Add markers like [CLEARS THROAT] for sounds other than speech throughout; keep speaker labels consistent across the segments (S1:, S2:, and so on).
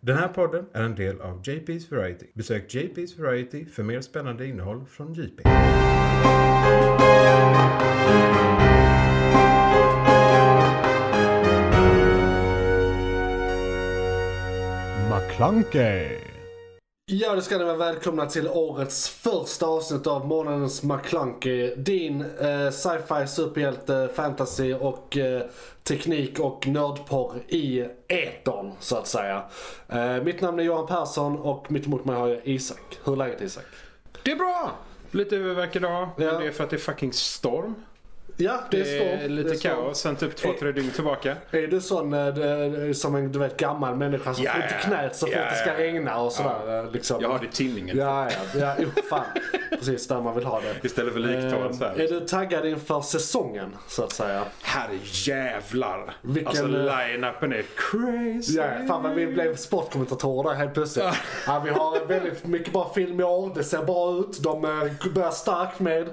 S1: Den här podden är en del av JP's Variety. Besök JP's Variety för mer spännande innehåll från JP.
S2: McClunkey.
S3: Ja, det ska ni vara välkomna till årets första avsnitt av månadens McClunky. Din eh, sci-fi, superhjälte, fantasy och eh, teknik och nördporr i etern, så att säga. Eh, mitt namn är Johan Persson och mitt emot mig har jag Isak. Hur är läget Isak?
S4: Det är bra! Lite öververk idag, men
S3: Ja.
S4: det är för att det är fucking storm.
S3: Ja, det,
S4: Det är,
S3: är storm.
S4: lite
S3: det är storm.
S4: kaos sen typ två, tre dygn tillbaka.
S3: Är du sån eh, d- som en du vet, gammal människa som
S4: Ja,
S3: får ont i
S4: ja.
S3: knät så fort
S4: Ja,
S3: det ska
S4: ja.
S3: regna och sådär? eh, Liksom.
S4: Jag har det i tinningen.
S3: Ja, ja, ja, jo, fan. Precis där man vill ha det.
S4: Istället för liktorn så
S3: Eh,
S4: här.
S3: Är du taggad inför säsongen så att säga?
S4: Herre jävlar!
S3: Vilken- eh,
S4: Alltså line-upen är crazy.
S3: Ja, fan vad vi blev sportkommentatorer där helt plötsligt. Ja, vi har väldigt mycket bra film i år, det ser bra ut, de eh, börjar starkt med.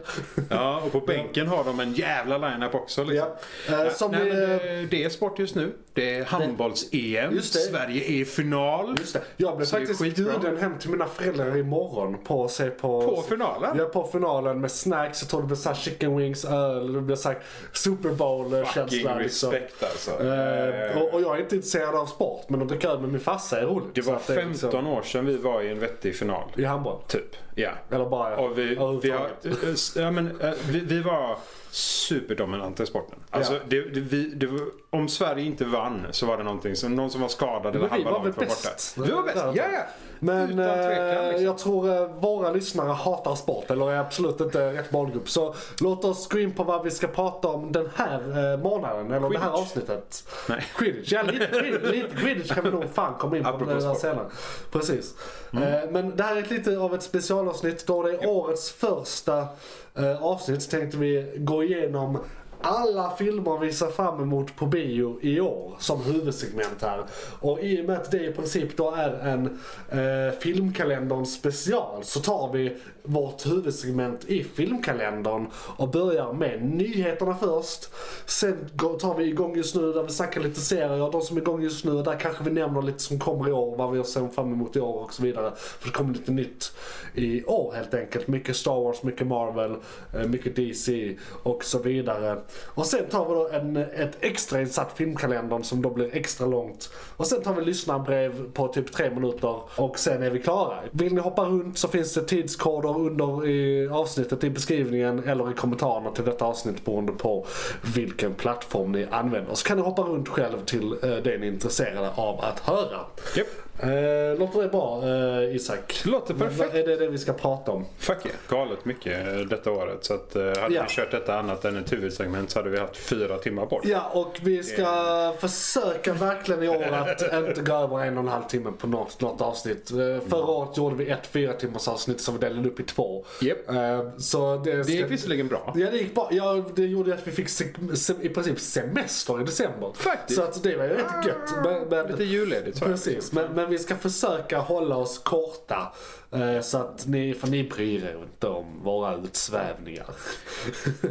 S4: Ja, och på bänken har de en jävla line-up också. Liksom.
S3: Ja. Eh, som
S4: Nej,
S3: vi,
S4: men det, det är sport just nu. Det är handbolls-EM.
S3: Just det.
S4: Sverige är i final.
S3: Just det. Jag blev
S4: Så det är
S3: faktiskt
S4: skitbra.
S3: bjuden hem till mina föräldrar imorgon på att se på...
S4: På finalen?
S3: Ja, på finalen med snacks. Jag tror det blir såhär chicken wings, öl, det blir såhär Super
S4: Fucking
S3: Bowl-känsla liksom.
S4: respekt alltså.
S3: Eh, och, och jag är inte intresserad av sport, men att dricka öl med min farsa är roligt.
S4: Det
S3: Så
S4: var
S3: att är
S4: 15
S3: liksom-
S4: år sedan vi var i en vettig final.
S3: I handboll?
S4: Typ, ja.
S3: Eller bara
S4: Och vi, vi, har,
S3: överhuvudtaget.
S4: ja, men, eh, vi, vi var superdominanta i sporten. Alltså,
S3: Ja.
S4: det, det, vi, det var, om Sverige inte vann så var det någonting som, någon som var skadad eller
S3: Men vi
S4: halva
S3: var väl
S4: laget var borta.
S3: bäst?
S4: Vi var bäst, ja ja.
S3: Men
S4: Utan tvekan
S3: eh,
S4: liksom.
S3: jag tror eh, våra lyssnare hatar sport eller är absolut inte rätt målgrupp. Så låt oss gå in på vad vi ska prata om den här eh, månaden eller det här
S4: Quidditch.
S3: avsnittet.
S4: Nej.
S3: Quidditch, ja lite quidditch, lite quidditch kan vi nog fan komma in på eh,
S4: Apropå
S3: den här
S4: sport.
S3: senare. Precis. Eh, men det här är lite av ett specialavsnitt då det är årets första eh, avsnitt så tänkte vi gå igenom alla filmer vi ser fram emot på bio i år som huvudsegment här. Och i och med att det i princip då är en eh, filmkalendern special så tar vi vårt huvudsegment i filmkalendern och börjar med nyheterna först. Sen går- tar vi igång just nu där vi snackar lite serier, de som är igång just nu. Där kanske vi nämner lite som kommer i år, vad vi har sett fram emot i år och så vidare. För det kommer lite nytt i år helt enkelt. Mycket Star Wars, mycket Marvel, eh, mycket DC och så vidare. Och sen tar vi då en, ett extra insatt filmkalendern som då blir extra långt. Och sen tar vi lyssnarbrev på typ tre minuter och sen är vi klara. Vill ni hoppa runt så finns det tidskoder under i avsnittet i beskrivningen eller i kommentarerna till detta avsnitt beroende på vilken plattform ni använder. Så kan ni hoppa runt själv till eh, det ni är intresserade av att höra.
S4: Japp.
S3: Eh, låter det bra eh, Isak?
S4: Låter
S3: Men
S4: perfekt.
S3: vad Är det det vi ska prata om?
S4: Fuck yeah. Galet mycket eh, detta året. Så att, eh, hade
S3: Ja.
S4: vi kört detta annat än ett huvudsegment så hade vi haft fyra timmar bort.
S3: Ja, och vi ska försöka verkligen i år att inte gå över en och en halv timme på något, något avsnitt. Eh,
S4: Mm.
S3: Förra året gjorde vi ett fyra timmars avsnitt som vi delade upp i två.
S4: Japp.
S3: Eh, Så det,
S4: Det
S3: ska...
S4: gick visserligen bra.
S3: Ja, det gick bra. Ja, det gjorde ju att vi fick se- se- i princip semester i december.
S4: Faktiskt. Ah,
S3: Så att det var ju rätt gött. Men, men...
S4: Lite julledigt så här.
S3: Precis, men, men vi ska försöka hålla oss korta. eh, Så att ni, för ni bryr er inte om våra utsvävningar.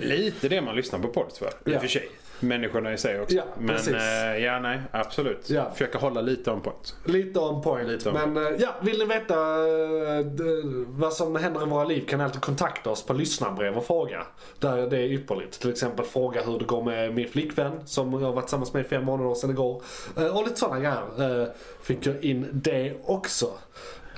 S4: Lite det man lyssnar på podd för. I
S3: Ja.
S4: och för sig. Människorna i sig också.
S3: Ja,
S4: men
S3: precis.
S4: eh, ja, nej, absolut.
S3: Ja.
S4: Försöka hålla lite om point.
S3: Lite on point.
S4: Lite on
S3: men eh, ja, vill ni veta eh, d- vad som händer i våra liv kan ni alltid kontakta oss på lyssnarbrev och fråga. Där det är ypperligt. Till exempel fråga hur det går med min flickvän som jag har varit tillsammans med i fem månader sedan igår. Eh, Och lite sådana grejer. eh, Fick jag in det också.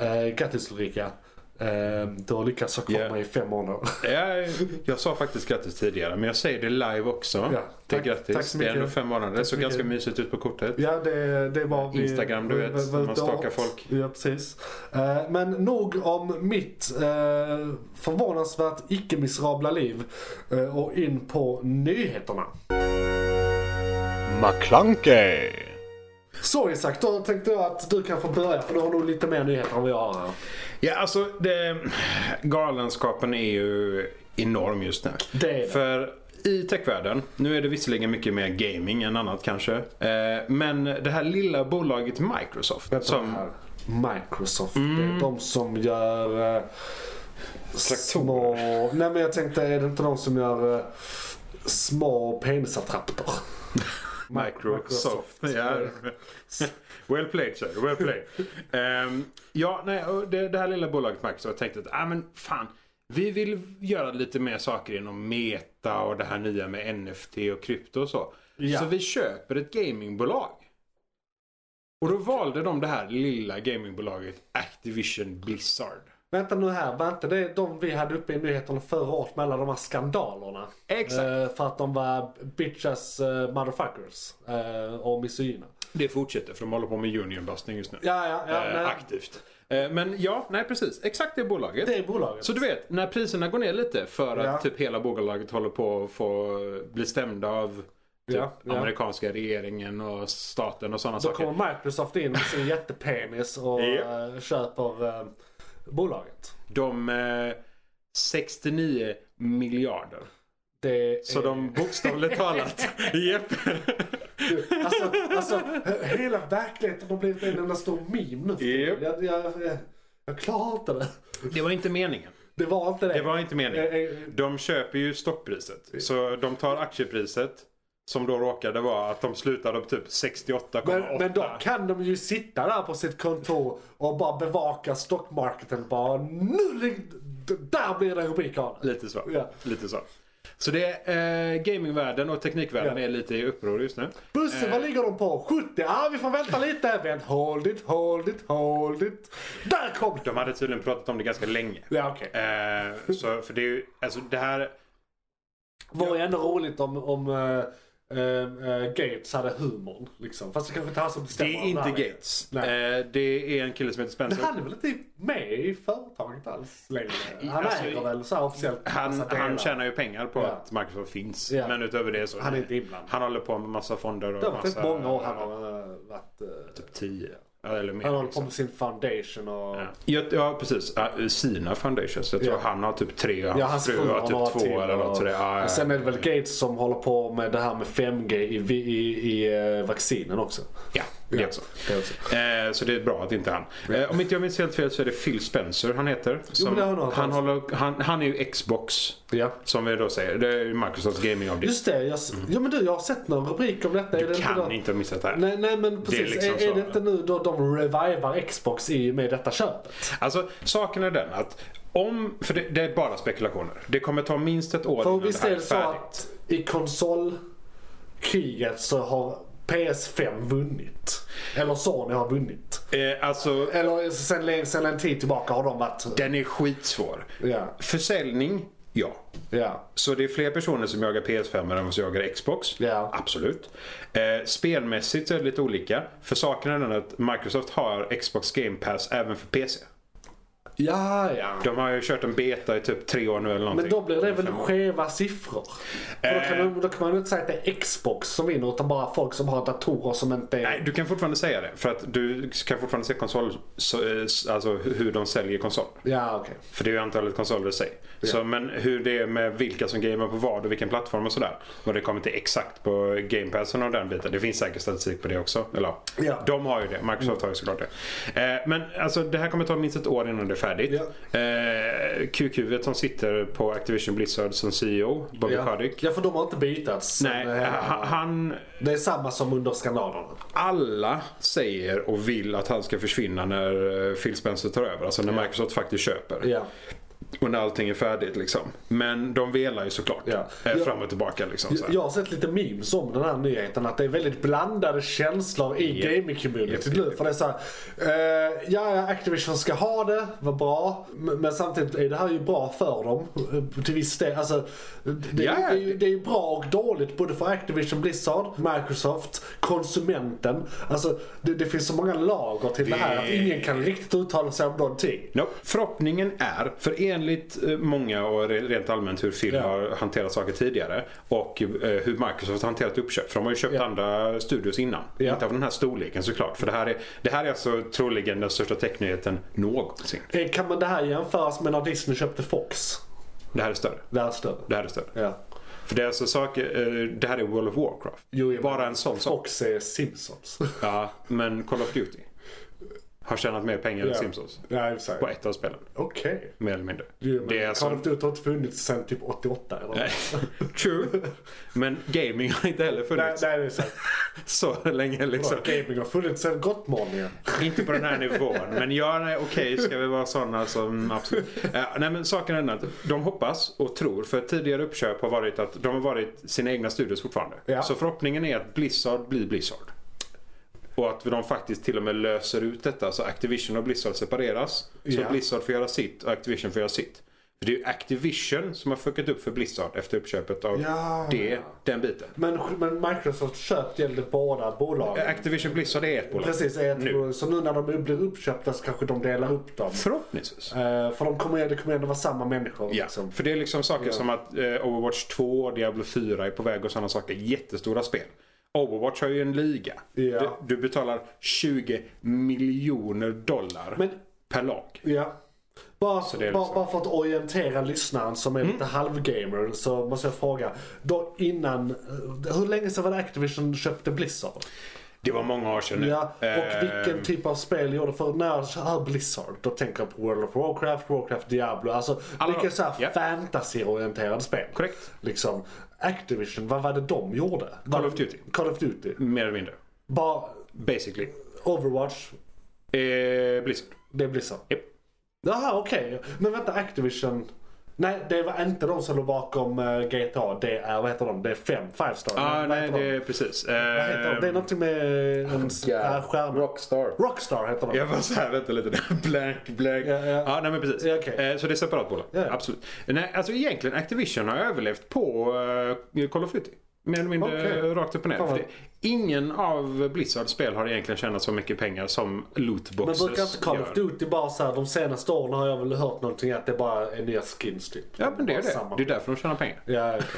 S3: Eh, Grattis Ulrika. Eh, Du har lyckats ha kvar
S4: Yeah.
S3: mig i fem månader.
S4: Jag, jag sa faktiskt grattis tidigare, men jag säger det live också.
S3: Ja,
S4: det är
S3: tack-
S4: grattis.
S3: tack så
S4: det är
S3: mycket.
S4: ändå fem månader. Det
S3: Tack så
S4: såg ganska
S3: mycket.
S4: mysigt ut på kortet.
S3: Ja, det, det var vi,
S4: Instagram, du
S3: vi-
S4: vet,
S3: vi- vi-
S4: man
S3: vi-
S4: stakar
S3: åt.
S4: folk.
S3: Ja, precis. Eh, Men nog om mitt eh, förvånansvärt icke-miserabla liv eh, och in på nyheterna.
S2: McClunkey.
S3: Så Isak, då tänkte jag att du kan få börja för du har nog lite mer nyheter än vad jag har här.
S4: Ja, alltså det, galenskapen är ju enorm just nu.
S3: Det är det.
S4: För i techvärlden, nu är det visserligen mycket mer gaming än annat kanske. Eh, men det här lilla bolaget Microsoft. som,
S3: Här. Microsoft,
S4: Mm.
S3: det är de som gör... eh, Små... Nej men jag tänkte, är det inte de som gör eh, små penisattrapper?
S4: [LAUGHS] Microsoft. Ja. [LAUGHS] well played sir, well played. Ehm, ja, nej, och det, det här lilla bolaget Microsoft tänkte att ah, men fan, vi vill göra lite mer saker inom meta och det här nya med NFT och krypto och så.
S3: Ja.
S4: Så vi köper ett gamingbolag. Och då valde de det här lilla gamingbolaget Activision Blizzard.
S3: Vänta nu här, var inte det de vi hade uppe i nyheterna förra året med alla de här skandalerna?
S4: Exakt.
S3: Eh, för att de var bitches eh, motherfuckers eh, och misogyna.
S4: Det fortsätter för de håller på med unionbustning just nu.
S3: Ja, ja, ja.
S4: Eh,
S3: nej.
S4: aktivt. Eh, men ja, nej precis. Exakt det bolaget.
S3: Det är bolaget.
S4: Så du vet, när priserna går ner lite för att
S3: Ja.
S4: typ hela bolaget håller på att få bli stämda av typ
S3: Ja, ja.
S4: amerikanska regeringen och staten och sådana
S3: Då
S4: saker.
S3: kommer Microsoft in med sin jättepenis och
S4: Ja.
S3: eh, köper eh, bolaget.
S4: De eh, 69 miljarder.
S3: Det är...
S4: Så de
S3: Eh.
S4: bokstavligt
S3: [LAUGHS]
S4: talat, japp.
S3: Alltså, alltså he- hela verkligheten har blivit en enda stor meme nu. för tiden.
S4: Japp.
S3: Jag, jag, jag, jag klarar inte det.
S4: Det var inte meningen.
S3: Det var inte det.
S4: Det var inte
S3: Eh, eh,
S4: meningen. De köper ju stockpriset. Så de tar aktiepriset. Som då råkade vara att de slutade på typ 68,8.
S3: Men, men då kan de ju sitta där på sitt kontor och bara bevaka stockmarketen. Bara nu, lig- d- där blir det rubrik av det.
S4: Lite så.
S3: Ja.
S4: Lite så. Så det är, eh, gamingvärlden och teknikvärlden
S3: Ja.
S4: är lite i uppror just nu.
S3: Busse, vad ligger de på? 70? Ah, vi får vänta lite. Vänt, hold it, hold it, hold it. Där kom de!
S4: De hade tydligen pratat om det ganska länge.
S3: Ja, okej.
S4: Eh, så, för det är ju, alltså det här,
S3: Vore ju ändå roligt om, om eh, eh, eh, Gates hade humorn. Liksom. Fast det kanske inte är han som
S4: det
S3: bestämmer.
S4: är
S3: om
S4: inte
S3: här
S4: Gates.
S3: Nej.
S4: Eh, det är en kille som heter
S3: Men
S4: Spencer.
S3: han är väl inte med i företaget alls längre? Han
S4: Alltså,
S3: äger väl så här officiellt
S4: Han,
S3: massa delar.
S4: han tjänar ju pengar på
S3: Ja.
S4: att Microsoft finns.
S3: Ja.
S4: Men utöver det så.
S3: Han är inte inblandad.
S4: Han håller på med massa fonder och
S3: Det har varit
S4: massa.
S3: rätt många år han har eh, varit... eh,
S4: Typ 10. Eller mer.
S3: Han håller på
S4: liksom.
S3: med sin foundation och...
S4: Ja. Ja, ja precis. Ja, Sina Foundations. Jag tror
S3: Ja.
S4: han har typ tre och
S3: Ja,
S4: hans fru har
S3: några
S4: typ två
S3: till
S4: eller något.
S3: och,
S4: sådär. Ja, ja,
S3: och sen är det väl Gates som håller på med det här med 5G i, vi- i, i eh, vaccinen också.
S4: Ja, det är så.
S3: Det också.
S4: Eh, så det är bra att inte han. Eh, om inte jag minns helt fel så är det Phil Spencer han heter. Som,
S3: det har jag nog hört
S4: han,
S3: talas om.
S4: håller, han, han är ju Xbox.
S3: Ja.
S4: Som vi då säger. Det är ju Microsofts gamingavdelning.
S3: Just det, jag, s- ja, men du, jag har sett någon rubrik om detta. är det
S4: Mm. Kan
S3: då-
S4: inte ha missat det här.
S3: Nej, nej men precis.
S4: liksom
S3: är, är
S4: så.
S3: det inte nu då de revivar Xbox i och med detta köpet?
S4: Alltså saken är den att om, för det, det är bara spekulationer. Det kommer ta minst ett år
S3: För
S4: innan det
S3: visst är
S4: här är
S3: det så
S4: färdigt.
S3: att i konsolkriget så har PS5 vunnit. Eller Sony har vunnit.
S4: Eh, alltså
S3: Eller sen, sen en tid tillbaka har de varit...
S4: den är skitsvår.
S3: Ja,
S4: Försäljning, ja.
S3: ja.
S4: Så det är fler personer som jagar PS5 än vad som jagar Xbox?
S3: Ja.
S4: Absolut. Eh, spelmässigt så är det lite olika. För saken är den att Microsoft har Xbox Game Pass även för PC.
S3: Ja, ja.
S4: De har ju kört en beta i typ tre år nu eller någonting.
S3: Men då blir det väl skeva siffror? För då, kan
S4: Eh.
S3: man, då kan man ju inte säga att det är Xbox som vinner utan bara folk som har datorer som inte är...
S4: Nej, du kan fortfarande säga det. För att du kan fortfarande se konsol, så, eh, s- alltså hu- hur de säljer konsoler.
S3: Ja, okej.
S4: För det är ju antalet konsoler i sig. Så, men hur det är med vilka som gamer på vad och vilken plattform och sådär. Och det kommer till exakt på Game Passen och den biten. Det finns säkert statistik på det också. Eller
S3: Ja.
S4: de har ju det. Microsoft har ju såklart det. Eh, men alltså det här kommer ta minst ett år innan det är färdigt. Eh, QQ som sitter på Activision Blizzard som CEO, Bobby
S3: Ja.
S4: Kotick.
S3: ja, för de har inte bytats.
S4: Nej,
S3: Det är-
S4: ha- han,
S3: Det är samma som under skandalerna.
S4: alla säger och vill att han ska försvinna när eh, Phil Spencer tar över. Alltså när Microsoft faktiskt köper.
S3: Ja.
S4: Och när allting är färdigt liksom. Men de velar ju såklart.
S3: Ja.
S4: Eh,
S3: Ja.
S4: fram och tillbaka liksom. Så här.
S3: Jag har sett lite memes om den här nyheten. Att det är väldigt blandade känslor i
S4: Japp.
S3: gaming-communityt
S4: Japp, japp,
S3: nu. För det är såhär, eh, ja ja, Activision ska ha det, vad bra. Men, men samtidigt är det här ju bra för dem. eh, Till viss del. Alltså, det,
S4: Ja, ja.
S3: det, är ju, det är ju bra och dåligt både för Activision Blizzard, Microsoft, konsumenten. Alltså det, det finns så många lager till det här att ingen kan riktigt uttala sig om någonting.
S4: No. Förhoppningen är, för enligt eh, många och re- rent allmänt hur Phil
S3: Ja.
S4: har hanterat saker tidigare och eh, hur Microsoft har hanterat uppköp. För de har ju köpt
S3: Ja.
S4: andra studios innan.
S3: Ja.
S4: Inte av den här storleken såklart. För det här är, det här är alltså troligen den största technyheten någonsin.
S3: Eh, Kan man det här jämföras med när Disney köpte Fox?
S4: Det här är större.
S3: Det här är större.
S4: Det här är större.
S3: Ja.
S4: För det är alltså saker, eh, det här är World of Warcraft.
S3: Jo, jag
S4: Bara
S3: menar, [LAUGHS]
S4: en sån sak.
S3: Fox är Simpsons.
S4: Ja, men Call of Duty. har tjänat mer pengar än
S2: Ja.
S4: Simpsons.
S2: Ja, i och för sig.
S4: På ett av spelen,
S2: Okej.
S4: mer eller mindre.
S2: Jo, men
S4: Det är
S2: Call
S4: alltså...
S2: of Duty har inte funnits sedan typ 88 eller?
S4: Nej, [LAUGHS] True. Men gaming har inte heller
S2: Nej,
S4: funnits
S2: nej, det är sant.
S4: [LAUGHS] så länge liksom.
S2: Gaming har funnits sedan Gottmania.
S4: Inte på den här nivån. Men ja, nej, okej, ska vi vara sådana som absolut. Eh, nej, men saken är den att de hoppas och tror, för tidigare uppköp har varit att de har varit sina egna studios fortfarande.
S2: Ja.
S4: Så förhoppningen är att Blizzard blir Blizzard. Och att de faktiskt till och med löser ut detta så Activision och Blizzard separeras. Så
S2: Ja.
S4: Blizzard får göra sitt och Activision får göra sitt. För det är ju Activision som har fuckat upp för Blizzard efter uppköpet av
S2: Ja.
S4: det, den biten.
S3: Men, men Microsofts köp gällde båda bolagen.
S4: Activision Blizzard är ett Äh, bolag.
S3: Precis, är ett
S4: Nu.
S3: bolag. Så nu när de blir uppköpta så kanske de delar upp dem.
S4: Förhoppningsvis.
S3: Eh, för de kommer, det kommer ändå vara samma människor.
S4: Ja,
S3: Liksom.
S4: för det är liksom saker som att eh, Overwatch 2 och Diablo 4 är på väg och sådana saker. Jättestora spel. Overwatch har ju en liga.
S2: Ja.
S4: Du, du betalar 20 miljoner dollar
S3: Men-
S4: per lag.
S3: Ja.
S4: det är
S3: Bara, bara,
S4: liksom- Mm.
S3: bara för att orientera lyssnaren som är lite halvgamer så måste jag fråga. Då innan, eh, hur länge sedan var det Activision köpte Blizzard?
S4: Det var många år sedan nu.
S3: Ja, och
S4: Eh,
S3: vilken typ av spel gjorde för när jag hör Blizzard då tänker jag på World of Warcraft, Warcraft Diablo. Alltså
S4: Alla
S3: vilka
S4: de,
S3: så här
S4: ja.
S3: fantasy-orienterade spel.
S4: Korrekt.
S3: Liksom, Activision, vad var det de gjorde?
S4: Call of Duty.
S3: Call of Duty.
S4: Mer eller mindre.
S3: Bara
S4: Basically.
S3: Overwatch,
S4: Eh, Blizzard.
S3: det är Blizzard.
S4: Japp.
S3: Jaha, okej. Men vänta, Activision. Nej, det var inte de som låg bakom eh, GTA. Det är, vad heter de? Det är fem, Five Star.
S4: Ah,
S3: vad
S4: nej,
S3: heter
S4: det
S3: de?
S4: är precis. Eh,
S3: Vad heter de? Det är någonting med en s- äh, stjärna.
S2: Rockstar.
S3: Rockstar heter de.
S4: Jag var såhär, vänta lite. där. [LAUGHS] Blank, blank.
S3: Ja, ja.
S4: nej men precis.
S3: Ja, okej.
S4: Eh, Så det är separat bolag.
S3: Ja.
S4: Absolut. Nej, alltså egentligen Activision har överlevt på eh, Call of Duty. Mer eller mindre
S3: Okej.
S4: eh, rakt upp och ner.
S3: Fan
S4: För
S3: vad-
S4: det, ingen av Blizzards spel har egentligen tjänat så mycket pengar som
S3: Men
S4: lootboxes
S3: brukar inte Call of
S4: gör.
S3: Duty bara så här, de senaste åren har jag väl hört någonting att det bara är nya skins typ.
S4: Ja men det är
S3: Bara
S4: det.
S3: samma.
S4: Det är därför de tjänar pengar.
S3: Ja, okej.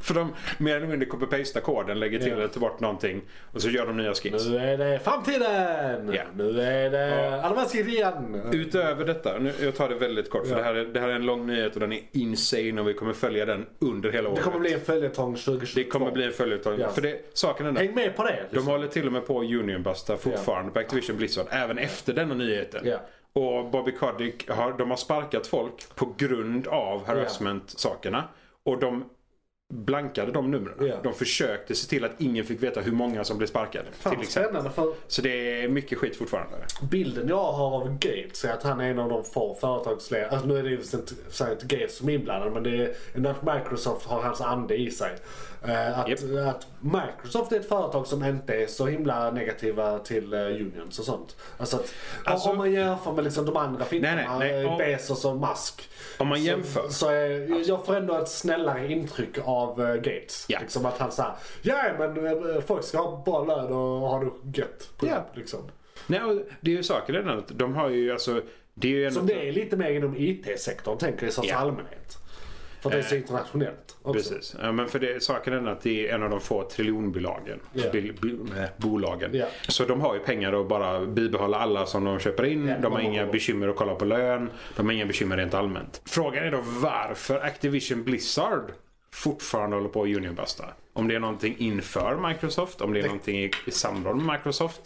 S4: För de mer eller mindre copy-pastar koden, lägger till
S3: Ja.
S4: eller tar bort någonting och så gör de nya skins.
S3: Nu är det framtiden!
S4: Ja.
S3: Nu är det allemansskrift igen!
S4: Utöver detta, nu, jag tar det väldigt kort för det, här är, det här är en lång nyhet och den är insane och vi kommer följa den under hela året.
S3: Det kommer bli en följetong 2022.
S4: Det kommer bli en följetong.
S3: Ja.
S4: För det, saken är den,
S3: Häng med på det!
S4: de håller till och med på att Unionbusta fortfarande på Activision Blizzard. Även efter denna nyheten.
S3: Ja.
S4: Och Bobby Kotick har, de har sparkat folk på grund av harassment-sakerna. Och de blankade de numren.
S3: Ja.
S4: De försökte se till att ingen fick veta hur många som blev sparkade.
S3: Fan
S4: till
S3: vad
S4: exempel.
S3: spännande för
S4: Så det är mycket skit fortfarande.
S3: bilden jag har av Gates är att han är en av de få företagsledare, alltså nu är det ju inte, så här inte Gates som är inblandad men det är ändå att Microsoft har hans ande i sig. Eh, att,
S4: Japp.
S3: att Microsoft är ett företag som inte är så himla negativa till eh, unions och sånt. Alltså att
S4: Alltså-
S3: om man jämför med liksom de andra fintarna,
S4: nej, nej,
S3: eh,
S4: om-
S3: Bezos och Musk.
S4: Om man jämför.
S3: Så, så är, jag får ändå ett snällare intryck av eh, Gates.
S4: Ja.
S3: Liksom att han säger ja men eh, folk ska ha bra lön och ha det gött.
S4: Ja.
S3: Liksom.
S4: Nej, och det är ju saken är den att de har ju alltså... Det är ju en
S3: Som det är lite mer inom IT-sektorn tänker jag i sorts
S4: Ja. Eh,
S3: allmänhet. För att det är så internationellt också.
S4: Precis. Ja, men för det, saken är den att det är en av de få triljonbolagen.
S3: Ja.
S4: Bil, bil, nej, bolagen.
S3: Ja.
S4: Så de har ju pengar att bara bibehålla alla som de köper in.
S3: Ja,
S4: de har
S3: man-
S4: inga bekymmer att kolla på lön. De har inga bekymmer rent allmänt. Frågan är då varför Activision Blizzard fortfarande håller på att unionbusta. Om det är någonting inför Microsoft. Om det är någonting i, i samråd med Microsoft.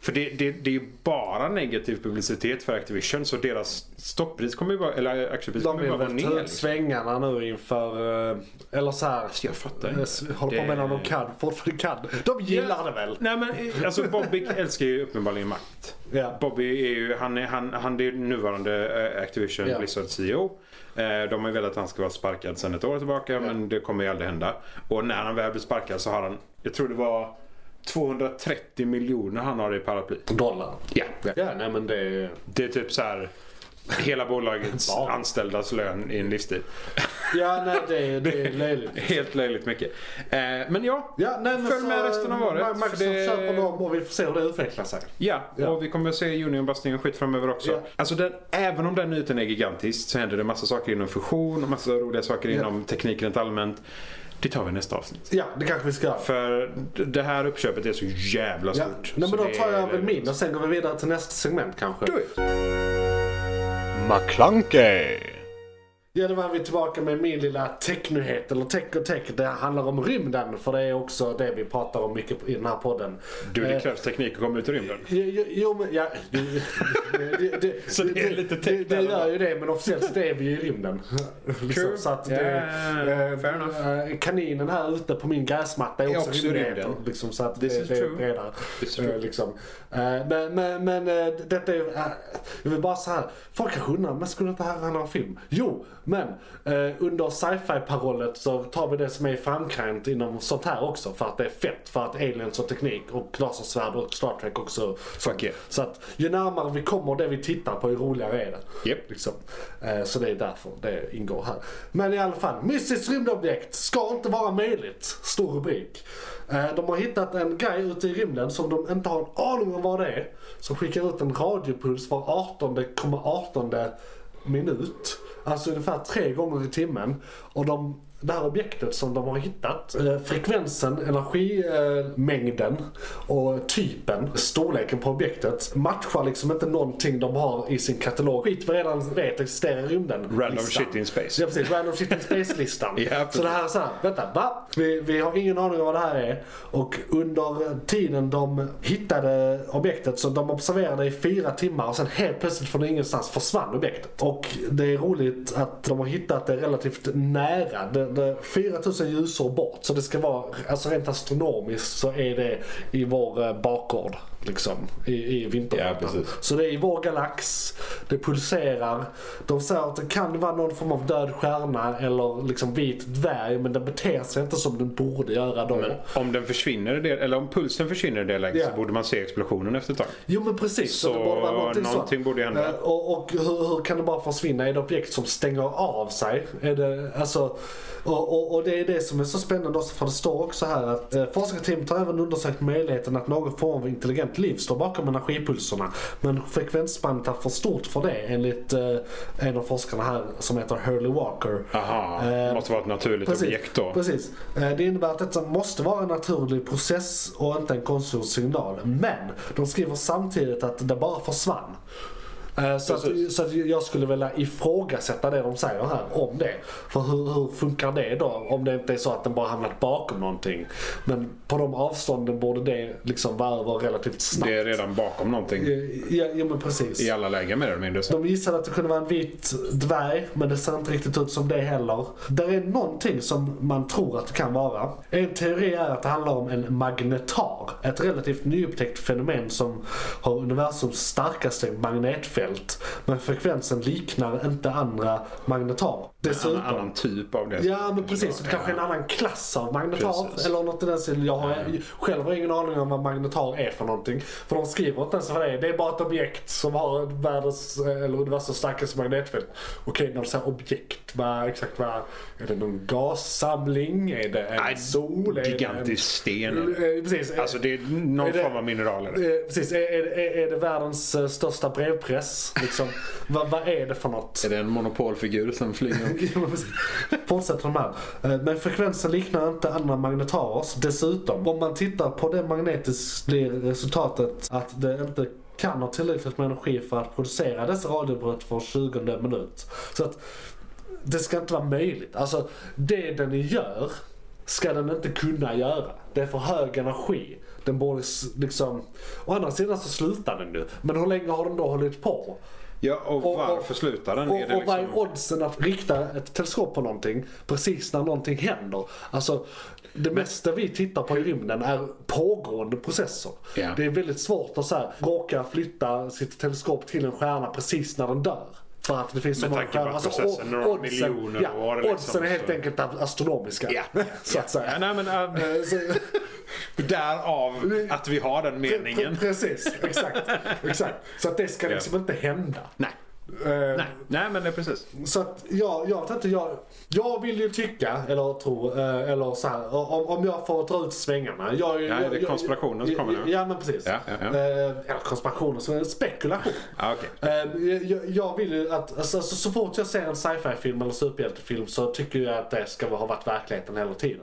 S4: För det, det, det är ju bara negativ publicitet för Activision så deras stoppris kommer ju bara, eller aktiepris
S3: De
S4: kommer ju
S3: vill
S4: bara gå
S3: väl
S4: ner.
S3: ta ut
S4: Liksom.
S3: svängarna nu inför, eh, eller så här.
S4: Jag fattar
S3: eh,
S4: inte.
S3: s- Håller på med när de kan, fortfarande kan. De gillar det väl?
S4: Nej men eh, alltså Bobby älskar ju uppenbarligen makt.
S3: Ja.
S4: Bobby är ju, han är, han, han är ju nuvarande eh, Activision
S3: Ja.
S4: Blizzard CEO. Eh, De har ju velat att han ska vara sparkad sedan ett år tillbaka men det kommer ju aldrig hända. Och när han väl blir sparkad så har han, jag tror det var 230 miljoner han har i paraply.
S3: Dollar.
S4: Ja.
S3: Ja, nej men det är...
S4: Det är typ så här hela bolagets
S3: Wow.
S4: anställdas lön i en livstid.
S3: Ja, nej det är, [LAUGHS] det är löjligt.
S4: Helt löjligt mycket. Eh, Men ja,
S3: Ja, nej, men
S4: följ
S3: så,
S4: med resten av året.
S3: Ma-
S4: för
S3: Microsoft
S4: det-
S3: köper dem och vi får se hur det utvecklar sig.
S4: Ja,
S3: Ja.
S4: och vi kommer att se Unionbustningen skit framöver också.
S3: Ja.
S4: Alltså den, även om den nyheten är gigantisk så händer det massa saker inom fusion och massa roliga saker inom teknik rent allmänt. Det tar vi i nästa avsnitt.
S3: Ja, det kanske vi ska göra.
S4: För d- det här uppköpet är så jävla
S3: Ja.
S4: stort.
S3: Nej,
S4: så
S3: men då
S4: det
S3: tar
S4: är-
S3: jag väl min och sen går vi vidare till nästa segment kanske.
S4: Do it.
S5: McClunkey.
S3: Ja, då var vi tillbaka med min lilla technyhet, eller tech och tech. Det handlar om rymden, för det är också det vi pratar om mycket i den här podden.
S4: Du, det
S3: Eh,
S4: krävs teknik att komma ut i rymden.
S3: Jo, jo, jo men ja, [LAUGHS] det, det, det,
S4: Så det är lite
S3: det,
S4: täckt
S3: det
S4: där,
S3: gör ju det men officiellt sett är vi ju i rymden. [LAUGHS]
S4: True.
S3: Liksom, så att det,
S4: Yeah,
S3: eh,
S4: fair enough.
S3: eh, kaninen här ute på min gräsmatta är också,
S4: också
S3: rymden.
S4: rymden.
S3: Liksom, så att
S4: This
S3: det,
S4: is
S3: det är
S4: true.
S3: bredare.
S4: This is true.
S3: Eh, Liksom. Eh, Men, men, men eh, detta är ju... eh, Jag vill bara så här. Folk kanske undrar, men skulle inte det här handla om film? Jo, men eh, under sci-fi-parollet så tar vi det som är i framkant inom sånt här också. För att det är fett. För att aliens och teknik och lasersvärd och Star Trek också.
S4: Fuck yeah.
S3: Så att ju närmare vi kommer det vi tittar på, ju roligare är det.
S4: Japp.
S3: Liksom. Eh, Så det är därför det ingår här. Men i alla fall, mystiskt rymdobjekt ska inte vara möjligt. Stor rubrik. Eh, De har hittat en grej ute i rymden som de inte har en aning om vad det är. Som skickar ut en radiopuls var 18,18 minut. Alltså ungefär tre gånger i timmen. Och de, det här objektet som de har hittat, eh, frekvensen, energimängden eh, mängden och typen, storleken på objektet matchar liksom inte någonting de har i sin katalog. Skit vi redan vet existerar i rymden.
S4: Random shit in space.
S3: Ja precis, random shit in space-listan.
S4: [LAUGHS] Ja, precis.
S3: så det här är såhär, vänta, va? Vi, vi har ingen aning om vad det här är. Och under tiden de hittade objektet, så de observerade i fyra timmar och sen helt plötsligt från ingenstans försvann objektet. Och det är roligt att de har hittat det relativt nära. Det, det, 4000 ljusår bort. Så det ska vara, alltså rent astronomiskt så är det i vår eh, bakgård. Liksom, i, i vintergatan.
S4: Ja, precis.
S3: Så det är i vår galax, det pulserar. De säger att det kan vara någon form av död stjärna eller liksom vit dvärg men den beter sig inte som den borde göra då.
S4: Men om den försvinner i det, eller om pulsen försvinner i det läget
S3: Ja.
S4: så borde man se explosionen efter ett tag.
S3: Jo men precis, så,
S4: Så
S3: det borde vara någonting,
S4: någonting
S3: sånt.
S4: borde hända.
S3: Eh, Och, och hur, hur kan det bara försvinna? Är det objekt som stänger av sig? Är det, alltså, och, och, och det är det som är så spännande också för det står också här att eh, forskarteamet har även undersökt möjligheten att någon form av intelligent liv står bakom energipulserna. Men frekvensspannet är för stort för det enligt eh, en av forskarna här som heter Hurley Walker.
S4: Aha,
S3: Eh,
S4: det måste vara ett naturligt
S3: Precis,
S4: objekt då.
S3: precis. Eh, Det innebär att detta måste vara en naturlig process och inte en konstgjord signal. Men de skriver samtidigt att det bara försvann. Eh, Så, att,
S4: Precis.
S3: så att jag skulle vilja ifrågasätta det de säger här om det. För hur, hur funkar det då? Om det inte är så att den bara hamnat bakom någonting. Men på de avstånden borde det liksom vara över relativt snabbt.
S4: Det är redan bakom någonting
S3: Eh, Ja, ja men precis.
S4: i alla lägen mer eller mindre. Så.
S3: De gissade att det kunde vara en vit dvärg, men det ser inte riktigt ut som det heller. Där är någonting som man tror att det kan vara. En teori är att det handlar om en magnetar. Ett relativt nyupptäckt fenomen som har universums starkaste magnetfält. Men frekvensen liknar inte andra magnetarer.
S4: En
S3: Dessutom...
S4: annan typ av det.
S3: Ja men precis, det kanske är en annan klass av magnetar.
S4: Precis. Mm.
S3: Eller något i den stilen. Jag har själv har ingen aning om vad magnetar är för någonting. För de skriver inte ens vad det är. Det är bara ett objekt som har världens, eh, eller universums starkaste magnetfält. Okej, när du säger objekt, vad, exakt vad? Är det någon gassamling? Är det en
S4: Nej,
S3: sol? Är det en-
S4: Gigantisk sten.
S3: Eh, Precis.
S4: Alltså det är någon
S3: Är det-
S4: form av mineral. eller?
S3: Eh, Precis, är, är, är, är det världens eh, största brevpress? Liksom, [LAUGHS] vad, vad är det för något?
S4: Är det en monopolfigur som flyger upp?
S3: Ja, men precis. [LAUGHS] Fortsätter de här. Eh, Men frekvensen liknar inte andra magnetarers. Dessutom, om man tittar på det magnetiskt blir resultatet att det inte kan ha tillräckligt med energi för att producera dessa radiobrott var 20 minut. Så att det ska inte vara möjligt. Alltså det den gör ska den inte kunna göra. Det är för hög energi. Den borde s- liksom... Å andra sidan så slutar den nu. Men hur länge har den då hållit på?
S4: [LAUGHS] Ja, och
S3: Och- och-
S4: varför slutar den?
S3: Och,
S4: Är det
S3: och vad är
S4: liksom...
S3: oddsen att rikta ett teleskop på någonting precis när någonting händer? Alltså, det mesta vi tittar på i rymden är pågående processer.
S4: Ja.
S3: Det är väldigt svårt att så här, råka flytta sitt teleskop till en stjärna precis när den dör. För att det finns så
S4: Med
S3: många
S4: tanke på att
S3: stjärnor. Alltså,
S4: processen är några miljoner
S3: ja,
S4: år liksom,
S3: oddsen är helt
S4: så-
S3: enkelt astronomiska.
S4: Ja.
S3: Så att
S4: Ja,
S3: säga.
S4: nej, men, äh, [LAUGHS]
S3: Eh, så-
S4: därav att vi har den meningen.
S3: Precis, exakt. exakt. Så att det ska liksom inte hända.
S4: Nej.
S3: Eh,
S4: Nej. nej, men det är precis.
S3: Så att jag, jag vet inte, jag, jag vill ju tycka, eller tro, eh, eller så här, om, om jag får dra ut svängarna. Jag,
S4: Ja,
S3: jag,
S4: det är
S3: jag-
S4: konspirationen som
S3: jag-
S4: kommer nu.
S3: Ja, men precis.
S4: Ja, ja, ja.
S3: Eh, Eller konspirationen, som är spekulation.
S4: [LAUGHS] Ja, okej.
S3: Eh, jag- jag, jag vill ju att, alltså, alltså, så fort jag ser en sci-fi film eller superhjältefilm så tycker jag att det ska ha varit verkligheten hela tiden.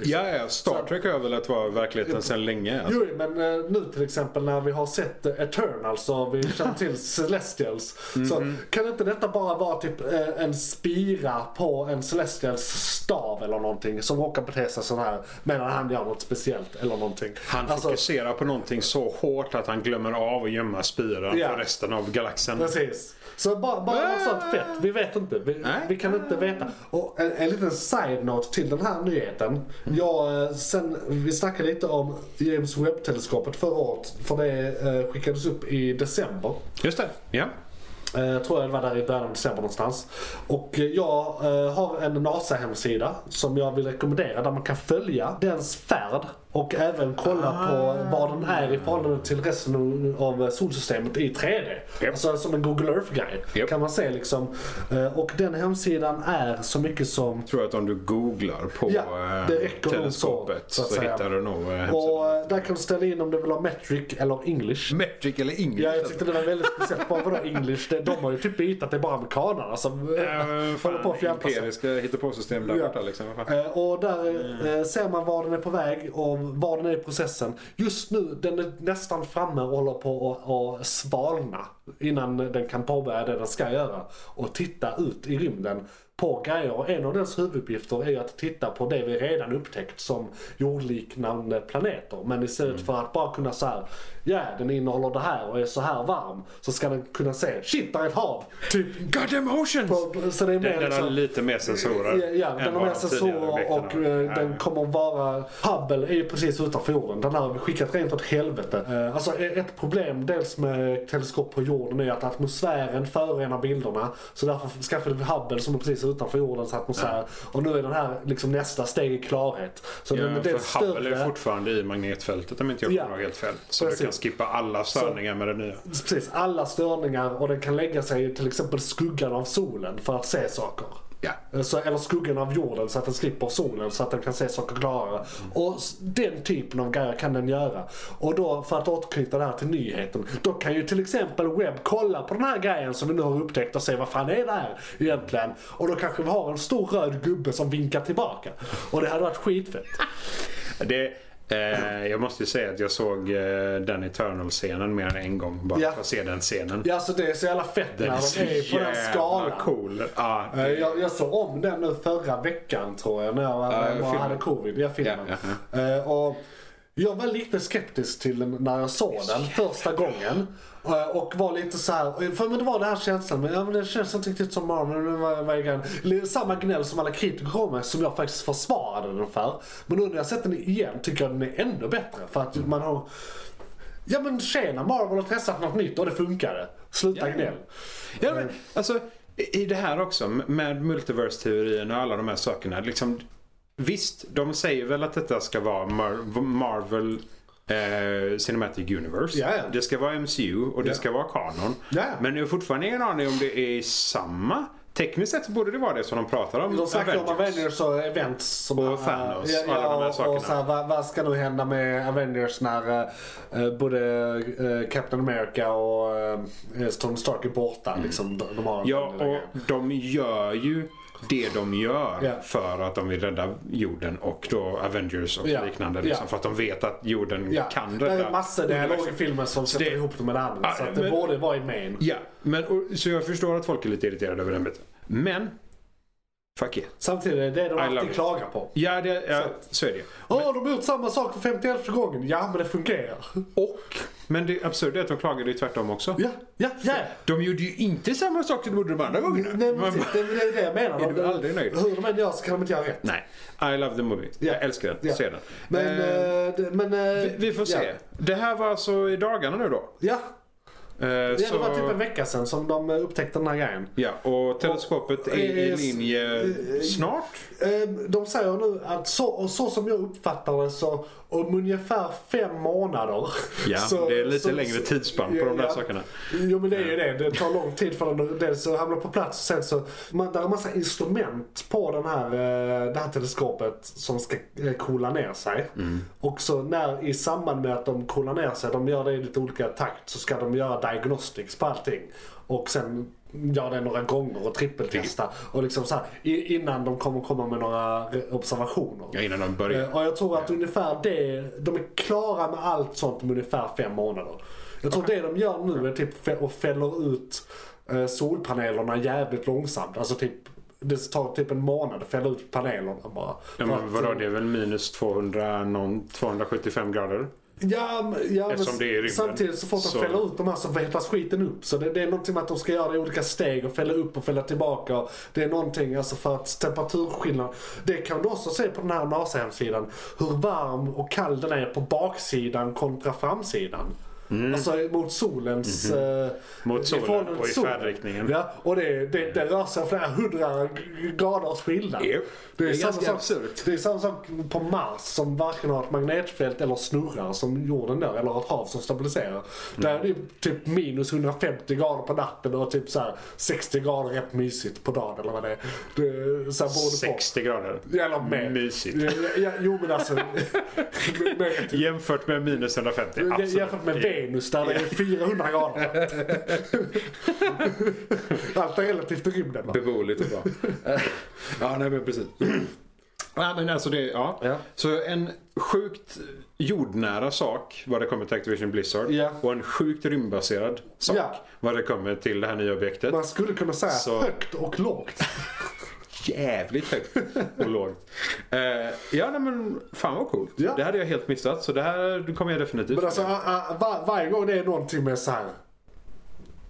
S4: Ja, ja, Star Trek har väl att vara verkligheten sedan länge. Alltså.
S3: Jo,
S4: [LAUGHS]
S3: men eh, nu till exempel när vi har sett eh, Eternals och vi känner till Celestials. Så så.
S4: Mhm.
S3: Kan inte detta bara vara typ eh, en spira på en Celestials stav eller någonting som råkar bete sig sån här medan han gör något speciellt eller någonting.
S4: Han
S3: Alltså,
S4: fokuserar på någonting så hårt att han glömmer av att gömma spiran
S3: Ja.
S4: för resten av galaxen.
S3: Precis. Så bara, bara något sånt fett. Vi vet inte. Vi,
S4: Ah. Nej.
S3: vi kan inte veta. Och eh, en, en liten side-note till den här nyheten.
S4: Mm.
S3: Jag, eh, sen, vi snackade lite om James Webb-teleskopet förra året. För det eh, skickades upp i december.
S4: Just det, ja.
S3: Eh, tror jag det var där i början av december någonstans. Och eh, jag eh, har en NASA-hemsida som jag vill rekommendera där man kan följa dens färd och även kolla på
S4: Ah.
S3: vad den är i förhållande till resten av eh, solsystemet i 3D.
S4: Japp.
S3: Alltså som en Google Earth-guide
S4: Japp.
S3: kan man se liksom. Eh, och den hemsidan är så mycket som
S4: tror att om du googlar på
S3: Ja,
S4: eh,
S3: det räcker nog
S4: teleskopet
S3: så,
S4: så,
S3: så att säga.
S4: hittar du nog eh, hemsidan.
S3: och eh, där kan du ställa in om du vill ha metric eller English.
S4: Metric eller English.
S3: Ja, jag tyckte det var väldigt speciellt. Bara vadå English? Det- De har ju typ bytt att det är bara amerikanarna som eh,
S4: Äh,
S3: [LAUGHS] håller på
S4: fan,
S3: att fjärpa sig.
S4: empiriska hittepåsystem där
S3: Ja.
S4: borta liksom. Vad fan. Mm.
S3: Eh, Och där eh, ser man var den är på väg och var den är i processen. Just nu, den är nästan framme och håller på att- att svalna. Innan den kan påbörja det den ska göra. Och titta ut i rymden på grejer. Och en av dess huvuduppgifter är ju att titta på det vi redan upptäckt som jordliknande planeter. Men istället
S4: Mm.
S3: för att bara kunna säga ja den innehåller det här och är så här varm. Så ska den kunna se, shit där är ett hav!
S4: [LAUGHS]
S3: Typ.
S4: God damn oceans!
S3: På- Så det är mer liksom-
S4: den, den har lite mer sensorer.
S3: Ja, ja
S4: än
S3: den har
S4: vad
S3: med
S4: de
S3: sig
S4: tidigare
S3: sensorer och
S4: objekten har.
S3: eh, den kommer vara... Hubble är ju precis utanför jorden. Den här har vi skickat rent åt helvete. Eh, Alltså eh, ett problem dels med teleskop på jorden är att atmosfären förorenar bilderna. Så därför skaffade vi Hubble som är precis utanför jordens atmosfär. Och nu är den här liksom nästa steg i klarhet. Så den är
S4: Ja,
S3: dels
S4: för Hubble är
S3: större.
S4: fortfarande i magnetfältet om inte jag
S3: Ja.
S4: kommer ihåg helt fel. Så
S3: Precis.
S4: du kan skippa alla störningar med det nya.
S3: Precis, alla störningar och den kan lägga sig i till exempel skuggan av solen för att se saker.
S4: Ja.
S3: Så, eller skuggan av jorden så att den slipper solen så att den kan se saker klarare. Och s- den typen av grejer kan den göra. Och då för att återknyta det här till nyheten. Då kan ju till exempel Webb kolla på den här grejen som vi nu har upptäckt och se vad fan är det här egentligen. Och då kanske vi har en stor röd gubbe som vinkar tillbaka. Och det hade varit skitfett.
S4: Det, eh, jag måste ju säga att jag såg eh, den Eternal-scenen mer än en gång bara
S3: Ja.
S4: för att se den scenen.
S3: Ja alltså det är så jävla fett när
S4: Den är så
S3: de är på den
S4: jävla
S3: skalan.
S4: cool. Ja,
S3: Eh, Jag, jag såg om den nu förra veckan tror jag när jag var,
S4: Ja,
S3: bara
S4: filmen.
S3: hade covid. Jag filmen.
S4: Ja,
S3: Eh, och jag var lite skeptisk till den när jag såg den första gången. Eh, Och var lite så här, för men det var den här känslan, men, ja, men det känns inte riktigt som Marvel. men vad- vad är grejen? Li- Samma gnäll som alla kritiker kom med som jag faktiskt försvarade den för. Men nu när jag sett den igen tycker jag den är ännu bättre. För att
S4: Mm.
S3: man har, ja men tjena Marvel har testat något nytt och det funkade. Sluta gnäll.
S4: Ja, men, alltså, i i det här också med multiverse-teorin och alla de här sakerna. Liksom, visst, de säger väl att detta ska vara Mar- Marvel eh, Cinematic Universe.
S3: Ja, ja.
S4: Det ska vara MCU och det ska vara kanon.
S3: Ja.
S4: Men jag har fortfarande ingen aning om det är samma. Tekniskt sett borde det vara det som de pratar om.
S3: De snackar om
S4: Avengers.
S3: Avengers och events. Som eh,
S4: Och Thanos,
S3: Ja,
S4: alla de här
S3: ja,
S4: sakerna.
S3: Och så här, vad, vad ska nu hända med Avengers när eh, både eh, Captain America och eh, Tony Stark är borta? Liksom, de, de har en
S4: Mm. Ja, och
S3: del
S4: de gör ju det de gör
S3: Ja.
S4: för att de vill rädda jorden och då Avengers och
S3: Ja.
S4: liknande.
S3: Ja.
S4: Liksom, För att de vet att jorden
S3: ja.
S4: kan
S3: Det
S4: rädda
S3: är massor dialog i
S4: universum.
S3: filmen som sätter
S4: det-
S3: ihop det med det andra.
S4: Ja,
S3: så att det
S4: men-
S3: borde vara i main.
S4: Ja, men, och, så jag förstår att folk är lite irriterade över den biten. Men, fuck it.
S3: Samtidigt är det de
S4: love
S3: alltid
S4: it.
S3: klagar på.
S4: Ja, det, ja så. är det
S3: Åh, de har gjort samma sak för 51 gången. Ja, men det fungerar.
S4: Och, men det absurda är att de klagade ju tvärtom också.
S3: Ja, ja, ja.
S4: De gjorde ju inte samma sak som de gjorde de andra gångerna.
S3: Nej, men
S4: Man
S3: precis,
S4: bara-
S3: det, det är det jag menar.
S4: Är du aldrig nöjd?
S3: Hur de än gör så kan de inte göra rätt.
S4: Nej, I love the movie.
S3: Ja.
S4: Jag älskar den.
S3: Ja.
S4: Se den.
S3: Men,
S4: Eh,
S3: eh, det- men eh,
S4: vi, vi får se.
S3: Ja,
S4: Det här var alltså i dagarna nu då.
S3: ja.
S4: Eh,
S3: ja det
S4: så-
S3: var typ en vecka sedan som de eh, upptäckte den här grejen.
S4: Ja, och teleskopet
S3: Och-
S4: är i
S3: eh,
S4: linje
S3: eh,
S4: snart.
S3: Eh, De säger nu att så, och så som jag uppfattar det så om ungefär fem månader.
S4: Ja,
S3: så,
S4: det är lite
S3: så-
S4: längre
S3: så-
S4: tidsspann på de där
S3: ja.
S4: sakerna.
S3: Jo men det är ju det. Det tar lång tid för den dels att hamna på plats sen så. Man, där är massa instrument på den här, eh, det här teleskopet som ska eh, coola ner sig. Och så när i samband med att de coolar ner sig, de gör det i lite olika takt, så ska de göra diagnostics på allting. Och sen göra det några gånger och trippeltesta. Och liksom så här, i- innan de kommer komma med några re- observationer.
S4: Ja, innan de börjar.
S3: Eh, Och jag tror att ungefär det, de är klara med allt sånt om ungefär fem månader. Jag tror det de gör nu är typ fä- och fäller ut eh, solpanelerna jävligt långsamt. Alltså typ, det tar typ en månad att fälla ut panelerna bara.
S4: Ja,
S3: För
S4: men
S3: att-
S4: vadå, det är väl minus 200, någon, 275 grader?
S3: Ja, men- ja, men
S4: Eftersom det är i rymden.
S3: samtidigt så fort de
S4: Så-
S3: fäller ut de här så vettlas skiten upp. Så det, det är någonting med att de ska göra det i olika steg och fälla upp och fälla tillbaka. Det är någonting alltså för att temperaturskillnad. Det kan du också se på den här NASA-hemsidan. Hur varm och kall den är på baksidan kontra framsidan. Alltså mot solens... eh,
S4: Mm. Mhm. Mot
S3: i
S4: solen
S3: förhållande till
S4: och i
S3: solen.
S4: färdriktningen.
S3: Ja, och det, det, det rör sig om flera hundra graders skillnad.
S4: Japp.
S3: Det är,
S4: Det är
S3: samma
S4: ganska
S3: sak,
S4: absurt.
S3: det är samma sak på Mars som varken har ett magnetfält eller snurrar som jorden där eller ett hav som stabiliserar.
S4: Mm.
S3: Där är det ju typ minus 150 grader på natten och typ så här 60 grader rätt mysigt på dagen eller vad det är. Det, så här beror det på.
S4: 60 grader.
S3: Eller mer.
S4: Mysigt.
S3: Ja, ja, jo
S4: [LAUGHS]
S3: men alltså. mer- mer typ.
S4: Jämfört med minus 150, absolut.
S3: Jämfört med Venus där det är
S4: [LAUGHS]
S3: 400 grader. Allt är relativt till rymden. va?
S4: Beboeligt och bra. [LAUGHS] ja, nej men precis. [CLEARS THROAT] Ja, men alltså det, ja.
S3: Ja.
S4: Så en sjukt jordnära sak vad det kommer till Activision Blizzard
S3: Ja.
S4: och en sjukt rymdbaserad sak
S3: Ja.
S4: vad det kommer till det här nya objektet.
S3: Man skulle kunna säga
S4: Så-
S3: högt och lågt.
S4: Jävligt högt
S3: [LAUGHS]
S4: och lågt. Eh, ja, nej, men fan vad coolt.
S3: Ja.
S4: Det hade jag helt missat så det här kommer jag definitivt
S3: Men alltså a, a, var, varje gång det är någonting med så här.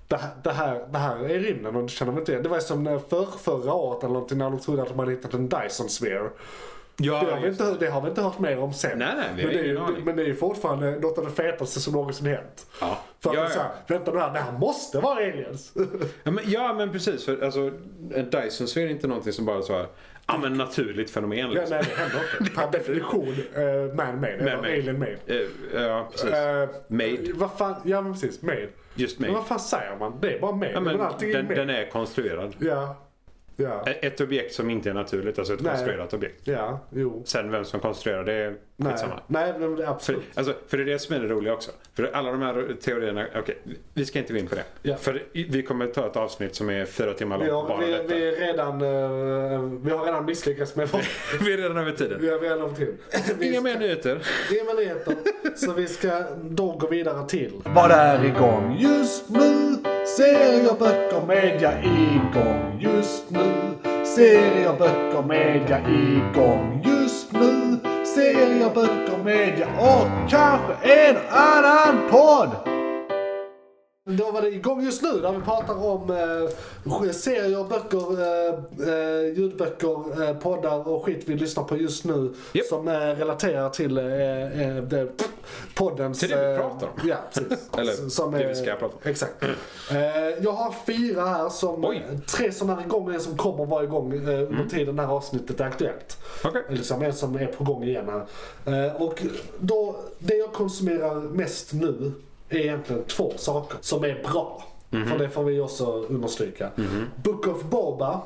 S3: Det här, det, här, det här är rymden och det känner man inte igen. Det var ju som när för, förra året eller någonting när de trodde att de hade hittat en Dyson Sphere.
S4: ja,
S3: Det har, vi
S4: just-
S3: inte, det har vi inte hört mer om sen.
S4: Nej, nej, vi
S3: men,
S4: har
S3: det är,
S4: ingen
S3: ju-
S4: aning.
S3: men det är ju fortfarande något av det fetaste som någonsin hänt.
S4: Ja.
S3: För att
S4: Ja,
S3: det är så här,
S4: ja.
S3: vänta nu här, det här måste vara
S4: [LAUGHS]
S3: aliens.
S4: Ja men, ja, men precis. För, alltså, en Dyson sphere är inte någonting som bara så här, ja men naturligt fenomen.
S3: ja,
S4: Liksom.
S3: nej, det händer inte. Per definition uh, man-made, eller
S4: Man-made.
S3: alien-made.
S4: Eh, ja, precis.
S3: Eh,
S4: Made.
S3: Vad fan, ja men precis, made.
S4: Just
S3: Men
S4: made.
S3: vad fan säger man? Det är bara made.
S4: Ja, men
S3: men allting är
S4: den,
S3: made.
S4: den är konstruerad.
S3: Ja. Ja.
S4: Ett objekt som inte är naturligt, alltså ett
S3: Nej.
S4: konstruerat objekt.
S3: Ja, jo.
S4: Sen vem som konstruerar det är
S3: Nej,
S4: skitsamma.
S3: nej men det är
S4: För,
S3: absolut.
S4: alltså, för det är det som är det roliga också. För alla de här teorierna, okej, vi ska inte gå in på det.
S3: Ja.
S4: För vi kommer ta ett avsnitt som är fyra timmar
S3: Vi
S4: långt,
S3: har,
S4: bara
S3: vi,
S4: detta.
S3: vi, är redan, eh, vi har redan misslyckats med vad
S4: [LAUGHS] vi är redan över tiden.
S3: vi har redan till. Vi
S4: Inga
S3: ska,
S4: mer nyheter.
S3: det är vad det heter. Så vi ska då gå vidare till.
S5: Vad är igång just nu? Serier, böcker, media igång just nu. Serier, böcker, media igång just nu. Serier, böcker, media och kanske en annan podd.
S3: Då var det igång just nu där vi pratar om eh, serier, böcker, eh, eh, ljudböcker, eh, poddar och skit vi lyssnar på just nu.
S4: Japp.
S3: Som eh, relaterar till eh, eh, det, poddens...
S4: Till det vi
S3: eh,
S4: pratar om.
S3: Ja, precis.
S4: [LAUGHS] Eller
S3: S-
S4: det
S3: är-
S4: vi ska prata om. Mm.
S3: Exakt. Eh, jag har fyra här som... eh,
S4: Oj. Mm.
S3: Tre som är igång och en som kommer vara igång eh, under tiden det här avsnittet är aktuellt.
S4: Okej.
S3: Liksom en som är på gång igen här. Eh, och då, det jag konsumerar mest nu är egentligen två saker som är bra.
S4: Mhm.
S3: För det får vi också understryka. Book of Boba. eh,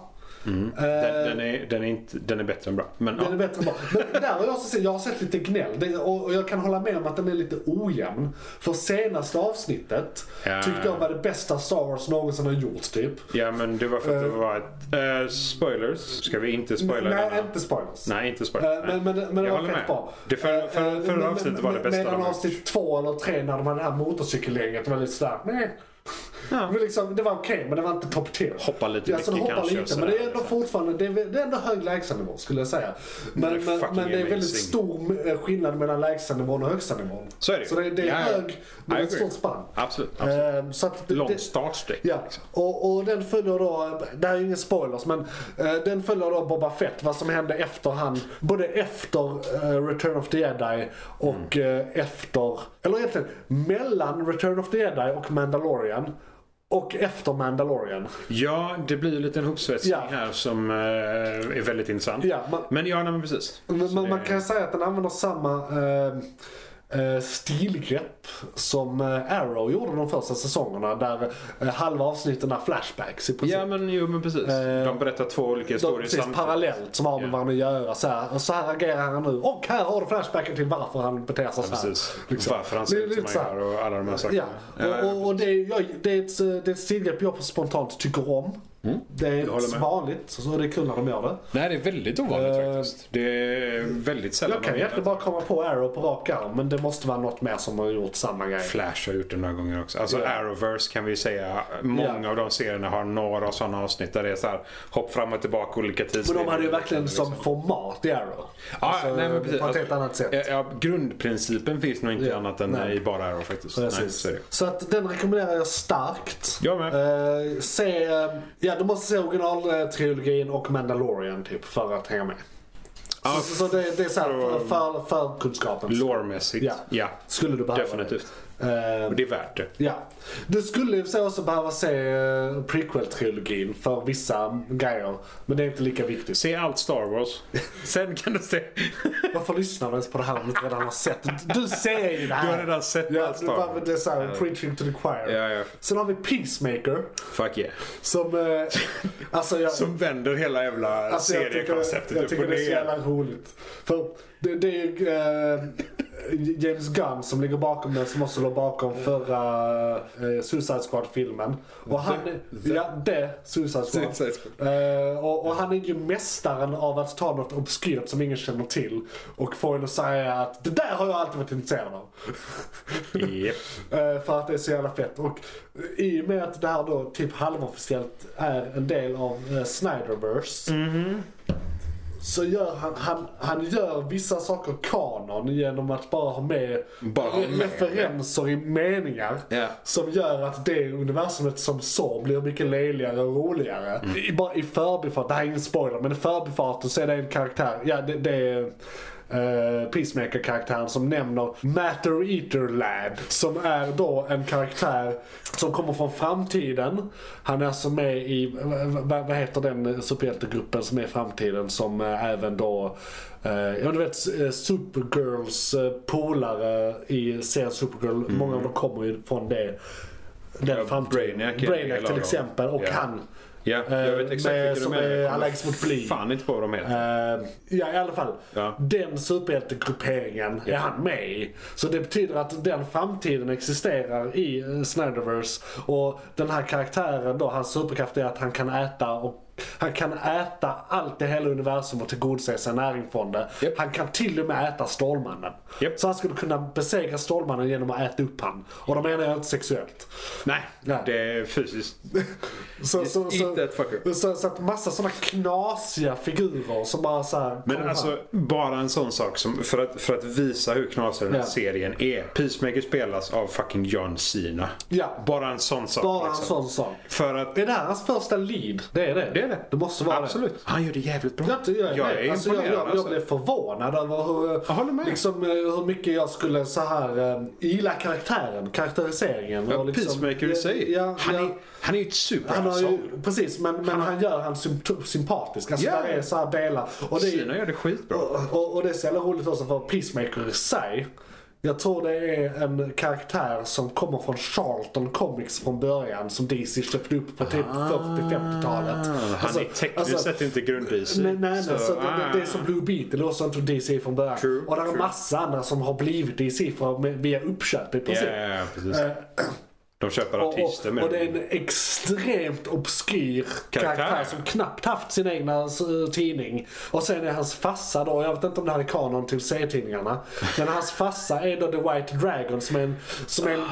S4: Mhm. Den, den, är, den, är inte, den är bättre än bra. Men,
S3: den är
S4: ja.
S3: bättre än bra. Men där har jag, också sett, jag har sett lite gnäll. Det, och, och jag kan hålla med om att den är lite ojämn. För senaste avsnittet
S4: Ja.
S3: tyckte jag var det bästa Star Wars någonsin har gjort typ.
S4: ja, men det var för att det var ett... eh, spoilers. Ska vi inte spoila
S3: Nej,
S4: denna?
S3: inte spoilers.
S4: Nej, inte spoilers.
S3: Eh, Men, men, men det
S4: Jag
S3: var
S4: håller
S3: fett
S4: med.
S3: bra.
S4: Det för, för,
S3: Eh,
S4: förra
S3: men-
S4: avsnittet var det
S3: men-
S4: bästa de
S3: Medan
S4: har gjort.
S3: avsnitt två eller tre när de hade det här motorcykelgänget var lite sådär nej. Men liksom, [LAUGHS] det var okej men det var inte top tier.
S4: Hoppa lite
S3: Ja, så de
S4: mycket
S3: hoppar
S4: kanske och
S3: lite
S4: sådär,
S3: men det är ändå
S4: liksom.
S3: fortfarande det är, det är ändå hög lägstanivå skulle jag säga. Men,
S4: Det är
S3: men,
S4: fucking
S3: men det är väldigt
S4: amazing.
S3: stor eh, skillnad mellan lägstanivån och högstanivån.
S4: Så är det ju.
S3: Så det, det är
S4: Ja, ja.
S3: hög, men
S4: I
S3: ett
S4: agree.
S3: stort spann.
S4: Absolut. absolut.
S3: Eh, Så att det-
S4: Lång
S3: det-
S4: startsträck.
S3: Ja,
S4: liksom.
S3: och, och den följer då, det här är ju ingen spoilers, men eh, den följer då Boba Fett, vad som hände efter han, både efter eh, Return of the Jedi och eh, efter, eller egentligen mellan Return of the Jedi och Mandalorian. Och efter Mandalorian.
S4: Ja, det blir ju en liten hopsvetsning
S3: Ja.
S4: här som eh, är väldigt intressant.
S3: Ja, man-
S4: men ja, nej, men precis.
S3: Men man,
S4: det-
S3: man kan säga att den använder samma eh, eh, stilgrepp som eh, Arrow gjorde de första säsongerna. Där eh, halva avsnitten är flashbacks i princip.
S4: Ja, men jo, men precis.
S3: Eh,
S4: de berättar två olika
S3: De,
S4: historier
S3: precis, parallellt som har med
S4: Ja.
S3: varandra att göra. Så här, och så här agerar han nu. Och här har du flashbacken till varför han beter sig så här.
S4: Precis. Varför han ser
S3: liksom. Det är
S4: ut som han
S3: lite så här.
S4: gör och alla de här
S3: Ja,
S4: sakerna.
S3: och, och, och det, är, jag, det, är ett, eh, det är ett stilgrepp jag personligen spontant tycker om. Det är
S4: Mm. håller
S3: inte så
S4: med.
S3: vanligt, så det är kul när de gör det.
S4: Nej, det är väldigt ovanligt
S3: Eh,
S4: faktiskt. Det är väldigt sällan
S3: Jag kan
S4: de
S3: ju
S4: gör
S3: egentligen
S4: det.
S3: bara komma på Arrow på rak arm, men det måste vara något mer som har gjort samma grej.
S4: Flash har gjort det några gånger också. Alltså
S3: Ja.
S4: Arrowverse kan vi säga. Många
S3: Ja.
S4: av de serierna har några sådana avsnitt där det är så här hopp fram och tillbaka olika
S3: Men
S4: tidslinjer.
S3: de hade ju verkligen som
S4: Liksom.
S3: format i Arrow.
S4: Ja,
S3: Alltså,
S4: nej, men precis.
S3: På ett helt
S4: Alltså,
S3: annat sätt.
S4: Ja, ja, grundprincipen finns nog inte
S3: Ja,
S4: annat än
S3: nej.
S4: i bara Arrow faktiskt. Nej,
S3: Precis.
S4: så är det.
S3: så att den rekommenderar jag starkt.
S4: Jag
S3: med. se, eh, ja, du måste se originaltrilogin och Mandalorian typ för att hänga med.
S4: Ja,
S3: så, så det, det är så här, för, för, för kunskapen.
S4: Lore-mässigt,
S3: Ja.
S4: ja.
S3: Skulle du behöva
S4: Definitivt.
S3: det. Eh,
S4: Och det är värt det.
S3: Ja. Du skulle i och för sig också behöva se eh, prequel-trilogin för vissa grejer. Men det är inte lika viktigt.
S4: Se allt Star
S3: [LAUGHS]
S4: Wars. Sen kan du se.
S3: Varför lyssnar du ens på det här om du inte redan har sett? Du ser ju det här.
S4: Du har redan sett
S3: ja,
S4: allt
S3: du
S4: Star
S3: bara,
S4: Wars.
S3: det är så här, preaching to the choir.
S4: Ja, ja.
S3: Sen har vi Peacemaker.
S4: Fuck yeah.
S3: Som, eh, alltså jag,
S4: Som vänder hela jävla
S3: alltså jag tycker, jag
S4: seriekonceptet upp
S3: tycker
S4: och
S3: det är så
S4: ner. [LAUGHS]
S3: jävla roligt. För det, det är ju eh, James Gunn som ligger bakom den som också låg bakom förra eh, Suicide Squad-filmen. Och han, ja det, Suicide Squad.
S4: Suicide Squad.
S3: Eh, och, och han är ju mästaren av att ta något obskyrt som ingen känner till och få en att säga att det där har jag alltid varit intresserad av.
S4: Japp.
S3: Eh, För att det är så jävla fett. Och i och med att det här då typ halvofficiellt är en del av eh, Snyderverse. Så gör han, han, han gör vissa saker kanon genom att bara ha med,
S4: Bara ha
S3: re-
S4: med.
S3: referenser i meningar.
S4: Ja.
S3: Som gör att det universumet som så blir mycket löjligare och roligare. I, bara i förbifart, det här är ingen spoiler, men i förbifarten så är det en karaktär, ja det, det är eh, Peacemaker-karaktären som nämner Matter Eater Lad. Som är då en karaktär som kommer från framtiden. Han är alltså med i, v- v- vad heter den superhjältegruppen som är i framtiden som eh, även då eh, Ja du vet s- eh, Supergirls eh, polare i serien Supergirl, många av dem kommer ju från det. Den
S4: Mm. Ja,
S3: framtiden.
S4: Brainiac är en del
S3: Brainiac
S4: av dem.
S3: till exempel och
S4: Ja.
S3: han.
S4: Ja, jag vet
S3: eh,
S4: exakt
S3: med,
S4: vilka
S3: som
S4: de är. Jag
S3: är
S4: kommer
S3: allergisk mot bly.
S4: Fan inte på vad de heter.
S3: Eh, ja i alla fall.
S4: Ja.
S3: Den superhjältegrupperingen är han med i. Så det betyder att den framtiden existerar i eh, Snyderverse. Och den här karaktären då, hans superkraft är att han kan äta och han kan äta allt i hela universum och tillgodose sig näring från det.
S4: Japp.
S3: Han kan till och med äta Stålmannen.
S4: Japp.
S3: Så han skulle kunna besegra Stålmannen genom att äta upp han. Och då menar jag inte sexuellt.
S4: Nej,
S3: Nej.
S4: det är fysiskt.
S3: Så,
S4: Just
S3: så, så,
S4: eat that fucker.
S3: så, så att massa sådana knasiga figurer som bara så här kommer
S4: Men
S3: fram.
S4: alltså, bara en sån sak som, för, att, för att visa hur knasig den här
S3: Ja.
S4: serien är. Peacemaker spelas av fucking John Cena.
S3: Ja.
S4: Bara en sån sak.
S3: Bara en
S4: liksom.
S3: sån sak.
S4: För att...
S3: Är det här hans första lead? Det är det.
S4: Det är det.
S3: Det måste vara
S4: Absolut. Han gör det jävligt bra.
S3: det. Jag, jag,
S4: Jag
S3: är
S4: är
S3: alltså, jag,
S4: imponerad,
S3: jag, jag
S4: alltså.
S3: blev förvånad över hur,
S4: Jag håller med.
S3: Liksom, eh, hur mycket jag skulle så här eh, gilla karaktären, karaktäriseringen.
S4: Ja,
S3: och liksom,
S4: Peacemaker i sig.
S3: Ja,
S4: han,
S3: ja.
S4: Är, han är ju ett
S3: Han har
S4: superasshole.
S3: ju, precis, men, men han, gör han sympt- sympatisk. Alltså
S4: Ja.
S3: där är så här delar. Och det, är-
S4: Cena gör det skitbra.
S3: och, och, och det är så jävla roligt också för Peacemaker i sig. Jag tror det är en karaktär som kommer från Charlton Comics från början som DC köpte upp på typ 40-50-talet.
S4: Ah. han är tekniskt sett inte grundis.
S3: Alltså, Nej, nej, nej. Så det, det, det är som
S4: ah.
S3: Blue Beetle och sånt och DC från början.
S4: True,
S3: och det är en
S4: true.
S3: massa andra som har blivit DC för, med, via uppköp i princip.
S4: Ja, ja, ja, precis. De köper
S3: Eh, Och,
S4: artister
S3: och,
S4: med
S3: och det är en extremt obskyr karaktär.
S4: Karaktär.
S3: som knappt haft sin egna eh, tidning. Och sen är hans farsa då, jag vet inte om det här är kanon till serietidningarna. Men hans farsa är då The White Dragon som är en, som är en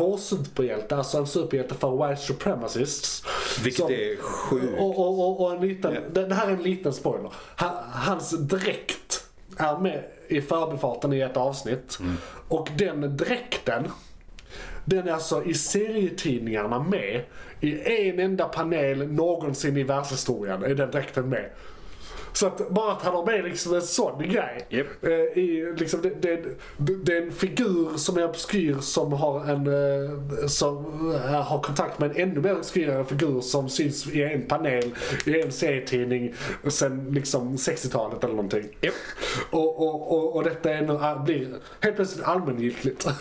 S3: KKK-superhjälte. Alltså en superhjälte för White Supremacists.
S4: Vilket
S3: som,
S4: är sjukt.
S3: Och, och, och, och en liten, det, det här är en liten spoiler. Han, hans dräkt är med i förbifarten i ett avsnitt. Och den dräkten den är alltså i serietidningarna med i en enda panel någonsin i världshistorien. Är den dräkten med. Så att bara att han har med liksom en sån grej.
S4: Japp.
S3: Eh, I, liksom, det, det, det, det är en figur som är obskyr som har en eh, som eh, har kontakt med en ännu mer obskyrare figur som syns i en panel i en serietidning sen liksom 60-talet eller någonting.
S4: Japp.
S3: Och, och, och, och detta är nu, ah, blir helt plötsligt allmängiltigt. [LAUGHS]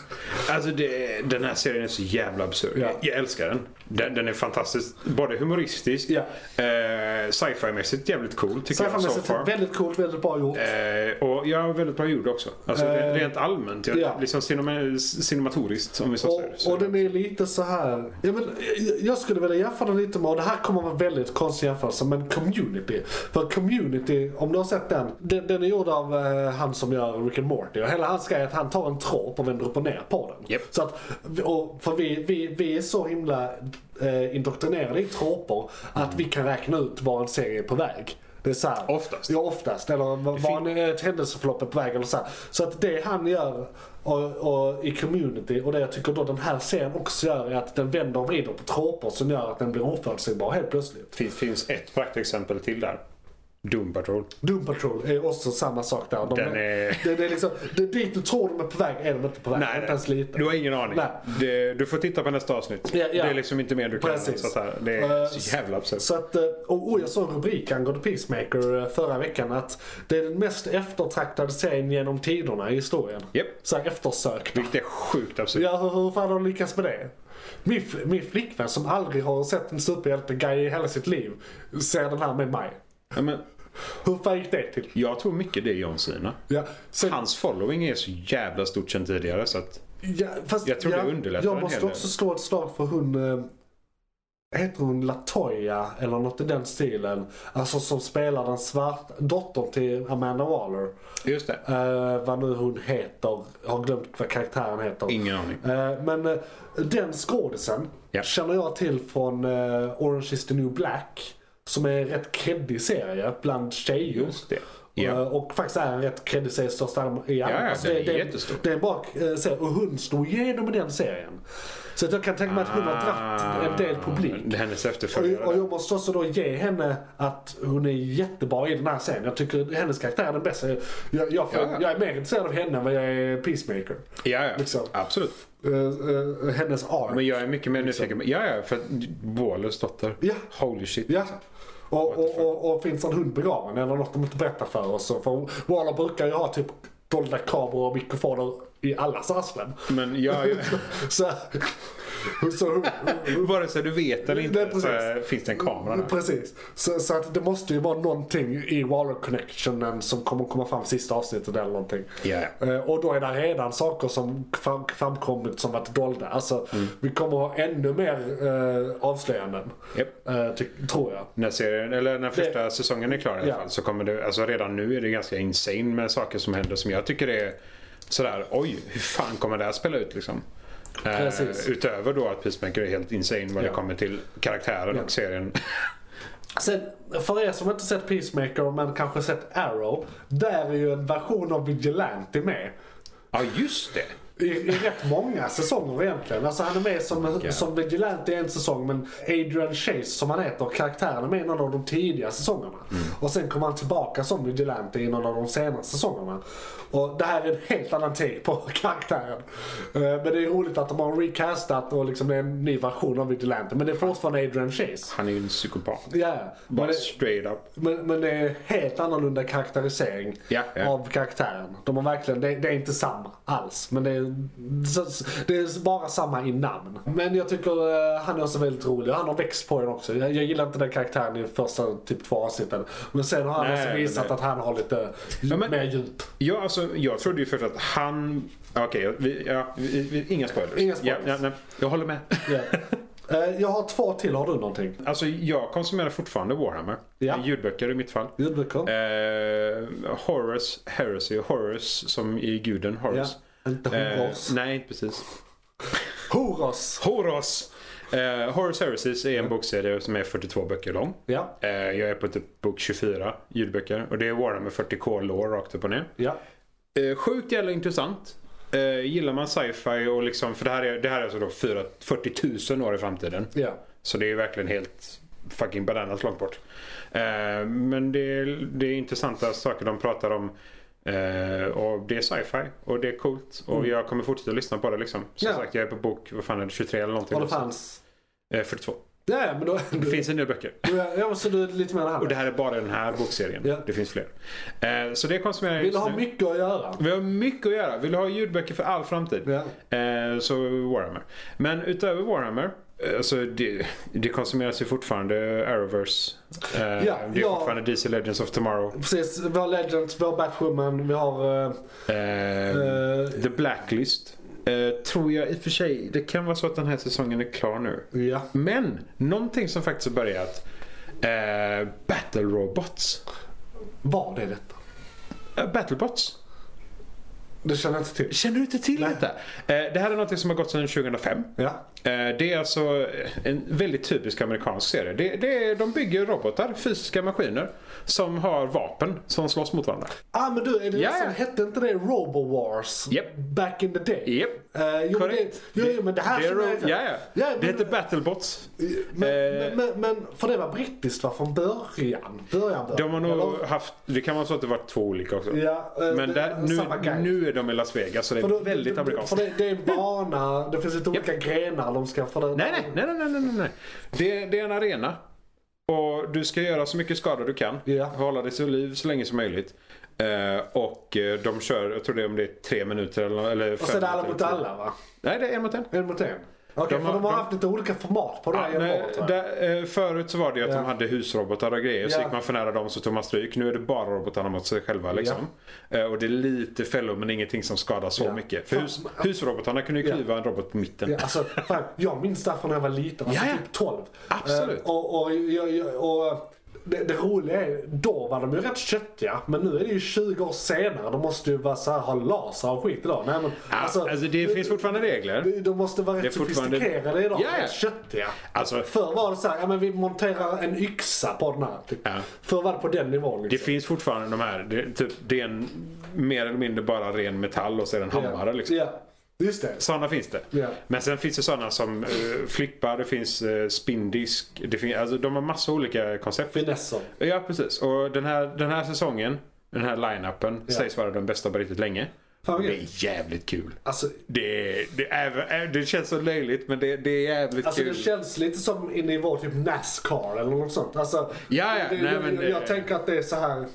S4: Alltså det, den här serien är så jävla absurd.
S3: Ja.
S4: Jag älskar den. den. Den är fantastisk. Både humoristisk,
S3: Ja.
S4: eh, sci-fi-mässigt jävligt cool tycker jag. so
S3: Animationsmässigt
S4: far.
S3: väldigt coolt, väldigt bra gjort.
S4: Eh, och jag har väldigt bra gjort också. Alltså
S3: Eh,
S4: rent allmänt. Jag,
S3: ja.
S4: Liksom cinema, cinematoriskt om vi så säger.
S3: Och,
S4: Så-
S3: och den är lite så här. Ja, men, jag- jag skulle vilja jämföra den lite med, och det här kommer vara väldigt konstig jämförelse, men Community. För Community, om du har sett den, den, den är gjord av eh, han som gör Rick and Morty. Och hela hans grej är att han tar en tråp och vänder upp och ner på den.
S4: Japp.
S3: Så att, och för vi, vi, vi är så himla eh, indoktrinerade i tråpor att vi kan räkna ut var en serie är på väg. Det är så här,
S4: Oftast.
S3: Ja, oftast. Eller var en, ett händelseförlopp är på väg eller så här. Så att det han gör och, och, i community och det jag tycker då den här serien också gör är att den vänder och vrider på tråpor som gör att den blir oförutsägbar helt plötsligt.
S4: Det finns ett praktexempel till där. Doom Patrol.
S3: Doom Patrol är också samma sak där. De,
S4: Den är-
S3: Det, det är liksom, det, dit du tror de är på väg är de inte på väg. inte ens lite.
S4: Du har ingen aning.
S3: Nej.
S4: Det, du får titta på nästa avsnitt.
S3: Ja, ja.
S4: Det är liksom inte mer du kan.
S3: Precis.
S4: Så att här, det
S3: Eh,
S4: är så jävla absurt.
S3: Så att, eh, och, och jag såg en rubrik angående Peacemaker eh, förra veckan att det är den mest eftertraktade serien genom tiderna i historien.
S4: Japp.
S3: Så här eftersökt.
S4: Vilket är sjukt absurt.
S3: Ja, hur, hur fan har de lyckats med det? Min, fl- min flickvän som aldrig har sett en superhjälte-guy i hela sitt liv ser den här med mig.
S4: Ja, men,
S3: Hur fan gick det till?
S4: jag tror mycket det är John Cena.
S3: Ja, sen,
S4: Hans following är så jävla stort sedan tidigare så att...
S3: ja, fast,
S4: jag tror
S3: ja,
S4: det underlättar
S3: Jag
S4: en
S3: måste
S4: hel del.
S3: också slå ett slag för hon... Eh, heter hon Latoya eller något i den stilen? Alltså som spelar den svarta dottern till Amanda Waller.
S4: Just det.
S3: Eh, vad nu hon heter. Jag har glömt vad karaktären heter.
S4: Ingen aning.
S3: Eh, men eh, den skådisen
S4: Ja.
S3: känner jag till från eh, Orange is the new black. Som är en rätt kreddig serie bland tjejer.
S4: Just det. Ja.
S3: Eh, Och faktiskt är en rätt kreddig serie i största allmänhet. Ja, alltså,
S4: ja, den är jättestor.
S3: Det är en bra eh, serie och hon slog igenom i den serien. Så att jag kan tänka mig att hon har dragit en del publik.
S4: Ah, Det är Hennes
S3: Och,
S4: efterföljare.
S3: och jag måste också då ge henne att hon är jättebra i den här serien. Jag tycker hennes karaktär är den bästa. Jag, jag, får-
S4: Ja.
S3: jag är mer intresserad av henne än vad jag är Peacemaker.
S4: Ja, ja.
S3: liksom.
S4: Absolut.
S3: Eh, eh, hennes ark.
S4: Men jag är mycket mer nyfiken på... Ja, ja. För att Wahlers dotter.
S3: Liksom. Ja.
S4: Holy shit.
S3: Ja. Och, och, och, och finns en hund begraven eller något de inte berättar för oss. så- För Waller brukar ju ha typ dolda kameror och mikrofoner i allas arslen.
S4: Men jag...
S3: [LAUGHS] Så, så hon,
S4: Vare sig du vet eller
S3: Nej,
S4: inte
S3: precis.
S4: så eh, finns det en kamera där.
S3: precis. Så, så att det måste ju vara någonting i Waller connectionen som kommer komma fram sista avsnittet eller någonting.
S4: Ja, ja.
S3: Eh, Och då är det redan saker som fram, framkommit som varit dolda. Alltså
S4: Mm.
S3: vi kommer ha ännu mer eh, avslöjanden.
S4: Japp.
S3: Eh, ty- tror jag.
S4: När, serien, eller när första säsongen är klar i alla
S3: Ja.
S4: fall så kommer det... Alltså redan nu är det ganska insane med saker som händer som jag tycker är sådär oj, hur fan kommer det här spela ut liksom? Eh,
S3: Precis.
S4: utöver då att Peacemaker är helt insane vad
S3: Ja.
S4: det kommer till karaktären och serien.
S3: Sen, för er som inte sett Peacemaker men kanske sett Arrow. Där är ju en version av Vigilante med.
S4: ja, just det.
S3: I, I rätt många säsonger egentligen. Alltså han är med som, som Vigilante i en säsong men Adrian Chase som han heter, karaktären är med i någon av de tidiga säsongerna. Och sen kommer han tillbaka som Vigilante i någon av de senare säsongerna. Och det här är en helt annan take på [LAUGHS] karaktären. Eh, Men det är roligt att de har recastat och liksom det är en ny version av Vigilante. Men det är fortfarande Adrian Chase.
S4: Han är ju en psykopat.
S3: Ja, yeah.
S4: Bara straight up.
S3: Men, men det är helt annorlunda karaktärisering
S4: Ja, ja.
S3: av karaktären. De har verkligen, det, det är inte samma alls. Men det är, så- det är bara samma i namn. Men jag tycker eh, han är också väldigt rolig. Han har växt på den också. Jag, jag gillar inte den karaktären i första typ två avsnitten. Men sen har han
S4: Nej,
S3: också
S4: men
S3: visat
S4: det-
S3: att han har lite
S4: Ja, men-
S3: mer djup.
S4: Ja, alltså, jag trodde ju först att han... Okej, vi, ja, vi, vi, inga spoilers.
S3: Inga spoilers.
S4: Ja, ja, nej, jag håller med.
S3: [LAUGHS] Ja. Eh, Jag har två till. Har du någonting?
S4: Alltså, jag konsumerar fortfarande Warhammer.
S3: Ja.
S4: Ljudböcker i mitt fall.
S3: Ljudböcker?
S4: Eh, Horus Heresy. Horus som i guden
S3: Ja.
S4: Horus.
S3: Inte
S4: Eh,
S3: Horos.
S4: nej, inte precis.
S3: Horos!
S4: Horus! Eh, Horus Heresies är en bokserie som är 42 böcker lång.
S3: Ja,
S4: Eh, jag är på typ bok 24 ljudböcker. Och det är Warhammer 40K lore rakt upp och ner.
S3: ja.
S4: Eh, sjukt jävla intressant. Eh, gillar man sci-fi och liksom, för det här är, det här är alltså då 4, 40 000 år i framtiden.
S3: ja.
S4: Så det är verkligen helt fucking bananas långt bort. Eh, men det är, det är intressanta saker de pratar om. Eh, och det är sci-fi och det är coolt. Och jag kommer fortsätta lyssna på det liksom. Som
S3: Mm. Ja.
S4: sagt, jag är på bok, vad fan är det, 23 eller någonting.
S3: Och det fanns...
S4: Eh, 42.
S3: Ja, ja, men [LAUGHS] då...
S4: Det finns en del böcker.
S3: Ja, så du är lite mer än han.
S4: Och det här är bara den här bokserien.
S3: Ja.
S4: Det finns fler. Eh, så det konsumerar jag
S3: Vill
S4: just
S3: ha
S4: nu.
S3: mycket att göra.
S4: Vi har mycket att göra. Vill du ha ljudböcker för all framtid?
S3: Ja.
S4: Eh, så Warhammer. Men utöver Warhammer Alltså det, det konsumeras ju fortfarande Arrowverse. Eh, det är
S3: ja.
S4: fortfarande DC Legends of Tomorrow.
S3: Precis, vi har Legends, vi har Batwoman, vi har... eh,
S4: Eh,
S3: eh,
S4: The Blacklist. Eh, tror jag i och för sig. Det kan vara så att den här säsongen är klar nu.
S3: ja.
S4: Men någonting som faktiskt har börjat. Eh, Battle Robots.
S3: Var det detta?
S4: Eh, Battlebots.
S3: Det känner jag inte till.
S4: Känner du inte till
S3: Nej.
S4: detta? Eh, det här är något som har gått sedan 2005.
S3: Ja.
S4: Eh, Det är alltså en väldigt typisk amerikansk serie. Det, det är, de bygger robotar, fysiska maskiner, som har vapen som slåss mot varandra.
S3: Ah men du, är det
S4: Ja,
S3: det som
S4: ja.
S3: hette inte det RoboWars?
S4: Japp.
S3: Back in the day?
S4: Japp.
S3: Eh, jo, men det,
S4: Korrekt.
S3: jo, jo, men det här
S4: det är,
S3: känner jag
S4: ro-
S3: inte.
S4: ja, ja.
S3: Ja, men-
S4: det heter Battlebots.
S3: Men,
S4: Eh.
S3: men, men, men, för det var brittiskt va? Från början? Början, början.
S4: De har nog
S3: eller?
S4: haft, det kan vara så att det varit två olika också.
S3: Ja, eh,
S4: Men
S3: det-
S4: där,
S3: samma
S4: nu,
S3: guy.
S4: nu är de i Las Vegas så det
S3: För
S4: är
S3: då-
S4: väldigt
S3: då- För
S4: amerikanskt.
S3: det, det är en bana, det finns lite
S4: Japp.
S3: olika grenar de ska... För det,
S4: Nej, nej, nej, nej, nej, nej, nej. Det, det är en arena. Och du ska göra så mycket skada du kan.
S3: Ja.
S4: Hålla dig så liv så länge som möjligt. Eh, och eh, de kör, jag tror det är om det är tre minuter eller, eller
S3: Och
S4: fem
S3: sen är det alla
S4: minuter.
S3: mot alla va?
S4: Nej, det är en mot en.
S3: En mot en. Okej,
S4: De
S3: för
S4: har-
S3: de har
S4: de-
S3: haft lite olika format på det här
S4: Ja,
S3: genom
S4: nej,
S3: året va?
S4: där, eh, förut så var det ju att
S3: Ja.
S4: de hade husrobotar och grejer. Så
S3: Ja.
S4: gick man för nära dem så tog man stryk. Nu är det bara robotarna mot sig själva. Liksom. Eh, och det är lite fällor men ingenting som skadar så
S3: Ja.
S4: mycket. För
S3: Fan,
S4: hus, husrobotarna kunde ju
S3: Ja.
S4: klyva en robot på mitten.
S3: Ja, alltså, fan, jag minns det här från när jag var liten, alltså
S4: Ja, ja.
S3: typ 12.
S4: Absolut.
S3: Eh, och, och, jag- jag- och, eh, det, det roliga är, då var de ju rätt köttiga. Men nu är det ju 20 år senare. De måste ju vara så här, ha laser och skit idag. Nej, men,
S4: Ja, alltså, det finns fortfarande regler.
S3: de- De måste vara rätt
S4: fortfarande-
S3: sofistikerade idag.
S4: Ja, ja.
S3: Rätt köttiga.
S4: Alltså,
S3: Förr var det så här, ja men vi monterar en yxa på den här. Typ.
S4: Ja.
S3: Förr var det på den nivån.
S4: Det
S3: Liksom.
S4: finns fortfarande de här. Det, typ, det är en mer eller mindre bara ren metall och så är det en hammare. Liksom.
S3: Ja, just det.
S4: Sådana finns det.
S3: Ja.
S4: Men sen finns det sådana som eh, flippar, det finns eh, spindisk. Det fin- alltså, de har massa olika koncept.
S3: Finesser.
S4: Ja, precis. Och den här, den här säsongen, den här line-upen, sägs vara den bästa på riktigt länge.
S3: Fan, vad
S4: det
S3: grymt.
S4: är jävligt kul.
S3: Alltså,
S4: Det, är- det, är, det känns så löjligt men det, det är jävligt
S3: Alltså
S4: kul.
S3: det känns lite som i nivå typ Nascar eller något sånt. Alltså,
S4: Ja, ja.
S3: det,
S4: Nej,
S3: jag,
S4: men det-
S3: jag, tänker att det är så här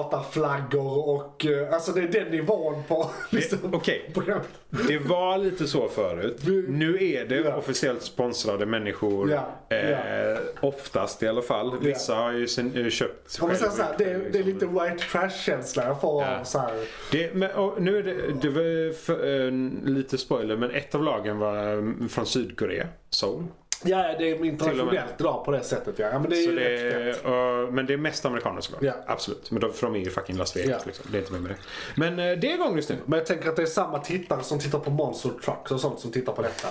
S3: sydstatarflaggor och eh, alltså det är den nivån på [LAUGHS] liksom,
S4: okej.
S3: programmet.
S4: Det var lite så förut. Nu är det
S3: Ja.
S4: officiellt sponsrade människor.
S3: Ja, ja.
S4: Eh, oftast i alla fall. Vissa har ju sin, eh, köpt
S3: Om man säger
S4: själv.
S3: så här, det,
S4: liksom.
S3: är- det är lite white trash-känsla jag får
S4: Ja.
S3: av så här.
S4: Det, men, och nu är det, det var för, eh, lite spoiler men ett av lagen var eh, från Sydkorea. Seoul.
S3: Ja, ja, det är internationellt idag på det sättet ja. ja men det är
S4: Så
S3: ju
S4: det,
S3: rätt fett.
S4: eh, men det är mest amerikaner såklart.
S3: Ja.
S4: Absolut. Men de, för de är ju fucking Las Vegas.
S3: Ja.
S4: Liksom. Det är inte mer med det. Men eh, det är igång just nu.
S3: Men jag tänker att det är samma tittare som tittar på Monster Trucks och sånt som tittar på detta.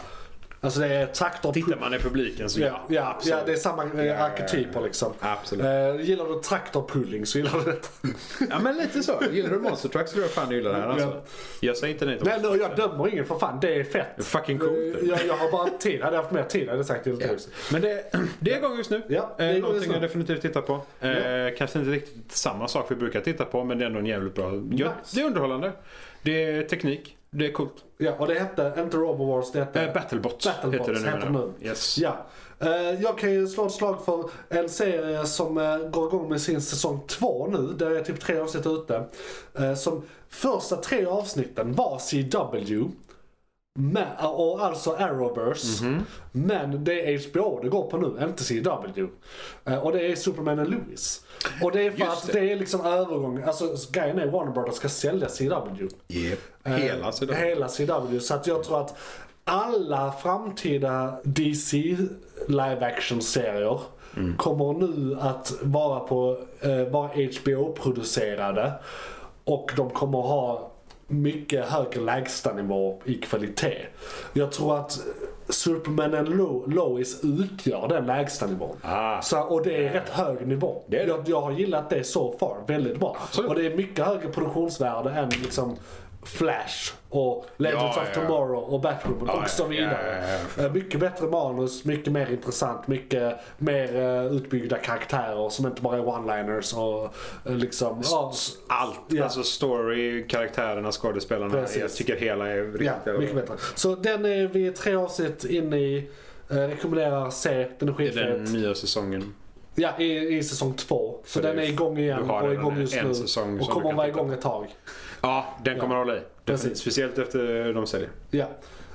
S3: Alltså det är traktor...
S4: Tittar man i publiken så
S3: Ja, ja,
S4: absolut.
S3: ja, det är samma eh, arketyper liksom.
S4: Absolut.
S3: Eh, gillar du traktorpulling så gillar du [LAUGHS] detta.
S4: Ja men lite så. Gillar du Monster Truck så tror jag fan du gillar det här alltså. Jag säger inte nej till
S3: Nej, nej, jag dömer ingen för fan. Det är fett.
S4: Fucking coolt.
S3: Eh, Jag, jag har bara tid. Hade jag haft mer tid hade jag sagt det.
S4: Ja. Men det, det är igång just nu.
S3: Ja, det är
S4: Eh,
S3: igång just
S4: Någonting
S3: nu.
S4: jag definitivt tittar på. Eh, Kanske inte riktigt samma sak vi brukar titta på men det är ändå en jävligt bra. Jag,
S3: Nice.
S4: Det är underhållande. Det är teknik. Det är coolt.
S3: Ja, och det hette inte RoboWars, det hette...
S4: Eh, Battlebots,
S3: Battlebots
S4: heter det nu.
S3: heter
S4: menar jag.
S3: nu.
S4: Yes.
S3: Ja. Eh, Jag kan ju slå ett slag för en serie som eh, går igång med sin säsong två nu. Där är typ tre avsnitt ute. Eh, Som första tre avsnitten var CW. Med, och alltså Arrowverse.
S4: Mhm.
S3: Men det är HBO det går på nu, inte CW. Eh, Och det är Superman och Lewis. Och det är för
S4: Just
S3: att
S4: det.
S3: det. är liksom övergång. Alltså grejen är Warner Brothers ska sälja CW.
S4: Eh, Hela sidan.
S3: Eh, Hela CW. Så att jag tror att alla framtida DC live action-serier
S4: Mm.
S3: kommer nu att vara, på, eh, vara HBO-producerade. Och de kommer ha mycket högre lägstanivå i kvalitet. Jag tror att Superman and Lo- Lois utgör den lägstanivån.
S4: Ah.
S3: Så, och det är rätt hög nivå.
S4: Det är det.
S3: Jag, jag har gillat det så far väldigt bra. Och det är mycket högre produktionsvärde än liksom Flash och Legends
S4: Ja,
S3: of
S4: ja.
S3: Tomorrow och Batwoman
S4: Ja,
S3: och så
S4: ja,
S3: vidare.
S4: ja,
S3: Eh, Mycket bättre manus, mycket mer intressant, mycket mer eh, utbyggda karaktärer som inte bara är one-liners och eh, liksom... ja,
S4: Allt.
S3: Ja.
S4: Alltså story, karaktärerna, skådespelarna.
S3: Precis.
S4: Jag tycker hela är riktigt
S3: Ja,
S4: jävla
S3: mycket
S4: bra.
S3: bättre. Så den är vi tre avsnitt in i. Eh, rekommenderar se, den är
S4: Det är Den
S3: skitfet.
S4: nya säsongen.
S3: Ja, i, i säsong två. Så,
S4: det
S3: den
S4: är
S3: är
S4: ju-
S3: igång
S4: du
S3: igen
S4: har
S3: och
S4: redan
S3: igång just
S4: en
S3: nu.
S4: säsong
S3: och
S4: som du
S3: kommer
S4: kan
S3: vara
S4: titta
S3: igång
S4: på.
S3: ett tag.
S4: Ja, den kommer
S3: Ja.
S4: hålla i. Definitivt.
S3: Precis.
S4: Speciellt efter de säljer.
S3: Ja.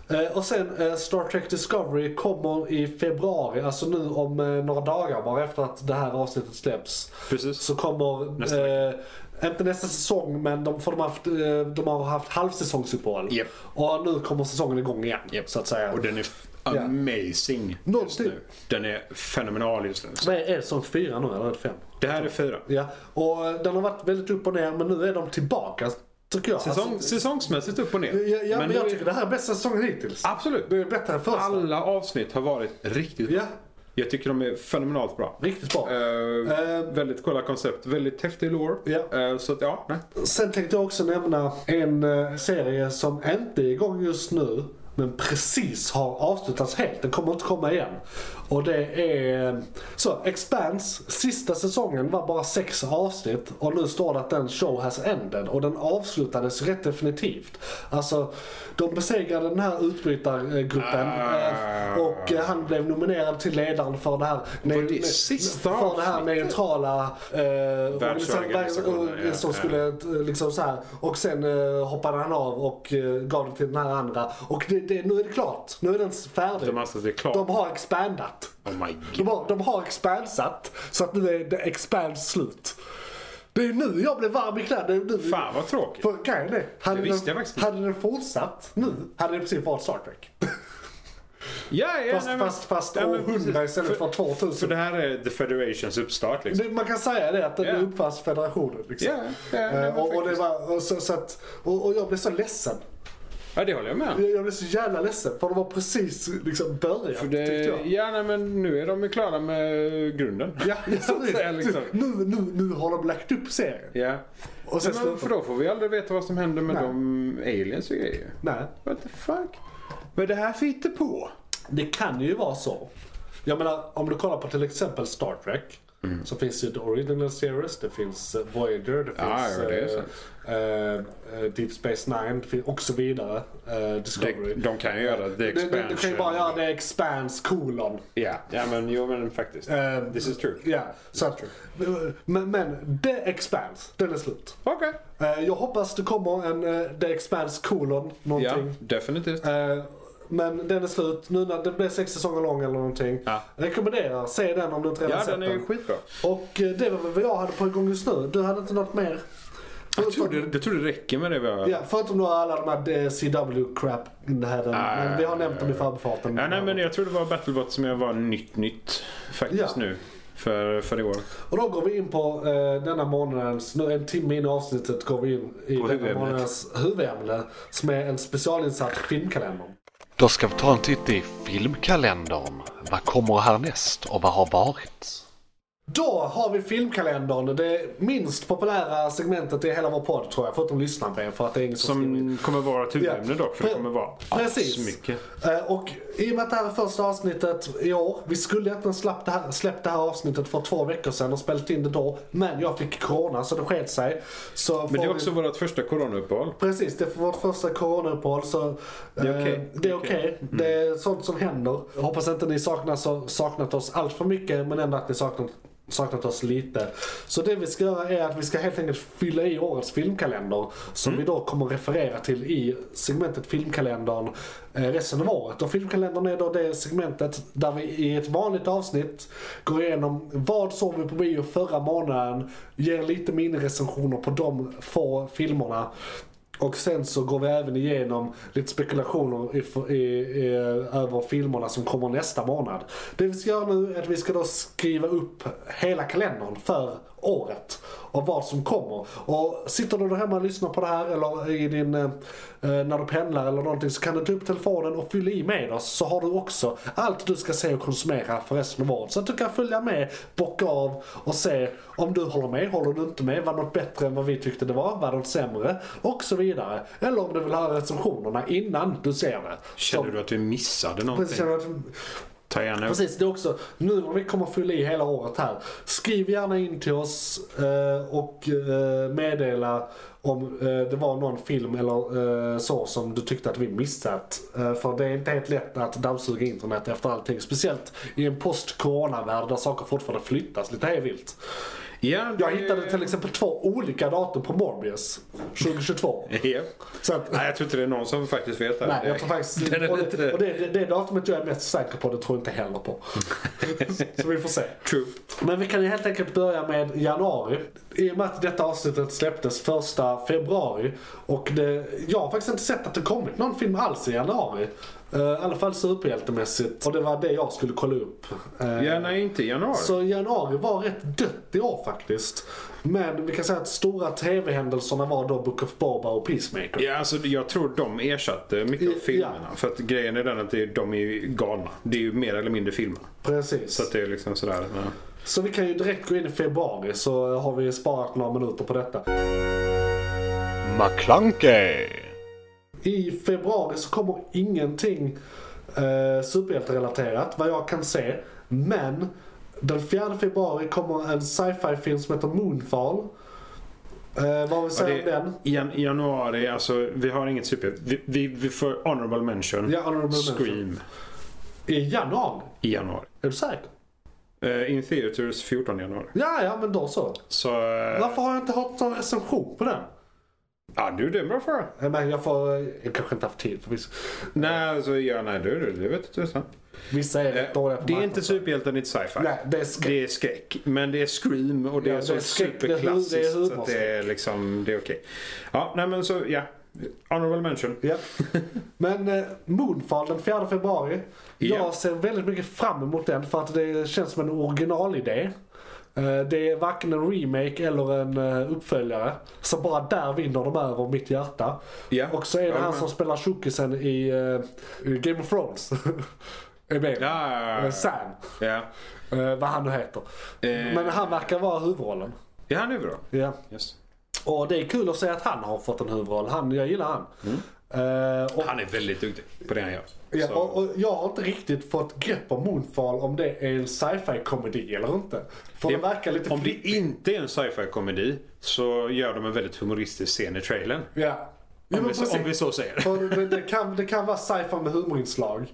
S3: Eh, Och sen eh, Star Trek Discovery kommer i februari, alltså nu om eh, några dagar bara efter att det här avsnittet släpps.
S4: Precis.
S3: Så kommer,
S4: Nästa
S3: eh, inte nästa säsong men de, för de, har haft, eh, de har haft halvsäsongsuppehåll.
S4: Japp.
S3: Och nu kommer säsongen igång igen så att säga.
S4: Och den är f- amazing just
S3: Någonting.
S4: nu. Den är fenomenal just nu.
S3: Vad är är det som fyra nu eller är det fem?
S4: Det här är fyra.
S3: Ja, och eh, den har varit väldigt upp och ner men nu är de tillbaka tycker jag.
S4: Säsong,
S3: Alltså,
S4: säsongsmässigt upp och ner.
S3: ja, ja, men,
S4: nu
S3: jag
S4: är-
S3: tycker det här är bästa säsongen hittills.
S4: Absolut.
S3: Det är bättre än första.
S4: Alla avsnitt har varit riktigt bra.
S3: Ja,
S4: Jag tycker de är fenomenalt bra.
S3: riktigt bra.
S4: Eh,
S3: Eh,
S4: väldigt coola koncept. Väldigt häftig lore.
S3: Ja.
S4: Eh, så att, ja, nej.
S3: Sen tänkte jag också nämna en eh, serie som inte är igång just nu men precis har avslutats helt. Den kommer inte komma igen. Och det är... eh, Så, Expanse, sista säsongen var bara sex avsnitt och nu står det att den show has ended och den avslutades rätt definitivt. Alltså, de besegrade den här utbrytargruppen eh, och eh, han blev nominerad till ledaren för det här...
S4: det
S3: ne-
S4: sista
S3: För det här
S4: avsnittet?
S3: neutrala... Eh,
S4: Världsorganisationen, ja,
S3: som
S4: ja.
S3: skulle eh, liksom så här. Och sen eh, hoppade han av och eh, gav det till den här andra. Och det, det, nu är det klart. Nu är den färdig.
S4: De anser att det är klart.
S3: De har expandat.
S4: Oh my
S3: De
S4: god.
S3: har, de har expansat. Så att nu är det expans slut. Det är nu jag blev varm i kläderna. Det är nu-
S4: Fan vad tråkigt.
S3: För grejen är, hade,
S4: Det visste jag
S3: den,
S4: faktiskt inte.
S3: hade den fortsatt nu hade det precis varit Star Trek.
S4: Ja, ja,
S3: Fast,
S4: nej, men-
S3: fast, fast
S4: Ja,
S3: år
S4: men precis.
S3: 100 istället för
S4: För
S3: 2000.
S4: det här är The Federations uppstart liksom.
S3: Det- Man kan säga det, att den
S4: Ja.
S3: uppfanns federationen. Liksom.
S4: Ja, ja, nej,
S3: Eh,
S4: men
S3: och, och, det
S4: faktiskt.
S3: var, och, så, så att, och, och jag blev så ledsen.
S4: Ja, det håller jag med om.
S3: Jag, jag blev så jävla ledsen för det var precis liksom början
S4: För
S3: tyckte
S4: det,
S3: jag.
S4: ja, nej, men nu är de ju klara med grunden.
S3: Ja, ja,
S4: [LAUGHS] så att säga, liksom.
S3: nu, nu, nu har de lagt upp serien.
S4: Ja.
S3: Och sen
S4: Nej, men, för
S3: slutar
S4: då
S3: de.
S4: får vi aldrig veta vad som händer med
S3: Nej.
S4: de aliens och grejer.
S3: Nej,
S4: What the fuck? Vad det här för på?
S3: det kan ju vara så. Jag menar, om du kollar på till exempel Star Trek.
S4: Mm.
S3: Så finns ju The Original Series, det finns eh, Voyager, det
S4: Ja,
S3: finns
S4: ja, det är
S3: eh,
S4: sant.
S3: eh, eh, Deep Space Nine det finns- och så vidare. Eh, Discovery.
S4: De, de kan ju göra The
S3: Du- du-
S4: Expansion.
S3: Du kan ju bara göra det expands kolon.
S4: Ja, ja men jo men faktiskt.
S3: Eh,
S4: This is true.
S3: Ja, så att, men, men The Expanse, den är slut.
S4: Okej.
S3: Eh, Jag hoppas det kommer en eh, The Expanse kolon
S4: Ja,
S3: någonting.
S4: definitivt.
S3: Eh, Men den är slut nu när den blev sex säsonger lång eller någonting.
S4: Ja.
S3: Rekommenderar, se den om du inte redan
S4: Ja,
S3: sett
S4: den är ju skitbra.
S3: Och eh, det var väl vad jag hade på igång just nu. Du hade inte något mer?
S4: Jag tror det, jag tror det räcker med det vi har.
S3: Ja, förutom då alla de här CW-crap.
S4: Ah,
S3: Men vi har nämnt dem i förbifarten.
S4: Ja, nej, men jag tror det var Battlebot som jag var nytt nytt faktiskt
S3: Ja.
S4: nu. För, för i år.
S3: Och då går vi in på eh, denna månadens, nu en timme in i avsnittet går vi in i
S4: På
S3: denna
S4: huvudämnet.
S3: månadens huvudämne som är en specialinsatt filmkalender.
S6: Då ska vi ta en titt i filmkalendern. Vad kommer härnäst och vad har varit?
S3: Då har vi filmkalendern, det minst populära segmentet i hela vår podd tror jag, förutom lyssnarbrev för att det är ingen som, skriver in.
S4: Som kommer vara ett huvudämne
S3: Ja.
S4: dock. För det kommer vara
S3: Precis.
S4: mycket.
S3: Eh, Och i och med att det här är första avsnittet i år, vi skulle egentligen släppt det, här, släppt det här avsnittet för två veckor sedan och spelat in det då, men jag fick corona så det sket sig. Så
S4: Men det är
S3: får vi-
S4: också vårt första coronauppehåll.
S3: Precis, det är vårt första coronauppehåll så eh, det är
S4: okej.
S3: okej. Mm. Det, är sånt som händer. Jag hoppas inte ni saknar så, saknat oss allt för mycket men ändå att ni saknat, saknat oss lite. Så det vi ska göra är att vi ska helt enkelt fylla i årets filmkalender som vi då kommer referera till i segmentet filmkalendern eh, resten av året. Och filmkalendern är då det segmentet där vi i ett vanligt avsnitt går igenom vad såg vi på bio förra månaden, ger lite minirecensioner på de få filmerna och sen så går vi även igenom lite spekulationer i, i, i, över filmerna som kommer nästa månad. Det vi ska göra nu är att vi ska då skriva upp hela kalendern för året och vad som kommer. Och sitter du där hemma och lyssnar på det här eller i din, eh, när du pendlar eller någonting så kan du ta upp telefonen och fylla i med oss så har du också allt du ska se och konsumera för resten av året. Så att du kan följa med, bocka av och se om du håller med, håller du inte med, var något bättre än vad vi tyckte det var, var något sämre och så vidare. Eller om du vill höra recensionerna innan du ser det.
S4: Känner
S3: Så-
S4: du att vi missade
S3: Precis,
S4: någonting?
S3: känner du att
S4: Ta gärna upp.
S3: Precis, det är också, nu när vi kommer fylla i hela året här, skriv gärna in till oss eh, och eh, meddela om eh, det var någon film eller eh, så som du tyckte att vi missat. Eh, för det är inte helt lätt att dammsuga internet efter allting. Speciellt i en post-corona-värld där saker fortfarande flyttas lite hej vilt.
S4: Ja, det-
S3: Jag hittade till exempel två olika datum på Morbius 2022.
S4: Ja.
S3: Så att,
S4: Nej, jag tror inte det är någon som faktiskt vet det.
S3: nej, jag tror
S4: [LAUGHS]
S3: faktiskt...
S4: Den är
S3: Och,
S4: lite-
S3: det, och det, det, det datumet jag är mest säker på, det tror jag inte heller på. Så vi får se.
S4: True.
S3: Men vi kan ju helt enkelt börja med januari. I och med att detta avsnittet släpptes första februari. Och det, jag har faktiskt inte sett att det kommit någon film alls i januari. Eh, I alla fall superhjältemässigt. Och det var det jag skulle kolla upp. Eh,
S4: Ja, nej, inte i januari.
S3: Så januari var rätt dött i år faktiskt. Men vi kan säga att stora tv-händelserna var då Book of Boba och Peacemaker.
S4: Ja, alltså, jag tror de ersatte mycket av
S3: Ja.
S4: filmerna. För att grejen är den att det är- de är ju galna. Det är ju mer eller mindre filmer.
S3: Precis.
S4: Så att det är liksom sådär. Ja.
S3: Så vi kan ju direkt gå in i februari så har vi sparat några minuter på detta.
S6: McClunkey!
S3: I februari så kommer ingenting eh, superhjälterelaterat vad jag kan se. Men den 4 februari kommer en sci-fi film som heter Moonfall. Eh, vad vill vi
S4: Ja,
S3: säga om den?
S4: det- jan- januari, alltså vi har inget super... Vi, vi, vi får honorable mention.
S3: Ja, honorable mention.
S4: Scream
S3: I januari?
S4: i januari.
S3: Är du säker?
S4: Eh, in Theaters 14 januari.
S3: Ja, ja, men då så.
S4: Så... eh,
S3: Varför har jag inte hört någon recension på den?
S4: Ja, du det är en bra fråga.
S3: Nej, Men jag, får, jag kanske inte haft tid för vissa,
S4: Nej, alltså ja, nej, du, du, det vet tusan.
S3: vissa är
S4: Eh,
S3: rätt dåliga på
S4: Det är
S3: marknaden.
S4: inte superhjälten, inte sci-fi.
S3: Nej, det är skräck.
S4: Det är skräck. Men det är Scream och det
S3: Ja,
S4: är
S3: det
S4: så
S3: är skräck. Det är hu- det är
S4: superklassiskt. så att
S3: humorskräck.
S4: det är liksom, det är okej. Ja, nej men så, ja. Honorable mention. [LAUGHS]
S3: Ja. Men eh, Moonfall den 4 februari.
S4: Ja.
S3: Jag ser väldigt mycket fram emot den för att det känns som en originalidé. Eh, det är varken en remake eller en eh, uppföljare. Så bara där vinner de över mitt hjärta.
S4: Ja.
S3: Och så är det
S4: Ja,
S3: han
S4: men-
S3: som spelar tjockisen i eh, i Game of Thrones. [LAUGHS] är med.
S4: Ja, ja,
S3: Eh,
S4: ja,
S3: Sam.
S4: ja. ja.
S3: Eh, vad han nu heter.
S4: Eh.
S3: Men han verkar vara huvudrollen.
S4: Ja, han är bra.
S3: Ja.
S4: Yes.
S3: Och det är kul att se att han har fått en huvudroll. Han, jag gillar han. Eh, och
S4: Han är väldigt duktig på det han gör.
S3: Mm. Ja,
S4: Så-
S3: och, och jag har inte riktigt fått grepp om Moonfall om det är en sci-fi komedi eller inte. För det, verkar lite...
S4: Om det
S3: flipp-
S4: inte är en sci-fi komedi så gör de en väldigt humoristisk scen i trailern.
S3: Ja. Jo,
S4: Om,
S3: men
S4: vi, så-
S3: precis.
S4: om vi så säger.
S3: För det, det, kan, det kan vara sci-fi med humorinslag.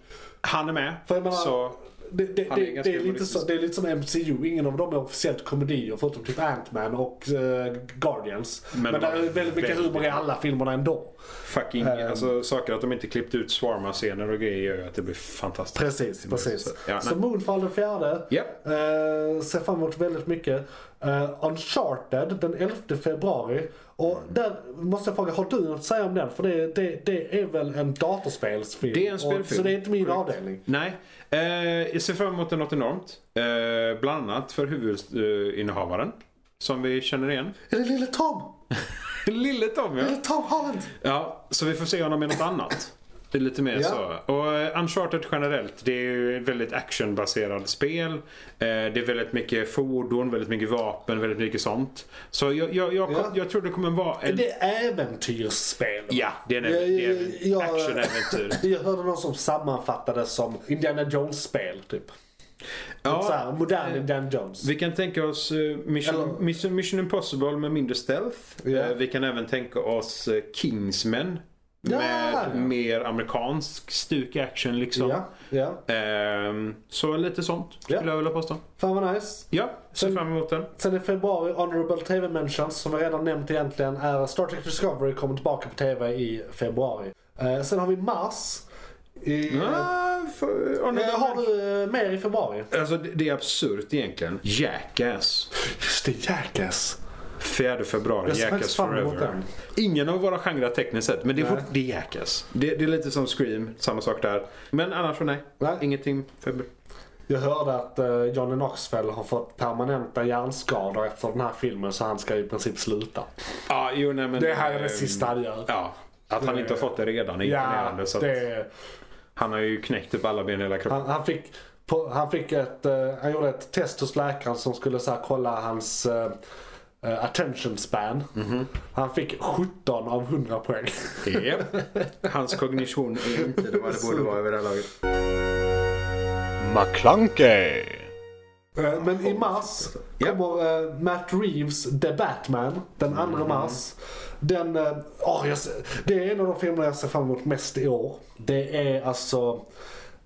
S4: Han är med.
S3: För jag menar,
S4: så,
S3: det, det,
S4: Han är
S3: det,
S4: ganska
S3: det, är lite
S4: humoristisk.
S3: så, det är lite som MCU, ingen av dem är officiellt komedier förutom typ Ant-Man och eh, Guardians. Men,
S4: de
S3: det
S4: har
S3: är väldigt mycket
S4: väldigt-
S3: humor i alla filmerna ändå.
S4: fucking,
S3: Ehm.
S4: alltså, saker att de inte klippt ut swarma-scener och grejer gör ju att det blir fantastiskt.
S3: Precis, precis.
S4: Så, ja,
S3: så
S4: nej.
S3: Moonfall den fjärde.
S4: Japp.
S3: Eh, ser fram emot väldigt mycket. Eh, Uncharted den 11 februari. Och
S4: Mm.
S3: där måste jag fråga, har du något att säga om den? För det, det, det är väl en datorspelsfilm?
S4: Det är en
S3: Och,
S4: spelfilm.
S3: så det är inte min
S4: Korrekt.
S3: avdelning.
S4: Nej. Eh, jag ser fram emot något enormt. Eh, bland annat för huvudinnehavaren. Som vi känner
S3: [LAUGHS]
S4: igen.
S3: Är det lille Tom?
S4: Lille Tom ja.
S3: Är det Tom Holland?
S4: Ja, så vi får se honom i något annat. Det är lite mer
S3: Ja.
S4: så. Och eh, Uncharted generellt, det är ju ett väldigt actionbaserat spel. Eh, Det är väldigt mycket fordon, väldigt mycket vapen, väldigt mycket sånt. Så jag, jag, jag,
S3: Ja.
S4: jag tror det kommer vara
S3: Är
S4: en...
S3: det äventyrsspel?
S4: Ja, det är en,
S3: Jag-
S4: det är en
S3: jag- [LAUGHS]
S4: actionäventyr.
S3: Jag hörde någon som sammanfattade som Indiana Jones-spel typ. Ja. Så här, modern Indiana Jones.
S4: Eh, Vi kan tänka oss eh, Mission,
S3: Eller-
S4: Mission, Mission Impossible med mindre stealth.
S3: Ja.
S4: Eh, Vi kan även tänka oss eh, Kingsman.
S3: Ja.
S4: Med mer amerikansk stuk i action liksom.
S3: Ja, ja.
S4: Ehm, så lite sånt skulle
S3: Ja.
S4: jag vilja påstå.
S3: Fan vad nice.
S4: Ja, ser
S3: Sen-
S4: fram emot den.
S3: Sen i februari, Honorable TV Mentions, som vi redan nämnt egentligen, är Star Trek Discovery kommer tillbaka på TV i februari. Eh, sen har vi mars. I, eh,
S4: Ah, för, ja, nej,
S3: eh, har du eh, mer i februari?
S4: Alltså det, det är absurt egentligen. Jackass.
S3: Just det, Jackass.
S4: 4 februari,
S3: Jag ser
S4: Jackass
S3: faktiskt fram emot
S4: Forever.
S3: den.
S4: Ingen av våra genrer tekniskt sett, men det är, fort, det är Jackass. Det, det är lite som Scream, samma sak där. Men annars så nej.
S3: Nej.
S4: Ingenting februari.
S3: Jag hörde att eh, Johnny Knoxville har fått permanenta hjärnskador efter den här filmen så han ska i princip sluta.
S4: Ja, jo nej men...
S3: Det här är det
S4: ehm,
S3: sista han gör.
S4: Ja. Att han inte har fått det redan är imponerande. så att
S3: det,
S4: Han har ju knäckt upp alla ben i hela kroppen.
S3: han, han fick... På, han, fick ett, eh, han gjorde ett test hos läkaren som skulle så här, kolla hans eh, eh, attention span. Han fick 17 av 100 poäng. [LAUGHS]
S4: Japp. Hans kognition är inte det vad det borde vara över det här laget.
S6: McClunkey!
S3: Eh, Men i mars
S4: Ja.
S3: kommer eh, Matt Reeves The Batman den 2 mars. Den, eh, åh, jag ser, det är en av de filmer jag ser fram emot mest i år. Det är alltså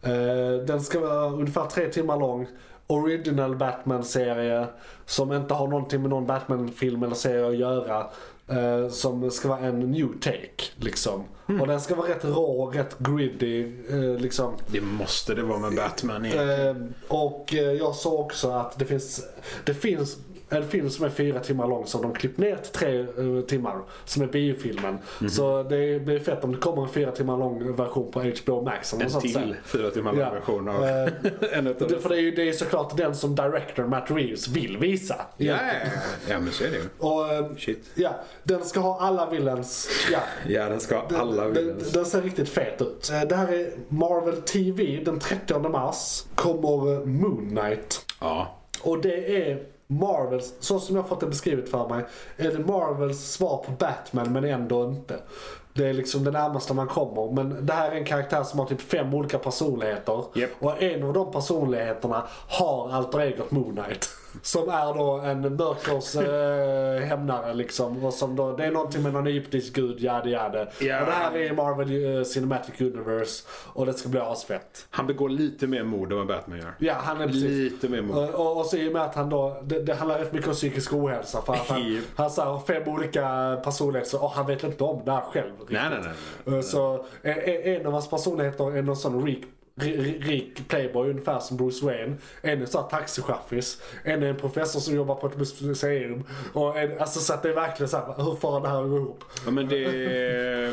S3: Eh, Den ska vara ungefär tre timmar lång. Original Batman-serie som inte har någonting med någon Batman-film eller serie att göra. eh, Som ska vara en new take liksom. Och den ska vara rätt rå, rätt gritty eh, liksom.
S4: Det måste det vara med Batman igen.
S3: Eh, och eh, jag såg också att det finns, det finns en film som är fyra timmar lång som de klippt ner till tre eh, timmar. Som är biofilmen.
S4: Mhm.
S3: Så det blir fett om det kommer en fyra timmar lång version på HBO Max. eller något
S4: En
S3: sånt
S4: till
S3: sen.
S4: fyra timmar lång
S3: Ja.
S4: version av
S3: Eh,
S4: [LAUGHS] en utav
S3: Det, för det är ju det är såklart den som director Matt Reeves vill visa.
S4: Ja, ja, ja. ja, men så är det ju.
S3: Och, eh,
S4: Shit.
S3: ja, den ska ha alla villains. Ja.
S4: Ja, den ska ha alla
S3: Den,
S4: villains.
S3: den ser riktigt fet ut. Eh, Det här är Marvel TV. Den 30 mars kommer eh, Moon Knight.
S4: Ja.
S3: Och det är Marvels, så som jag fått det beskrivet för mig, är det Marvels svar på Batman men ändå inte. Det är liksom det närmaste man kommer. Men det här är en karaktär som har typ fem olika personligheter.
S4: Japp.
S3: Och en av de personligheterna har alter egot Moon Knight. [LAUGHS] Som är då en mörkers eh, hämnare liksom. Och som då, det är någonting med någon egyptisk gud, jade jade.
S4: Ja.
S3: Och det här är Marvel eh, Cinematic Universe. Och det ska bli asfett.
S4: Han begår lite mer mord än vad Batman gör.
S3: Ja, han är precis.
S4: Lite mer mord.
S3: Och, och, och så i och med att han då, det, det handlar rätt mycket om psykisk ohälsa. För att han,
S4: Japp.
S3: han så här, har fem olika personligheter och han vet inte om det här själv. riktigt.
S4: Nej, nej, nej. nej.
S3: Eh, Så eh, eh, en av hans personligheter är någon sån rik, ri- ri- rik playboy ungefär som Bruce Wayne. En är så här taxichaffis. En är en professor som jobbar på ett museum. Och en, alltså så att det är verkligen så här, hur får han det här att gå ihop?
S4: Ja, men det är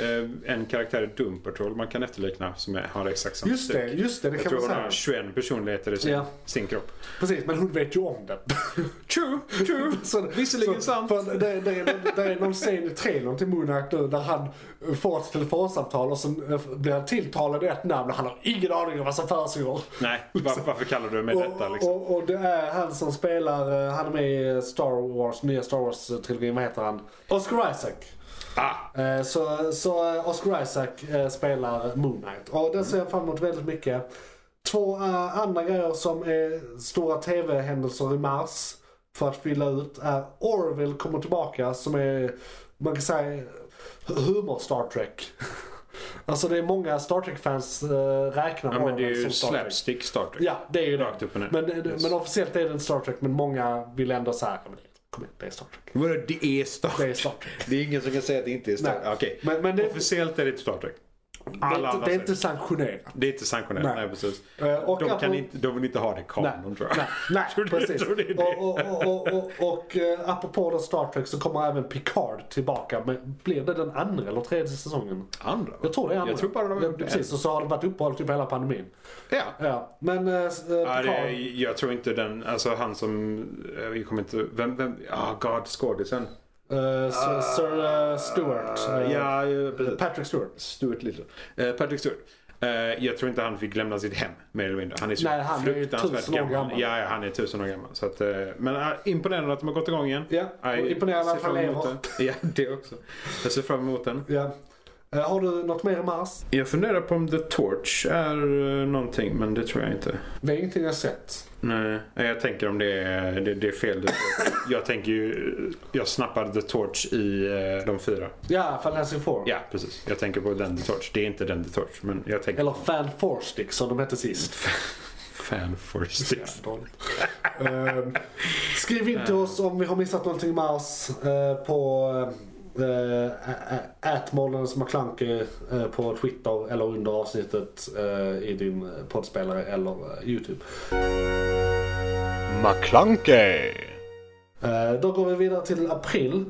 S4: ehm, eh, en karaktär i Doom Patrol man kan efterlikna som är, har exakt samma
S3: Just det,
S4: stuk.
S3: just det, det
S4: Jag
S3: kan
S4: tror
S3: man
S4: hon
S3: säga.
S4: har 21 personligheter i sin,
S3: Ja.
S4: sin kropp.
S3: Precis, men hon vet ju om det.
S4: [LAUGHS] True, true.
S3: [LAUGHS] Så,
S4: Visserligen sant.
S3: För det, det, är, det är någon scen i trailern till Moon Knight nu där han eh, får ett telefonsamtal och sen eh, blir han tilltalad i ett namn och han har ingen aning om vad som försiggår.
S4: Nej, varför, varför kallar du mig detta
S3: Och,
S4: liksom?
S3: och, och det är han som spelar, eh, han är med i Star Wars, nya Star Wars-trilogin, vad heter han? Oscar Isaac.
S4: Ah,
S3: Eh, Så, så eh, Oscar Isaac eh, spelar Moon Knight. Och den ser jag fram emot väldigt mycket. Två eh, andra grejer som är stora tv-händelser i mars för att fylla ut är Orville kommer tillbaka som är, man kan säga, humor Star Trek. [LAUGHS] alltså det är många Star Trek-fans eh, räknar
S4: ja, men det är
S3: Orville
S4: ju
S3: som Star Trek.
S4: slapstick Star Trek.
S3: Ja, det är ju det.
S4: Rakt upp och ner.
S3: Men, eh, men officiellt är det en Star Trek men många vill ändå säga, ja men det- kom igen, det är Star Trek.
S4: Vadå, det är Star
S3: Det är
S4: Trek?
S3: Star Trek.
S4: Det är ingen som kan säga att det inte är Star Trek.
S3: Nej.
S4: Okej.
S3: Men- men det-
S4: Officiellt är det inte Star Trek.
S3: Det
S4: Alla andra
S3: är, inte, det är
S4: säger
S3: inte sanktionerat.
S4: Det är inte sanktionellt. Nej,
S3: Nej.
S4: precis.
S3: Eh, och
S4: de, kan
S3: apropå-
S4: inte, de vill inte ha det i kanon tror jag.
S3: Nej, nej
S4: [LAUGHS] Tror du-
S3: precis.
S4: tror du det är det?
S3: Och, och, och, och, och, och eh, apropå då Star Trek så kommer även Picard tillbaka. Men blir det den andra eller tredje säsongen?
S4: Andra? va?
S3: Jag tror det är andra.
S4: Jag tror bara de har
S3: Ja,
S4: gjort det.
S3: Precis, och så har det varit uppehåll typ hela pandemin.
S4: Ja.
S3: Ja, men eh, s- eh,
S4: Ja,
S3: Picard.
S4: det, jag tror inte den, alltså han som, eh, jag kommer inte, vem, vem, ah God, skådisen.
S3: eh, Sir, Sir eh, Stewart. eh,
S4: Ah. ja, eh, precis.
S3: Patrick Stewart.
S4: Stuart Little. Eh, Patrick Stewart. Eh, jag tror inte han fick lämna sitt hem, mer eller mindre. Han är så
S3: Nej, han är ju
S4: fruktansvärt
S3: tusen år gammal.
S4: Ja, ja, han är tusen år gammal. Så att, eh, men eh, imponerande att de har gått igång igen.
S3: Ja, och
S4: Jag
S3: imponerande
S4: ser
S3: att han
S4: fram emot
S3: lever.
S4: den. Ja, det också. Jag ser fram emot den.
S3: Ja. Eh, Har du något mer i mars?
S4: Jag funderar på om The Torch är eh, någonting, men det tror jag inte.
S3: Det är ingenting jag sett.
S4: Nej, nej, jag tänker om det är, det, det är fel. Jag tänker ju, jag snappade The Torch i eh, de fyra.
S3: Ja, Fantastic Four.
S4: Ja, precis. Jag tänker på den The Torch. Det är inte den The Torch, men jag tänker...
S3: Eller Fan Four Stick som de hette sist.
S4: [LAUGHS] Fan for six.
S3: Ehm, skriv in till oss om vi har missat någonting i mars eh, på eh, ätmånadens McKlunky eh, på Twitter eller under avsnittet eh, i din eh, poddspelare eller eh, Youtube.
S6: McClunkey!
S3: Eh, Då går vi vidare till april.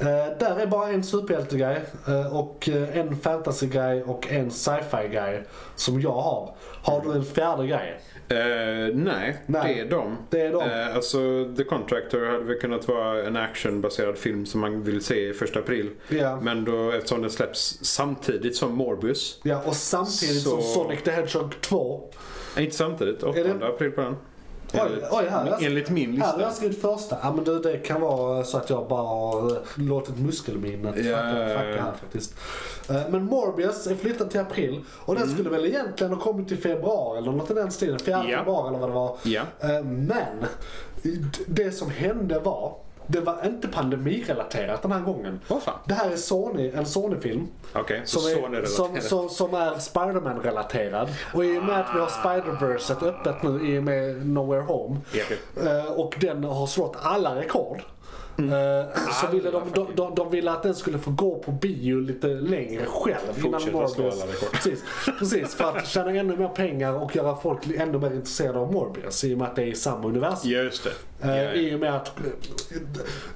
S3: Eh, Där är bara en superhjältegrej eh, och eh, en fantasygrej och en sci-fi-grej som jag har. Har du en fjärde grej?
S4: Eh, nej,
S3: Nej.
S4: det är dem.
S3: Det är dem.
S4: Eh, alltså, The Contractor hade väl kunnat vara en actionbaserad film som man vill se i första april.
S3: Ja.
S4: Men då, eftersom den släpps samtidigt som Morbius.
S3: Ja, och samtidigt som
S4: Så-
S3: Sonic the Hedgehog 2.
S4: Nej, eh, inte samtidigt. 8
S3: det-
S4: april på den.
S3: Oj, oj, här har jag-
S4: enligt min
S3: Här har
S4: lista.
S3: jag skrivit första. Ja, men du, det kan vara så att jag bara har eh, låtit muskelminnet
S4: Ja, ja,
S3: fucka,
S4: ja.
S3: fucka här faktiskt. Eh, Men Morbius är flyttad till april och
S4: Mm.
S3: den skulle väl egentligen ha kommit i februari eller något i den stilen. 4
S4: Ja.
S3: Eh, februari eller vad det var.
S4: Ja.
S3: Eh, Men det som hände var Det var inte pandemirelaterat den här gången.
S4: Åh, fan.
S3: Det här är Sony, en Sony-film.
S4: Okej, så
S3: Som är,
S4: Sony-relaterat.
S3: som, som, som är Spiderman-relaterad. Och i och med att vi har Spider-Verset öppet nu i och med Nowhere Home.
S4: Epic.
S3: eh, Och den har slått alla rekord.
S4: Mm.
S3: Eh, Så ville de, de, de, de ville att den skulle få gå på bio lite längre själv.
S4: Fortsätta slå
S3: Morbius.
S4: alla rekord.
S3: Precis, precis, för att tjäna ännu mer pengar och göra folk ännu mer intresserade av Morbius. I och med att det är i samma universum.
S4: Ja, just det. Ja,
S3: Eh,
S4: ja.
S3: I och med att eh,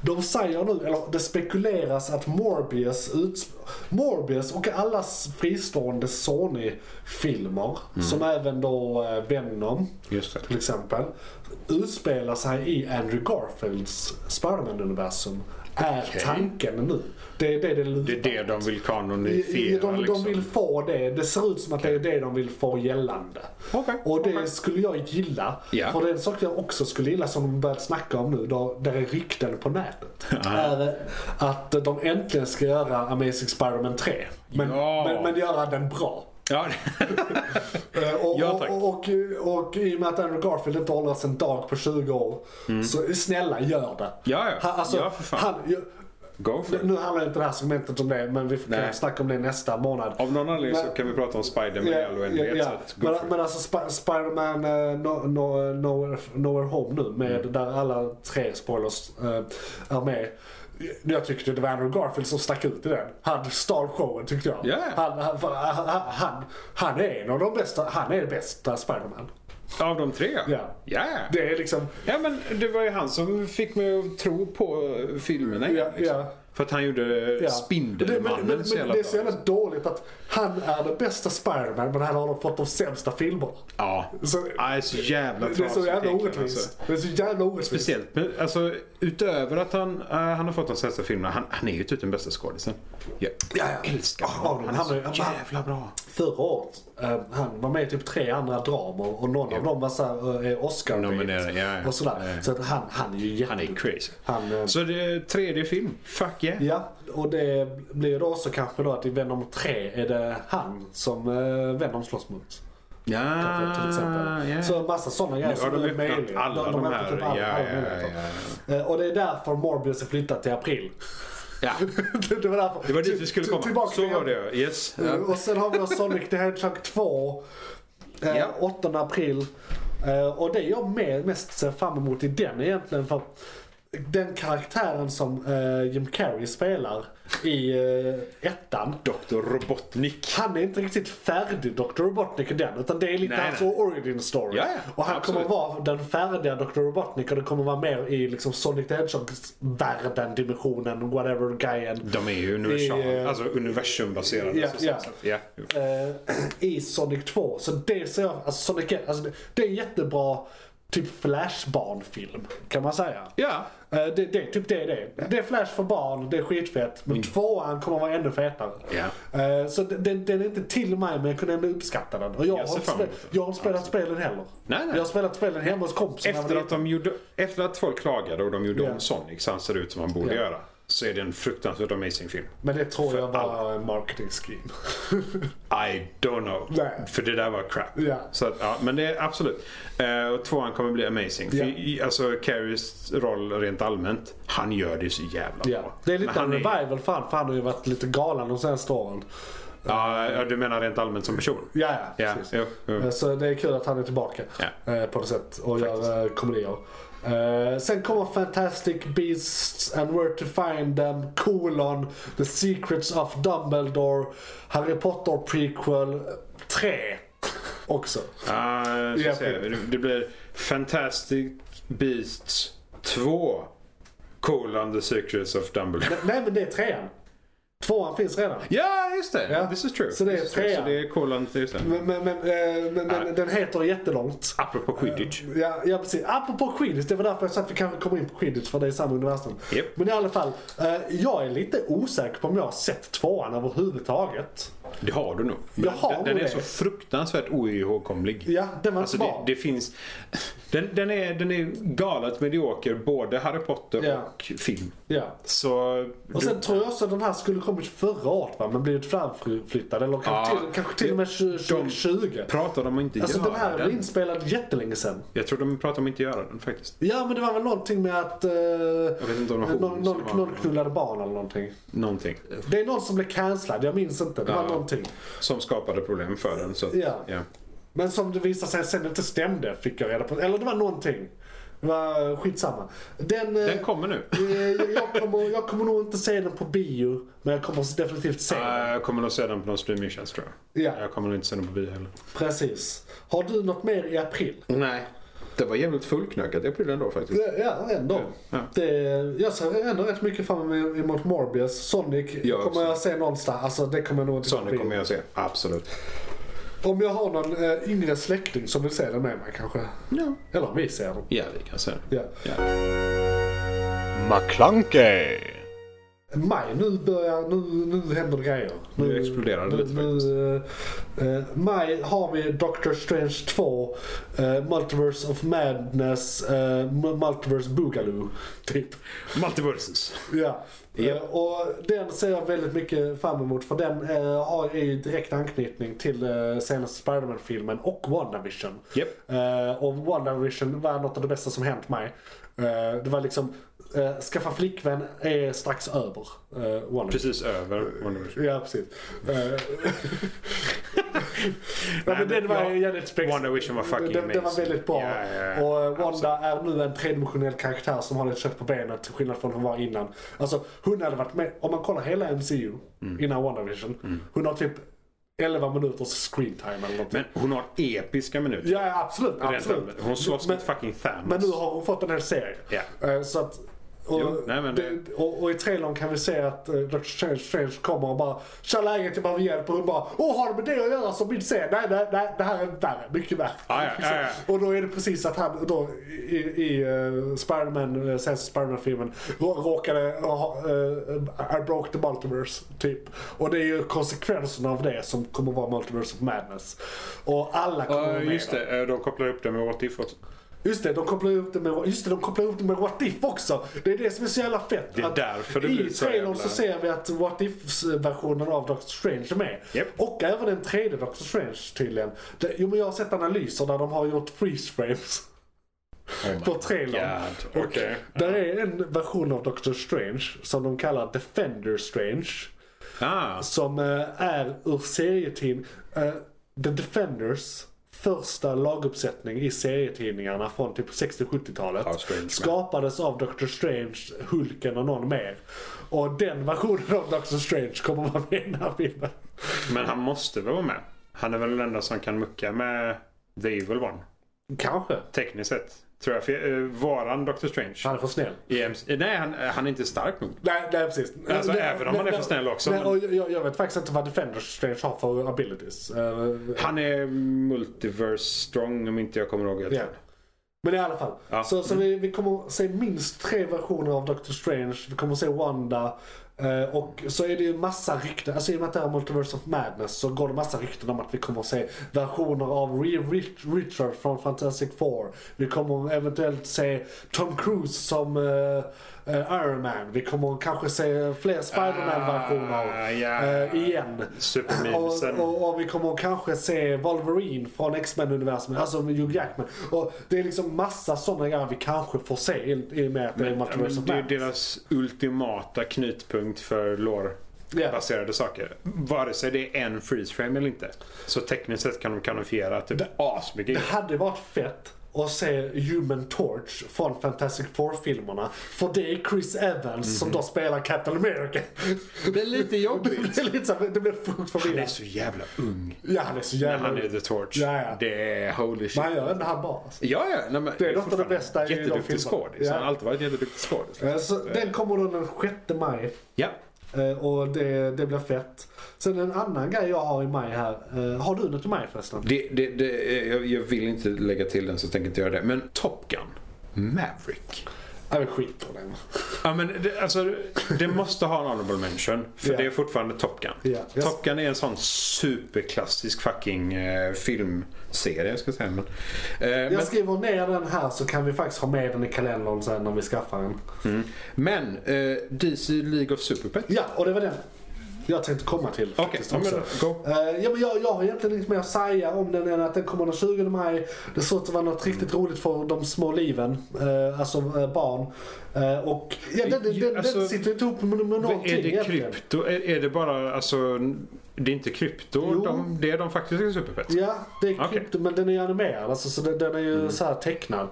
S3: de säger nu, eller det spekuleras att Morbius, uts- Morbius och alla s- fristående Sony-filmer, som även då eh, Venom
S4: Mm. Just det.
S3: till exempel, utspelar sig i Andrew Garfields Spiderman-universum. Är tanken nu. Det är det det lutar
S4: Det är det de vill
S3: de,
S4: kanonifiera
S3: de, de
S4: liksom.
S3: vill få det. Det ser ut som att det är det de vill få gällande.
S4: Okej,
S3: Och det
S4: okej.
S3: skulle jag gilla.
S4: Ja.
S3: För det är en sak jag också skulle gilla som de börjat snacka om nu. Då, där är rykten på nätet. Är att de äntligen ska göra Amazing Spider-Man 3. Men,
S4: Ja.
S3: men, men göra den bra.
S4: Ja, [LAUGHS]
S3: Eh, Och,
S4: Ja, tack.
S3: och, och, och i och med att Andrew Garfield inte har åldrats en dag på 20 år. Så snälla gör det.
S4: Mm. Ja, ja.
S3: Han- alltså,
S4: Ja, för fan.
S3: Han, ju-
S4: go for it.
S3: nu handlar inte det här segmentet om det men vi får
S4: Nej.
S3: kan snacka om det nästa månad.
S4: Av någon anledning så
S3: Men-
S4: kan vi prata om Spider-Man i all oändlighet.
S3: ja.
S4: så att go
S3: Men,
S4: for it.
S3: men alltså Sp- Spider-Man eh, no, no, nowhere, nowhere Home nu, med
S4: Mm.
S3: där alla tre spoilers eh, är med. Jag tyckte det var Andrew Garfield som stack ut i den. Han stal showen tyckte jag.
S4: Ja.
S3: Han, han, för- han, han, han är en av de bästa, han är bästa Spider-Man.
S4: Av de tre?
S3: Ja.
S4: Ja.
S3: Det är liksom,
S4: Ja, men det var ju han som fick mig att tro på eh, filmerna igen,
S3: Ja, ja.
S4: För att han gjorde
S3: ja.
S4: Spindelmannen
S3: Men- men, men,
S4: så
S3: men
S4: jävla
S3: det är så
S4: bra.
S3: jävla dåligt att han är den bästa Spider-Man men han har fått de sämsta filmerna.
S4: Ja.
S3: Så-
S4: Ja, det är så jävla
S3: Det är så
S4: trasigt
S3: jävla
S4: egentligen,
S3: orättvist.
S4: alltså.
S3: Det är så jävla orättvist.
S4: Speciellt, men alltså, utöver att han, eh, han har fått de sämsta filmerna, han, han är ju typ den bästa skådisen. Jag
S3: Ja, ja.
S4: älskar
S3: Ja,
S4: honom.
S3: men
S4: Han är
S3: han
S4: så
S3: är- han-
S4: jävla bra.
S3: Förra året, eh, han var med i typ tre andra dramer och någon av dem var så här, eh, oscar
S4: Nominerad, ja, ja.
S3: och sådär.
S4: Ja, ja.
S3: Så att han, han är ju jätte...
S4: Han är crazy.
S3: Han, eh,
S4: Så det är tredje film. Fuck yeah.
S3: Ja, och det blir ju då också kanske då att i Venom 3 är det han som eh, Venom slåss mot. Kanske, till exempel.
S4: Ah, ja.
S3: Så en massa sådana grejer.
S4: nu har
S3: som
S4: de
S3: är
S4: öppnat
S3: möjliga.
S4: alla de,
S3: har
S4: här.
S3: öppnat upp alla-
S4: ja,
S3: alla
S4: ja,
S3: möjligheter.
S4: ja,
S3: Eh, Och det är därför Morbius är flyttat till april.
S4: [LAUGHS] ja. ja.
S3: det det var därför.
S4: Det var dit
S3: Till-
S4: vi skulle
S3: till-
S4: komma.
S3: tillbaka
S4: Så
S3: till
S4: var det Yes.
S3: Eh, Och sen har vi då Sonic the Hedgehog 2. Eh,
S4: Ja.
S3: 8 april. Eh, och det jag med, mest ser fram emot i den egentligen för att den karaktären som eh, Jim Carrey spelar i eh, ettan.
S4: Dr. Robotnik.
S3: Han är inte riktigt färdig Dr. Robotnik i den utan det är lite
S4: Nej,
S3: hans
S4: nej.
S3: origin story.
S4: Ja, ja,
S3: och han
S4: absolut.
S3: kommer vara den färdiga Dr. Robotnik och det kommer vara mer i liksom Sonic the Hedgehog-världen, dimensionen, whatever, guyen.
S4: De är ju universal,
S3: I, eh,
S4: alltså universumbaserade.
S3: ja,
S4: så-
S3: ja.
S4: så- ja.
S3: eh, [CLEARS THROAT] i Sonic 2. Så det ser jag, alltså Sonic 1, alltså det, det är en jättebra typ Flash-barnfilm kan man säga.
S4: Ja.
S3: Eh, det, det, typ det är det. Det är Flash för barn, det är skitfett. Men tvåan kommer vara ännu fetare.
S4: Mm. Ja.
S3: Eh, så den, den är inte till mig men jag kunde ändå uppskatta den. Och jag,
S4: Jag ser
S3: har, inte
S4: fram
S3: spe,
S4: emot den.
S3: jag har inte spelat spelen heller.
S4: Nej, nej.
S3: Jag har spelat spelen hemma hos kompisen. när jag
S4: Efter,
S3: var
S4: att de gjorde, efter att folk klagade och de gjorde
S3: Ja.
S4: om Sonic så han ser ut som han borde
S3: Ja.
S4: göra. Så är det en fruktansvärt amazing film.
S3: Men det tror
S4: För
S3: jag var
S4: alla.
S3: en
S4: [LAUGHS]
S3: marketing scheme.
S4: I don't know.
S3: Nej.
S4: För det där var crap.
S3: Ja.
S4: Så att, ja, men det är absolut. Eh, och tvåan kommer bli amazing. För
S3: Ja.
S4: i- alltså Carries roll rent allmänt, han gör det så jävla
S3: ja.
S4: bra.
S3: Det är
S4: Men
S3: lite en
S4: han är,
S3: revival för han, för han har ju varit lite galen de senaste åren.
S4: ja, ja, du menar rent allmänt som person?
S3: Ja, ja.
S4: Ja,
S3: precis.
S4: jo, jo.
S3: Eh, Så det är kul att han är tillbaka
S4: Ja.
S3: eh, på något sätt och gör eh, komedier. Eh, Sen kommer Fantastic Beasts and Where to Find Them, colon, The Secrets of Dumbledore, Harry Potter prequel 3. Också.
S4: Ah,
S3: Ja,
S4: så ser vi. det, det blir Fantastic Beasts 2. Colon the Secrets of Dumbledore.
S3: Nej men det är trean. Tvåan finns redan.
S4: Ja, just det.
S3: Ja.
S4: This is true.
S3: Så det är
S4: This is true.
S3: trean.
S4: Så det är colon, just det.
S3: Men, men, men, eh, men, men den heter jättelångt.
S4: Apropå quidditch.
S3: Ja, ja precis. Apropå Quidditch, det var därför jag sa att vi kanske kommer in på Quidditch för det är samma universum.
S4: Japp.
S3: Men i alla fall, eh, jag är lite osäker på om jag har sett tvåan överhuvudtaget.
S4: Det har du nog.
S3: Jag har
S4: den den
S3: nog
S4: är
S3: det.
S4: så fruktansvärt oihågkomlig.
S3: Ja, den var
S4: alltså, det,
S3: bra.
S4: det finns... Den, den, är, den är galet medioker, både Harry Potter
S3: Ja.
S4: och film.
S3: Ja.
S4: Så...
S3: Och
S4: du-
S3: sen tror jag också att den här skulle kommit förra året va? Men blivit framflyttad. Eller kanske,
S4: Ja.
S3: till, kanske till och med 20, 2020.
S4: Pratar de om inte
S3: Alltså
S4: göra
S3: den här är
S4: den?
S3: inspelad jättelänge sen.
S4: Jag tror de pratar om inte göra den faktiskt.
S3: Ja men det var väl någonting med att... Eh,
S4: Jag vet inte om det var hon
S3: någon,
S4: som
S3: någon,
S4: var-
S3: någon knullade barn eller någonting.
S4: Någonting.
S3: Det är någon som blev cancellad, jag minns inte. Det var
S4: Ja.
S3: någonting.
S4: Som skapade problem för den. Så, att-
S3: Ja. Men som det visade sig sen inte stämde fick jag reda på. Eller det var någonting. Det var eh, skitsamma. Den, eh,
S4: Den kommer nu.
S3: eh, jag, kommer, jag kommer nog inte se den på bio. Men jag kommer definitivt se den.
S4: Nej, jag kommer nog se den på någon streamingtjänst tror jag.
S3: Ja.
S4: Jag kommer nog inte se den på bio heller.
S3: Precis. Har du något mer i april?
S4: Nej. Det var jävligt fullknökat i april ändå faktiskt.
S3: Ja, ändå.
S4: Ja.
S3: Det, jag ser ändå rätt mycket fram emot Morbius. Sonic
S4: Jag
S3: kommer
S4: också.
S3: jag se någonstans. Alltså det kommer jag nog inte
S4: Så nu
S3: bli.
S4: kommer jag se. Absolut.
S3: Om jag har någon eh, yngre släkting som vill se den med mig kanske.
S4: Ja.
S3: Eller om vi ser den.
S4: Ja, vi kan se den.
S3: Ja.
S6: McClunkey!
S3: Maj, nu börjar, nu, nu händer det grejer.
S4: Nu exploderar det lite
S3: nu,
S4: faktiskt.
S3: eh, eh, Maj har vi Doctor Strange 2, eh, Multiverse of Madness, eh, M- Multiverse Boogaloo. [LAUGHS] Typ.
S4: Multiverses.
S3: Ja. Eh, och den ser jag väldigt mycket fram emot för den eh, har ju direkt anknytning till eh, senaste Spiderman-filmen och WandaVision.
S4: Japp.
S3: Eh, och WandaVision var något av det bästa som hänt mig. Eh, det var liksom, eh, skaffa flickvän är strax över eh, WandaVision.
S4: Precis över WandaVision.
S3: Ja, precis. Eh,
S4: [LAUGHS]
S3: Nej, men
S4: men
S3: den var
S4: jag-
S3: ju jävligt spexig.
S4: WandaVision var fucking
S3: den, den var
S4: amazing.
S3: väldigt bra.
S4: Ja, ja, ja.
S3: Och eh, Wanda är nu en tredimensionell karaktär som har lite kött på benen till skillnad från hon var innan. Alltså hon hade varit med, om man kollar hela MCU
S4: Mm.
S3: innan WandaVision. Hon har typ 11 minuters screen time eller någonting.
S4: Men hon har episka minuter.
S3: ja, ja, absolut.
S4: Rent
S3: absolut.
S4: allmänt. Hon slåss
S3: men,
S4: mot fucking Thanos.
S3: men nu har hon fått en hel serie.
S4: Ja.
S3: Eh, Så att, och,
S4: Jo, nej, men det-
S3: det, och, och i trailern kan vi se att eh, Doctor Strange, Strange kommer och bara Tja läget, jag behöver hjälp. Och hon bara Åh har det med det att göra som min scen? Nej, nej, nej, det här är värre. Mycket värre.
S4: Ja, ja, ja, ja.
S3: Och då är det precis att han då i, i uh, Spiderman, eh, senaste Spiderman-filmen rå- råkade ha, eh, I broke the multiverse, typ. Och det är ju konsekvenserna av det som kommer vara multiverse of madness. Och alla kommer vara
S4: Ja,
S3: med
S4: just
S3: där.
S4: det. Eh, De kopplar upp det med What If också.
S3: Just det, de kopplar ihop det med, just det, de kopplar ihop det med What If också. Det är det som är så jävla fett.
S4: Det är
S3: att
S4: därför det
S3: I
S4: blir så
S3: trailern
S4: jävla-
S3: så ser vi att What If-versionen av Doctor Strange är med.
S4: Japp.
S3: Och även den tredje Doctor Strange tydligen. Det, jo men jag har sett analyser där de har gjort freeze frames [LAUGHS] på trailern.
S4: Oh God,
S3: Och
S4: okej.
S3: Där är en version av Doctor Strange som de kallar Defender Strange
S4: Ah,
S3: som eh, är ur serietidning eh, The Defenders första laguppsättning i serietidningarna från typ 60-70-talet
S4: Ja, Strange med.
S3: skapades av Doctor Strange, Hulken och någon mer. Och den versionen av Doctor Strange kommer [LAUGHS] vara med i den här filmen.
S4: men han måste väl vara med? Han är väl den enda som kan mucka med The Evil One.
S3: Kanske.
S4: Tekniskt sett. Tror jag. För, eh, varan Dr. Strange.
S3: Han är för snäll.
S4: I MC nej, han, eh, han är inte stark nog.
S3: Nej, nej precis.
S4: Alltså,
S3: nej,
S4: även om man är för snäll också,
S3: Nej,
S4: men-
S3: och jag, jag vet faktiskt inte vad Defenders Strange har för abilities. Eh,
S4: Han är multiverse strong om inte jag kommer ihåg helt
S3: Ja.
S4: rätt.
S3: Men i alla fall.
S4: Ja.
S3: Så, så vi, vi kommer se minst tre versioner av Doctor Strange. Vi kommer se Wanda. eh, Och så är det ju massa rykten. Alltså i och med att det är Multiverse of Madness så går det massa rykten om att vi kommer se versioner av Reed Rich- Richard från Fantastic Four. Vi kommer eventuellt se Tom Cruise som eh, eh, Iron Man. Vi kommer kanske se fler Spider-Man-versioner
S4: Ah, ja.
S3: eh, igen.
S4: Supermemesen.
S3: Och, och, och vi kommer kanske se Wolverine från X-Men-universumet, alltså med Hugh Jackman. Och det är liksom massa sådana grejer vi kanske får se i, i och med att det är
S4: Men, ja,
S3: Multiverse
S4: men
S3: of
S4: det är ju
S3: Madness.
S4: deras ultimata knutpunkt för lore-baserade saker. Vare sig det är en freeze frame eller inte. Så tekniskt sett kan de kanofiera typ asmycket.
S3: Det hade varit fett att se Human Torch från Fantastic Four-filmerna. För det är Chris Evans som
S4: Mhm.
S3: då spelar Captain America. [LAUGHS]
S4: Det blir lite jobbigt.
S3: Det är lite så här, det blir sjukt
S4: Han är
S3: förvirrande.
S4: så jävla ung.
S3: Ja, han är så
S4: När
S3: jävla...
S4: han är
S3: Men
S4: the torch.
S3: Ja, ja.
S4: Det är holy shit.
S3: han gör ändå han bra alltså.
S4: Ja, ja. Nej, men
S3: Det är något av det
S4: fortfarande
S3: bästa i de
S4: Jätteduktig
S3: filmerna.
S4: skådis.
S3: Ja.
S4: Han har alltid varit jätteduktig skådis.
S3: Eh, Så den kommer då den 6 maj.
S4: Ja.
S3: Eh, Och det, det blir fett. Sen en annan grej jag har i maj här. Eh, Har du något i maj förresten?
S4: Det, det, det, jag, jag vill inte lägga till den så jag tänker inte göra det. Men Top Gun. Maverick.
S3: Nej, vi skiter i den.
S4: Ja, men det, alltså, det måste ha en honorable mention. För
S3: Ja.
S4: det är fortfarande Top Gun.
S3: Ja, yes.
S4: Top Gun är en sån superklassisk fucking eh, filmserie. Jag ska säga. Men, eh, men,
S3: Jag skriver ner den här så kan vi faktiskt ha med den i kalendern sen när vi skaffar den.
S4: men eh, DC League of Super Pets.
S3: Ja, och det var den jag tänkte komma till
S4: Okej,
S3: faktiskt
S4: ja, men
S3: också.
S4: go.
S3: Eh, ja, men jag, jag har egentligen inget mer att säga om den än att den kommer den 20 maj. Det ser ut att vara något riktigt roligt för de små liven, eh, alltså eh, barn. Eh, och ja, den, den, den,
S4: Alltså,
S3: den sitter inte ihop med, med någonting
S4: Är det
S3: egentligen.
S4: krypto? Är, är det bara alltså... Det är inte krypto.
S3: Jo.
S4: De, det är de faktiska Super Pets.
S3: Ja, det är
S4: Okej. Mm.
S3: krypto, men den är animerad alltså, så den, den är ju så här tecknad.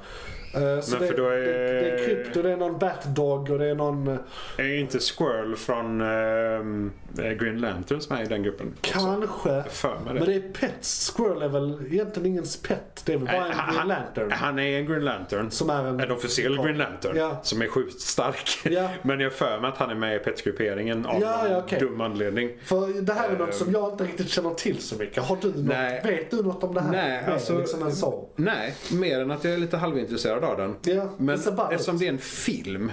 S3: Eh, så
S4: Men
S3: det,
S4: för då är-
S3: det, det är krypto, det är någon Batdog och det är någon... eh,
S4: Är ju inte Squirrel från ehm, Green Lanterns med i den gruppen? också?
S3: Kanske.
S4: För mig det.
S3: Men det är Pets. Squirrel är väl egentligen ingens pet. Det är väl bara
S4: Nej,
S3: en Green Lantern.
S4: Han är en Green Lantern.
S3: Som är en...
S4: En officiell Green Lantern
S3: Ja.
S4: som är sjukt stark.
S3: Ja.
S4: [LAUGHS] Men jag har för mig att han är med i petsgrupperingen av
S3: Ja,
S4: någon
S3: ja, okej.
S4: dum anledning.
S3: För det här är något som jag inte riktigt känner till så mycket. Har du
S4: Eh, Nej.
S3: något, vet du något om det här?
S4: Nej,
S3: Mer
S4: alltså-
S3: liksom än så.
S4: Nej, mer än att jag är lite halvintresserad av den.
S3: Ja,
S4: Men
S3: det ser bra ut.
S4: eftersom det är en film.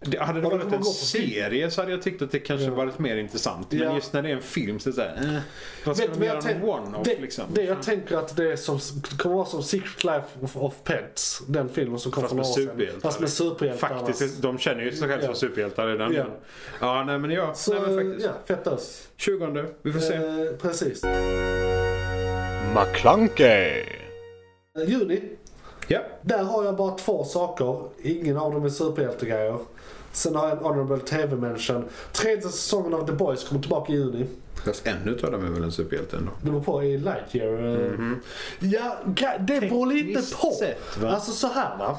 S4: Det, hade det
S3: Ja, då
S4: varit
S3: kan
S4: en
S3: man gå på film.
S4: serie så hade jag tyckt att det kanske varit mer intressant. Men
S3: Ja.
S4: just när det är en film så är det såhär, eh, vad ska
S3: Vet du
S4: de
S3: vad
S4: göra
S3: jag
S4: en
S3: tänk-
S4: one-off
S3: det,
S4: liksom?
S3: det jag tänker att det är som, kommer vara som Secret Life of, of Pets. Den filmen som kom
S4: Fast
S3: för
S4: med
S3: några år sedan.
S4: superhjältar. liksom.
S3: Fast med superhjältar.
S4: Faktiskt, de känner ju sig själva som
S3: Ja.
S4: superhjältar redan.
S3: Ja.
S4: Ja, ja nej men ja.
S3: Så,
S4: nej, men faktiskt.
S3: Alltså, ja, fett ös.
S4: 20, vi får se.
S3: Eh, precis.
S6: McClunkey!
S3: Eh, Juni
S4: Ja.
S3: Där har jag bara två saker. Ingen av dem är superhjältegrejer. Sen har jag en honorable TV-mention. Tredje säsongen av The Boys kommer tillbaka i juni.
S4: Fast ännu tar de väl en superhjälte ändå. [LAUGHS]
S3: Det beror på i Lightyear. eh. Ja, ga- det beror lite
S4: Mhm. Tekniskt
S3: på.
S4: sett, va?
S3: alltså så här va.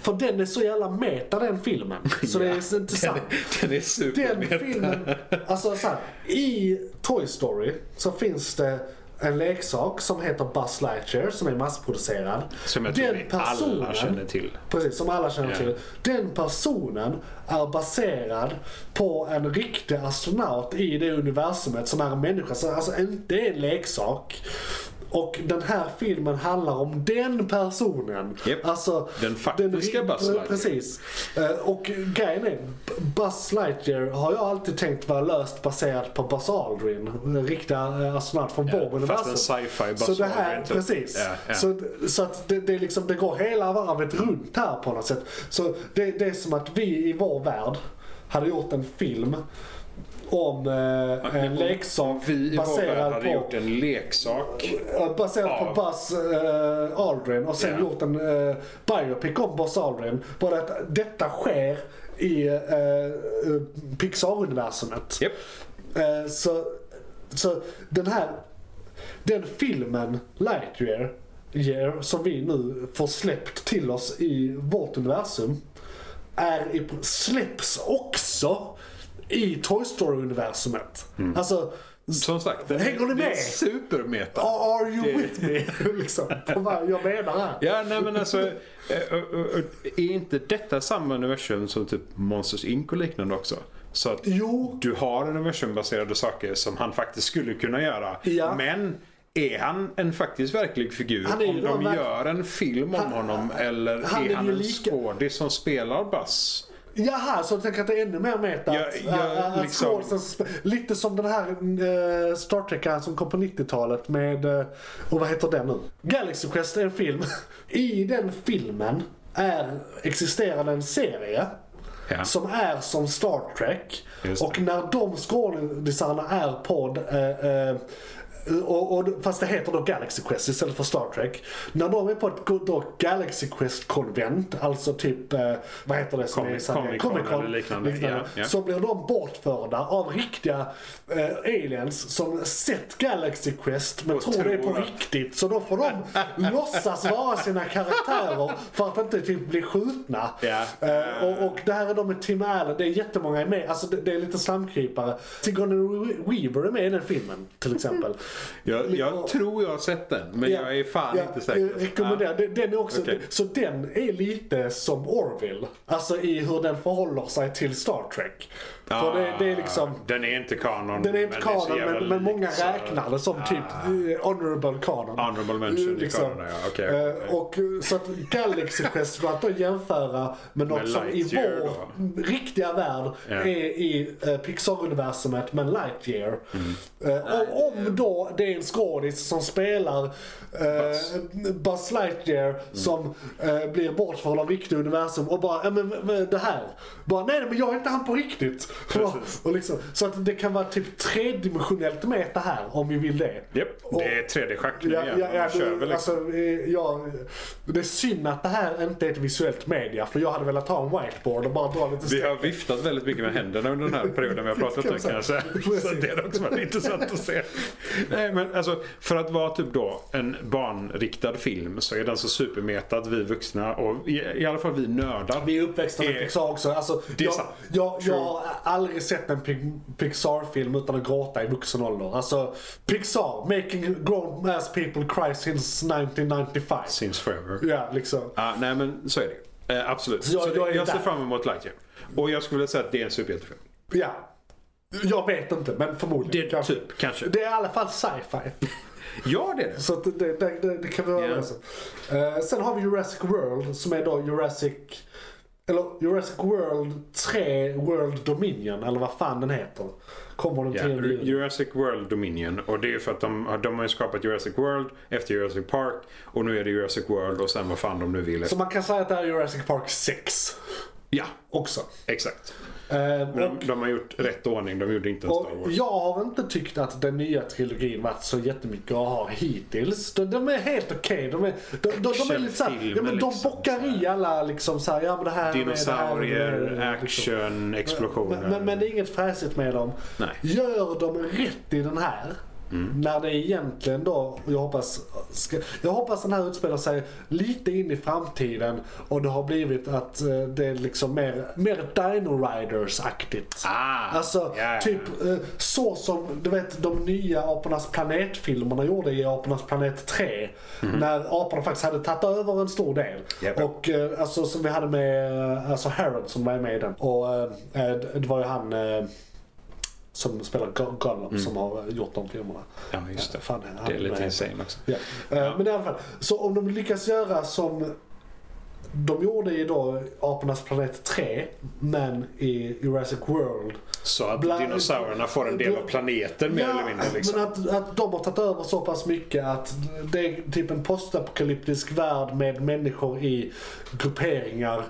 S3: För den är så jävla meta den filmen.
S4: [LAUGHS]
S3: Så det är inte sant.
S4: Den är
S3: Den
S4: supermeta.
S3: filmen, alltså så här, i Toy Story så finns det en leksak som heter Buzz Lightyear som är massproducerad.
S4: Som jag tror vi alla känner till.
S3: Precis, som alla känner
S4: Ja.
S3: till. Den personen är baserad på en riktig astronaut i det universumet som är en människa. Så alltså inte en leksak. Och den här filmen handlar om den personen.
S4: Japp.
S3: Alltså,
S4: Den faktiska
S3: ri-
S4: Buzz Lightyear.
S3: Precis. Eh, Och grejen är, B- Buzz Lightyear har jag alltid tänkt vara löst baserad på Buzz Aldrin. En riktig eh, astronaut från ja,
S4: Fast en sci-fi Buzz
S3: så det här,
S4: Aldrin, typ.
S3: precis.
S4: Ja, ja.
S3: Så, så att det, det, är liksom, det går hela varvet runt här på något sätt. Så det, det är som att vi i vår värld hade gjort en film om eh, en leksak
S4: Vi i vår värld
S3: baserad
S4: hade
S3: på,
S4: gjort en leksak.
S3: eh, baserad på
S4: Ja.
S3: Buzz eh, Aldrin och sen
S4: Ja.
S3: gjort en eh, biopic om Buzz Aldrin. Bara att detta sker i eh, eh, Pixar-universumet.
S4: Japp.
S3: Eh, så, så den här den filmen Lightyear Year, som vi nu får släppt till oss i vårt universum är i, släpps också i Toy Story-universumet. Alltså,
S4: Som sagt, den,
S3: Hänger ni
S4: det är
S3: med?
S4: supermeta.
S3: are you with me? [LAUGHS] liksom, på vad jag menar här.
S4: Ja, nej men alltså. eh, eh, eh, Är inte detta samma universum som typ Monsters Inc och liknande också? Så att
S3: Jo.
S4: du har universumbaserade saker som han faktiskt skulle kunna göra.
S3: Ja.
S4: Men är han en faktiskt verklig figur?
S3: Han är ju
S4: Om de
S3: en verk-
S4: gör en film om
S3: Han-
S4: honom eller
S3: han
S4: är,
S3: är
S4: han
S3: ju
S4: en
S3: lika-
S4: skådis som spelar Buzz?
S3: Jaha, så du tänker att det är ännu mer meta?
S4: Ja,
S3: Att-
S4: ja,
S3: att- att
S4: liksom.
S3: skådisen sp- lite som den här eh, Star trek som kom på 90-talet med, eh, och vad heter den nu? Galaxy Quest är en film. [LAUGHS] I den filmen är, existerar en serie
S4: Ja.
S3: som är som Star Trek.
S4: Just det.
S3: Och när de skådisarna är på... Eh, eh, och, och, fast det heter då Galaxy Quest istället för Star Trek. När de är på ett go- då Galaxy Quest-konvent, alltså typ, eh, vad heter det? Som
S4: Comic-
S3: är så här-
S4: Comic Con
S3: Comic Con,
S4: eller liknande. Ja, ja.
S3: Så blir de bortförda av riktiga eh, aliens som sett Galaxy Quest men
S4: Och
S3: tror, det är på
S4: tror att-
S3: riktigt. Så då
S4: [LAUGHS]
S3: får de låtsas vara sina karaktärer för att inte typ bli skjutna.
S4: Ja.
S3: Eh, och, och det här är de med Tim Allen, det är jättemånga är med. Alltså det, det är lite slamkrypare. Sigourney Weaver är med i den filmen
S4: [LAUGHS]
S3: till exempel.
S4: Jag, jag
S3: Och-
S4: tror jag har sett den, men
S3: Ja,
S4: jag är fan
S3: ja,
S4: inte säker.
S3: jag rekommenderar. Den, den är också,
S4: Okej.
S3: Så den är lite som Orville. Alltså i hur den förhåller sig till Star Trek.
S4: Ja,
S3: För det, det är liksom...
S4: Den är inte kanon.
S3: Den är inte
S4: Ah. men det är så
S3: kanon,
S4: jävla
S3: men, men många
S4: likt, så- Ah.
S3: räknar det som typ eh, honorable kanon.
S4: Honorable mention i kanon, ja, okej, okej.
S3: Eh, Och eh, så att Galaxy Quest, för att då jämföra med något
S4: Med
S3: som i
S4: Lightyear
S3: vår riktiga värld
S4: Ja.
S3: är i eh, Pixar-universumet, men Lightyear.
S4: Mm.
S3: Eh, och om då det är en skådis som spelar eh, Buzz Lightyear
S4: Mm.
S3: som eh, blir bortförd av riktiga universum och bara, ja men v- v- det här. Bara, nej nej, men jag är inte han på riktigt. [LAUGHS] och liksom, så att det kan vara typ tredimensionellt meta här om vi vill det.
S4: Japp,
S3: Och-
S4: det är 3D-schack nu
S3: Ja,
S4: igen.
S3: ja, ja,
S4: De kör väl liksom.
S3: alltså, eh, ja, det är synd att det här inte är ett visuellt media för jag hade velat ha en whiteboard och bara dra lite
S4: Vi har viftat väldigt mycket med händerna under den här perioden vi har pratat nu kan jag säga. Så det har också varit intressant att se. Nej men alltså för att vara typ då en barnriktad film så är den så supermeta att vi vuxna och i, i alla fall vi nördar.
S3: Vi är uppväxta med
S4: Eh,
S3: Pixar också. Alltså,
S4: det är
S3: jag,
S4: sant.
S3: jag, jag har aldrig sett en Pi- Pixar-film utan att gråta i vuxen ålder. Alltså, Pixar, making grown ass people cry since 1995.
S4: Since forever.
S3: Ja, liksom.
S4: Ja, nej men så är det eh, Absolut. Så
S3: jag-
S4: jag,
S3: jag är
S4: jag ser
S3: där.
S4: fram emot Lightyear. Och jag skulle vilja säga att det är en superhjältefilm.
S3: Ja. Jag vet inte, men förmodligen.
S4: Det-
S3: kanske.
S4: typ, kanske.
S3: Det är i alla fall sci-fi.
S4: Ja det är det.
S3: Så att det, det, det, det kan vi vara
S4: Ja.
S3: överens om. Eh, Sen har vi Jurassic World som är då Jurassic... Eller Jurassic World 3 World Dominion, eller vad fan den heter. Kommer den
S4: Ja,
S3: till
S4: Ur-
S3: juni.
S4: Jurassic World Dominion. Och det är ju för att de, har- de har ju skapat Jurassic World efter Jurassic Park. Och nu är det Jurassic World och sen vad fan de nu vill.
S3: Så man kan säga att det här är Jurassic Park 6
S4: Ja,
S3: också.
S4: exakt.
S3: Eh,
S4: Men de, de har gjort rätt ordning. De gjorde inte en Star
S3: och
S4: Wars.
S3: jag har inte tyckt att den nya trilogin varit så jättemycket att ha hittills. De, de är helt okej. De, är- de, de, de är lite såhär, ja, men de
S4: Actionfilmer
S3: bockar i alla liksom såhär, ja men det här är det här är det här är det
S4: Dinosaurier,
S3: här, liksom.
S4: action, explosioner.
S3: Men, men, men det är inget fräsigt med dem.
S4: Nej. Mm.
S3: Gör de rätt i den här? När det egentligen då, jag hoppas, ska, jag hoppas den här utspelar sig lite in i framtiden och det har blivit att eh, det är liksom mer, mer Dino Riders-aktigt.
S4: Ah,
S3: alltså
S4: ja, ja.
S3: typ eh, så som du vet de nya Apornas Planet-filmerna gjorde i Apornas Planet 3. När aporna faktiskt hade tagit över en stor del.
S4: Mhm. Japp.
S3: Och och eh, alltså, som vi hade med eh, alltså Harold som var med i den. Och eh, eh, det var ju han eh, som spelar Go- Gollum som har eh, gjort de filmerna.
S4: Mm. Ja, just det.
S3: fan, han
S4: Det är lite
S3: med.
S4: insane också.
S3: Ja. Eh, Men i alla fall, så om de lyckas göra som de gjorde i då Apornas planet 3, men i Jurassic World.
S4: Så att
S3: Bla-
S4: dinosaurierna får en del av planeten mer eller mindre. Liksom.
S3: men att, att de har tagit över så pass mycket att det är typ en postapokalyptisk värld med människor i grupperingar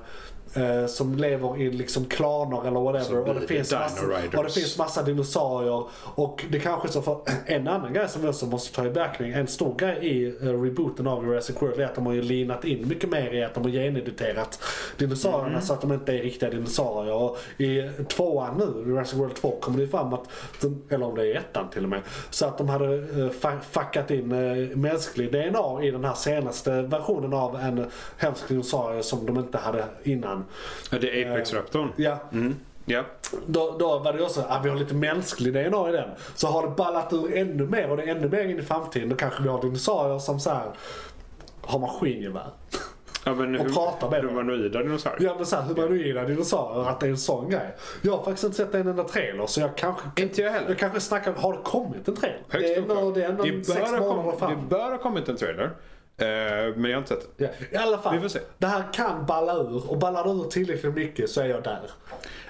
S3: eh, som lever i liksom klaner eller whatever. Och det,
S4: blir det
S3: finns
S4: Dino
S3: massa,
S4: Riders.
S3: och det finns massa dinosaurier. Och det kanske är så för en annan grej som vi också måste ta i beaktning. En stor grej i eh, rebooten av Jurassic World är att de har ju linat in mycket mer i att de har genediterat dinosaurierna så att de inte är riktiga dinosaurier. Och i tvåan nu, Jurassic World 2, kommer det ju fram att, den- eller om det är ettan till och med, så att de hade eh, fa- fuckat in eh, mänsklig DNA i den här senaste versionen av en hemsk dinosaurie som de inte hade innan.
S4: Ja, det är Apex-raptorn.
S3: Ja,
S4: Mm. Ja.
S3: då, då var det ju också att ah, vi har lite mänsklig DNA i den. Så har det ballat ur ännu mer och det är ännu mer in i framtiden. Då kanske vi har dinosaurier som så här har maskingevär.
S4: Ja, men
S3: Och
S4: hur-
S3: prata med dem.
S4: Humanoida dinosaurier.
S3: Ja men såhär humanoida dinosaurier, att det är en sån grej. Jag har faktiskt inte sett en enda trailer så jag kanske...
S4: Inte jag heller.
S3: Jag kanske snackar, har det kommit en trailer?
S4: Högst
S3: det är
S4: oklart.
S3: ändå, det är ändå
S4: Det
S3: det sex
S4: bör ha
S3: månader
S4: kommit-
S3: fram.
S4: Det bör ha kommit en trailer. Eh, men jag har inte sett den.
S3: Ja, I alla fall,
S4: Vi får se.
S3: det här kan balla ur och ballar det ur tillräckligt mycket så är jag där.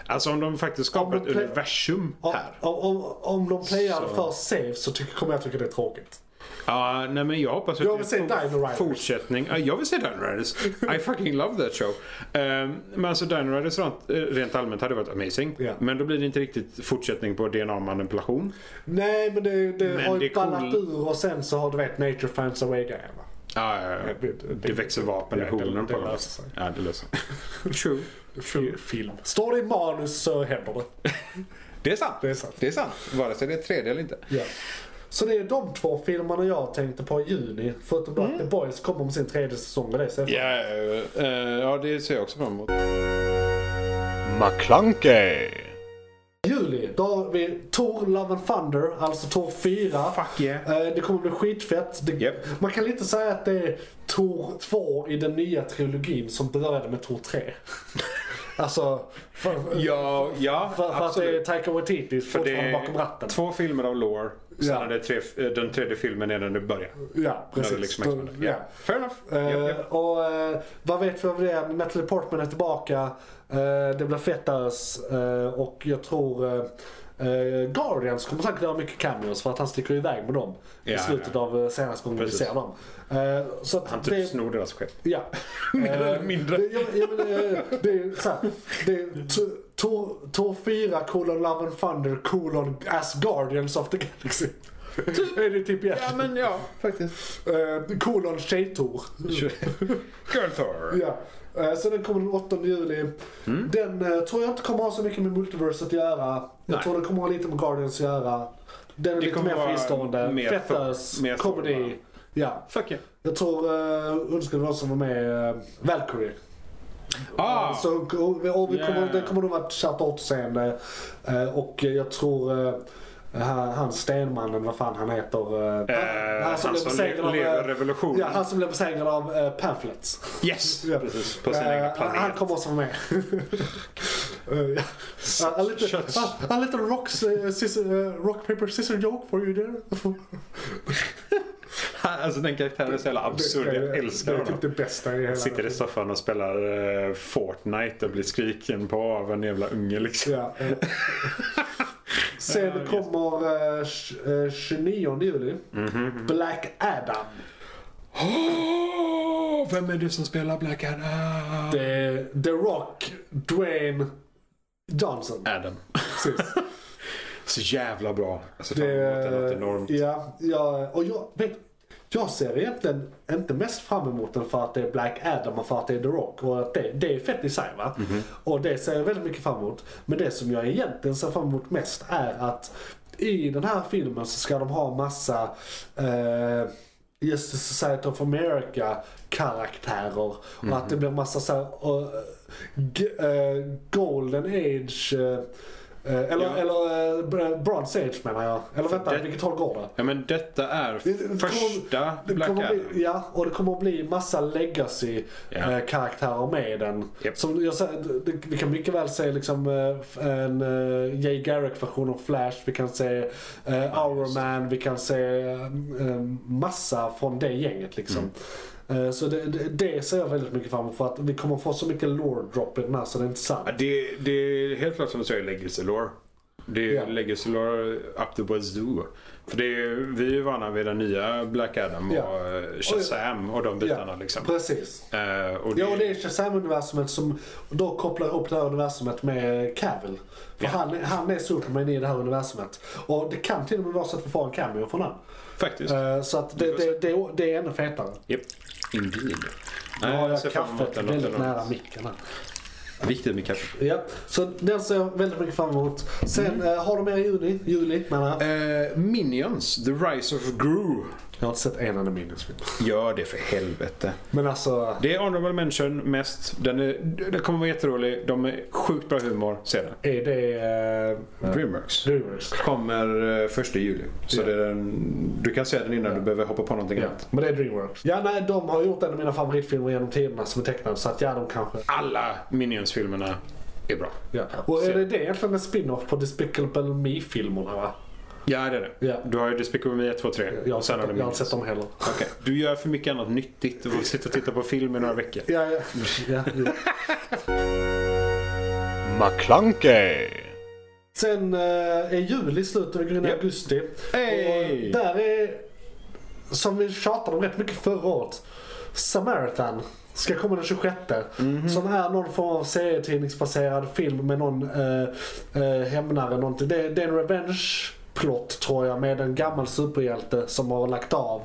S4: Alltså om de faktiskt skapar
S3: Om
S4: ett
S3: de play-
S4: universum
S3: Om,
S4: här.
S3: om, om, om de playar
S4: Så.
S3: för safe så tycker, kommer jag tycka det är tråkigt.
S4: Ja, nej men jag hoppas att
S3: Jag vill se
S4: det är
S3: Dino Riders.
S4: fortsättning. Ja, jag vill se Dino Riders. I fucking love that show. Eh, men alltså Dino Riders rent, eh, rent allmänt hade varit amazing.
S3: Ja.
S4: Men då blir det inte riktigt fortsättning på DNA-manipulation.
S3: Nej men det, det
S4: Men
S3: har
S4: det
S3: ju
S4: är
S3: ballat
S4: cool.
S3: ur och sen så har du vet Nature Finds a Way grejen va.
S4: Ja, ja, ja.
S3: det-
S4: Det växer vapen i
S3: det- det-
S4: hornen
S3: det
S4: på dem.
S3: löser sig.
S4: Ja, det löser sig. True.
S3: Fi- Film. Står det i manus så händer det.
S4: Det är sant.
S3: Det är sant.
S4: Det är sant. Vare sig det är 3D eller inte.
S3: Ja. Så det är de två filmerna jag tänkte på i juni. Förutom då
S4: Mm.
S3: att The Boys kommer med sin tredje säsong och det ser jag fram
S4: Ja, eh, ja, det ser jag också fram emot.
S6: McClunkey!
S3: I juli, då har vi Tor Love and Thunder, alltså Tor 4.
S4: Fuck yeah.
S3: Eh, Det kommer bli skitfett. Det,
S4: Japp.
S3: Man kan lite säga att det är Tor 2 i den nya trilogin som började med Tor 3. [LAUGHS] Alltså, för,
S4: Ja, ja
S3: för, för att
S4: absolut.
S3: det är Taika Waititi
S4: För det
S3: fortfarande bakom
S4: är
S3: ratten.
S4: två filmer av Lore. Sen
S3: Ja.
S4: är det tre, eh, den tredje filmen är när du börjar.
S3: Ja,
S4: När
S3: precis.
S4: du liksom
S3: Då-
S4: expanderar.
S3: ja.
S4: ja. Fair enough.
S3: Eh,
S4: Ja, ja.
S3: Och eh, vad vet vi om det? Natalie Portman är tillbaka. Eh, det blir fettas eh, och jag tror eh, eh, Guardians kommer säkert göra mycket cameos för att han sticker iväg med dem i
S4: Ja,
S3: slutet
S4: ja.
S3: av eh, senaste gången vi
S4: Precis.
S3: ser dem. Eh, så att
S4: Han typ snor deras skepp.
S3: Ja.
S4: [LAUGHS] Mer eller
S3: Eh,
S4: mindre.
S3: det- Ja, men- ja, men, eh, det är så här, Det är t- Tor, tor 4 kolon Love and Thunder kolon As Guardians of the Galaxy. är det typ ja.
S4: men ja, faktiskt.
S3: Eh, kolon Tjejtor.
S4: Girl Thor.
S3: Ja. Eh, Så den kommer den 8 juli.
S4: Mm.
S3: Den eh, tror jag inte kommer ha så mycket med Multiverse att göra. Jag
S4: Nej.
S3: tror den kommer ha lite med Guardians att göra. Den är lite
S4: kommer
S3: mer
S4: vara
S3: fristående.
S4: mer
S3: Fettös,
S4: Thor- mer Thor, va?
S3: comedy. Ja.
S4: Fuck yeah.
S3: Jag tror, eh, önskar det var någon som var med, eh, Valkyrie.
S4: Ah,
S3: Så, och vi och vi kommer,
S4: Yeah.
S3: det kommer nog vara ett shout-out-scen. eh, Och jag tror eh, han han Stenmannen, vad fan han heter. eh,
S4: eh, han som
S3: blev besegrad
S4: le-
S3: av,
S4: lever
S3: eh,
S4: revolutionen.
S3: Ja, han som blev besegrad av eh, Pamphlets.
S4: Yes!
S3: Ja.
S4: Precis, på sin
S3: Eh,
S4: egen
S3: han-
S4: planet.
S3: Han kommer också vara med. [LAUGHS] Eh, ja. A, a little,
S4: Shots.
S3: a, a little rocks, eh, scissor, eh, rock, paper, scissor joke for you there.
S4: [LAUGHS] Alltså den karaktären är så jävla absurd.
S3: Det-
S4: Jag
S3: det-
S4: älskar
S3: Det är typ
S4: honom.
S3: det bästa i hela...
S4: Han sitter i soffan och spelar eh, Fortnite och blir skriken på av en jävla unge liksom.
S3: Ja, eh. Sen kommer eh, tj- eh, 29 juli Black Adam.
S4: Åh, vem är det som spelar Black Adam?
S3: Det är The Rock, Dwayne Johnson.
S4: Adam.
S3: Precis.
S4: [LAUGHS] Så jävla bra. Alltså fan,
S3: Det,
S4: det låter enormt.
S3: ja, ja, och jag vet jag ser egentligen inte mest fram emot den för att det är Black Adam och för att det är The Rock. Och att det, det är fett i sig va.
S4: Mhm.
S3: Och det ser jag väldigt mycket fram emot. Men det som jag egentligen ser fram emot mest är att i den här filmen så ska de ha massa eh, just the Society of America karaktärer. Och
S4: Mhm.
S3: att det blir massa så här, eh, g- eh, Golden Age eh, eh, eller,
S4: Ja.
S3: eller eh, br- Bronze Age menar jag. Eller vänta,
S4: Det-
S3: vilket håll går det?
S4: Ja men detta är
S3: Det- det kommer-
S4: första
S3: Det
S4: Black
S3: kommer
S4: Adam.
S3: bli, ja, och det kommer att bli massa
S4: Ja.
S3: legacy-karaktärer med i den.
S4: Japp.
S3: Som jag, sa- det, vi kan mycket väl se liksom, eh, f- en eh, Jay Garrick-version av Flash, vi kan se eh, Hour Man, vi kan se eh, massa från det gänget. Liksom.
S4: Mm.
S3: Eh, Så det, det, det ser jag väldigt mycket fram emot för att vi kommer få så mycket lore drop i den här så det är inte sant.
S4: Ja, det, det är helt klart som du säger legacy lore. Det är
S3: Ja.
S4: legacy lore up the wazoo. För det är, vi är ju vana vid den nya Black Adam och
S3: Ja.
S4: eh, Shazam och de bitarna liksom.
S3: Precis.
S4: Eh, och det,
S3: Ja, och det är Shazam-universumet som då kopplar ihop det här universumet med Cavill. För han, är- han är Superman i det här universumet. Och det kan till och med vara så att vi får en cameo från honom.
S4: Faktiskt.
S3: Eh, Så att det, det, det, det är ännu fetare.
S4: Japp. Indeed.
S3: Nu
S4: Nej,
S3: har jag
S4: ser fram emot
S3: kaffet
S4: den, låter
S3: väldigt
S4: enormt.
S3: nära micken här.
S4: Viktigt med kaffe.
S3: Ja, så den ser jag väldigt mycket fram emot. Sen eh, har de mer i juni, juli menar jag.
S4: Eh, Minions, The Rise of Gru.
S3: Jag har inte sett en enda minnesfilm.
S4: Gör det för helvete.
S3: Men alltså,
S4: Det är Honorable Mention mest. Den, är, den kommer vara jätterolig. De är sjukt bra humor. Se den.
S3: är det eh,
S4: Dreamworks.
S3: Dreamers?
S4: Kommer eh, första juli. Så det är den, du kan se den innan du behöver hoppa på någonting
S3: Ja,
S4: annat.
S3: men det är Dreamworks. Ja, nej, de har gjort en av mina favoritfilmer genom tiderna som är tecknad. Så att ja, de kanske...
S4: Alla Minions-filmerna är bra.
S3: Ja. Och är det det egentligen en spin-off på Despicable Me-filmerna va?
S4: Ja, det är det.
S3: Ja.
S4: Du har ju Despicable Me 1, 2, 3.
S3: Jag har,
S4: och sen
S3: sett,
S4: har du
S3: dem- jag har inte
S4: Minions.
S3: sett dem heller.
S4: Okej. Du gör för mycket annat nyttigt och sitter och tittar på film i några veckor.
S3: Ja, ja, ja, jo.
S6: McClunkey!
S3: Sen eh, är juli slut och vi går in i augusti.
S4: Hey!
S3: Och där är, som vi tjatade om rätt mycket förra året, Samaritan. Ska komma den 26.
S4: Mhm.
S3: Som är någon form av serietidningsbaserad film med någon eh, eh, hämnare. Någonting. Det, det är en revenge plot tror jag med en gammal superhjälte som har lagt av.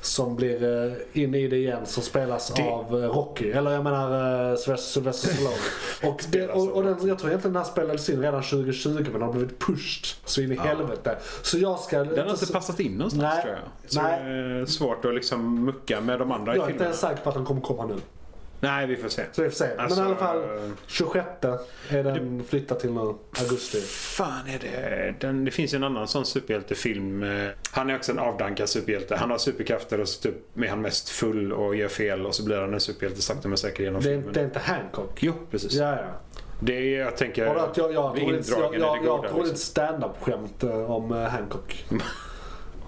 S3: Som blir eh, inne i det igen. Som spelas av eh, Rocky. Eller jag menar eh, Sylvester Sylvester
S4: [LAUGHS]
S3: Stallone. och det, och, och den, jag tror egentligen den här spelades in redan 2020 men den har blivit pushed så in i helvete. Så jag ska...
S4: Den har inte passat in någonstans
S3: Nej.
S4: tror jag. Så
S3: Nej.
S4: det är svårt att liksom mucka med de andra
S3: Jag är
S4: i
S3: inte
S4: filmerna.
S3: ens säker på att den kommer komma nu.
S4: Nej, vi får se.
S3: Så vi får se.
S4: Alltså,
S3: Men i alla
S4: eh,
S3: fall 26 är den flyttad till nu, augusti.
S4: fan är det? Eh, Den, det finns ju en annan sån superhjältefilm. eh, Han är också en avdankad superhjälte. Han har superkrafter och så typ är han mest full och gör fel och så blir han en superhjälte sakta men säkert genom
S3: Det är,
S4: filmen.
S3: det är inte Hancock.
S4: Jo, precis.
S3: Ja, ja.
S4: Det är, jag tänker,
S3: Och att jag, jag,
S4: bli
S3: tror inte, jag,
S4: indragen i
S3: jag,
S4: det
S3: jag
S4: goda.
S3: tror
S4: Liksom.
S3: ett standup-skämt eh, om eh, Hancock.
S4: liksom.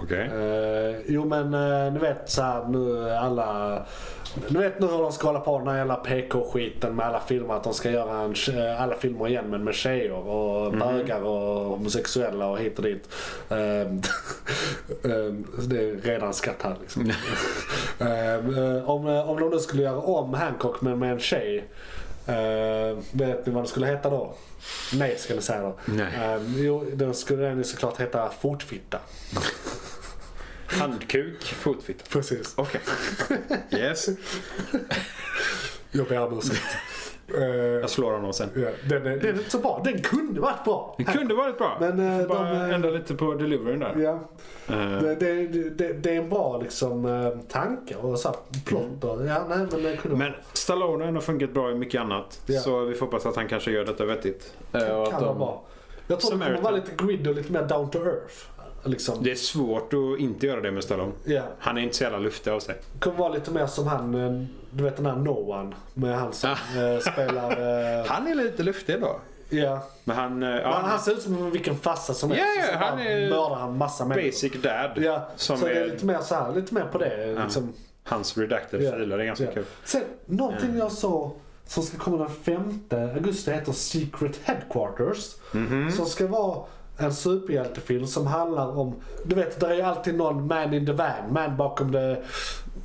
S4: Okej.
S3: Eh, jo men eh, ni vet så här, nu är alla... Ni vet nu hur de ska hålla på den här jävla PK-skiten med alla filmer. Att de ska göra en, tje- eh, alla filmer igen men med tjejer och bögar och homosexuella och hit och dit. Eh, [LAUGHS] eh, det är redan skatt här liksom. [LAUGHS] Eh, eh, om, eh, om de nu skulle göra om Hancock men med en tjej. eh, vet ni vad den skulle heta då? Nej ska ni säga då.
S4: Nej.
S3: Eh, jo, då skulle den ju såklart heta Fotfitta.
S4: Handkuk, fotfitta.
S3: [LAUGHS] Precis. [LAUGHS]
S4: Okej. Yes.
S3: Jag ber om ursäkt. Eh,
S4: Jag slår honom sen.
S3: ja, den, är, den är inte så bra. Den kunde varit bra.
S4: Det kunde varit bra.
S3: Men, eh,
S4: Får bara
S3: de, eh,
S4: ändra lite på deliveryn där.
S3: Ja.
S4: Eh,
S3: Det, det, det, det är en bra liksom, eh, tanke och så här, plott. Och, ja, nej, men den kunde
S4: Mm. Men Stallone har ändå funkat bra i mycket annat.
S3: Ja.
S4: Så vi får hoppas att han kanske gör detta vettigt. Eh, och att
S3: kan
S4: de-
S3: vara bra. Jag tror det kommer
S4: Samaritan.
S3: vara lite grid och lite mer down to earth. Liksom.
S4: Det är svårt att inte göra det med Stallone.
S3: Ja.
S4: Han är inte så jävla luftig av sig.
S3: Det kommer vara lite mer som han, eh, du vet den här Noan med han som
S4: Ah.
S3: eh, spelar... eh,
S4: Han är lite luftig idag.
S3: ja.
S4: Men han... eh, Ja,
S3: Men han ser ut som vilken farsa som helst.
S4: Ja, ja,
S3: och så bara
S4: han är
S3: mördar han massa människor.
S4: Basic Dad.
S3: Ja,
S4: Som
S3: så
S4: är,
S3: det är lite mer så här, lite mer på det. Liksom.
S4: hans redacted
S3: Ja.
S4: filer. Typ Det är ganska
S3: Ja.
S4: kul.
S3: Sen, någonting jag såg som ska komma den 5 augusti heter Secret Headquarters.
S4: Mhm.
S3: Som ska vara en superhjältefilm som handlar om, du vet det är ju alltid någon man in the van, man bakom the... Eh,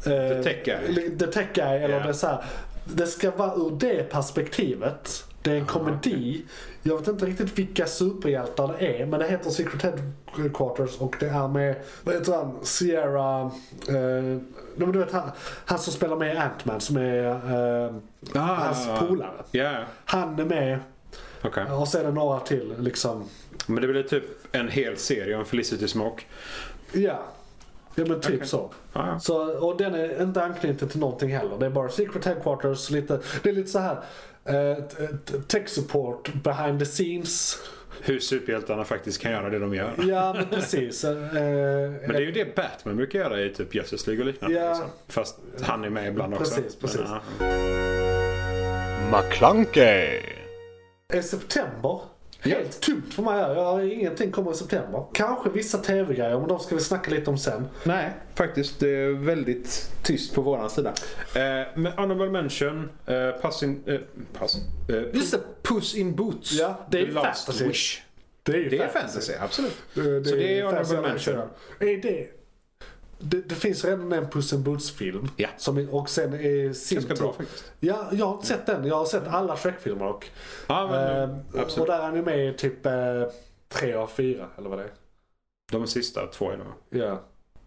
S3: the
S4: tech guy.
S3: The tech guy eller
S4: Ja.
S3: det är så här, Det ska vara ur det perspektivet. Det är en komedi. Jag vet inte riktigt vilka superhjältar det är men det heter Secret Headquarters och det är med, vad heter han, Sierra, eh, nej, men du vet han, han som spelar med i Ant-Man som är eh,
S4: Ah.
S3: hans polare.
S4: Ja,
S3: Han är med
S4: okej.
S3: och sen är det några till liksom.
S4: Men det blir typ en hel serie om Felicity Smoke.
S3: Ja, ja men typ så.
S4: Ja, ja.
S3: Så, och den är inte anknuten till någonting heller. Det är bara Secret Headquarters. Lite, det är lite så här. eh, t- t- tech support behind the scenes.
S4: Hur superhjältarna faktiskt kan göra det de gör.
S3: Ja, men precis. Eh,
S4: Men det är ju det Batman brukar göra i typ Justice League och liknande.
S3: Ja.
S4: Liksom. Fast han är med ibland också.
S3: Precis, precis.
S4: ja.
S6: McClunkey.
S3: är september. Helt tomt för mig. här. Jag har ingenting kommer i september. Kanske vissa tv-grejer, men de ska vi snacka lite om sen.
S4: Nej, faktiskt. Det är väldigt tyst på våran sida. Eh, men Honorable Mention, eh, Pass in... Eh, pass. Eh, just det, Puss in Boots.
S3: Ja, det är
S4: The
S3: ju
S4: Last
S3: fantasy.
S4: Wish.
S3: Det är ju
S4: Det är fantasy, absolut.
S3: Det,
S4: Så det är
S3: fantasy
S4: honorable
S3: action.
S4: mention.
S3: Är det... Det, det finns redan en Puss in Boots-film.
S4: Ja.
S3: Som, är- och sen är sin
S4: Ganska
S3: tur-
S4: bra Eh, faktiskt.
S3: Ja, jag har inte sett den. Jag har sett alla Shrek-filmer och,
S4: Ja, men,
S3: eh, och
S4: absolut.
S3: där är han ju med i typ eh, tre av fyra, eller vad det är.
S4: De sista två är nog...
S3: Ja,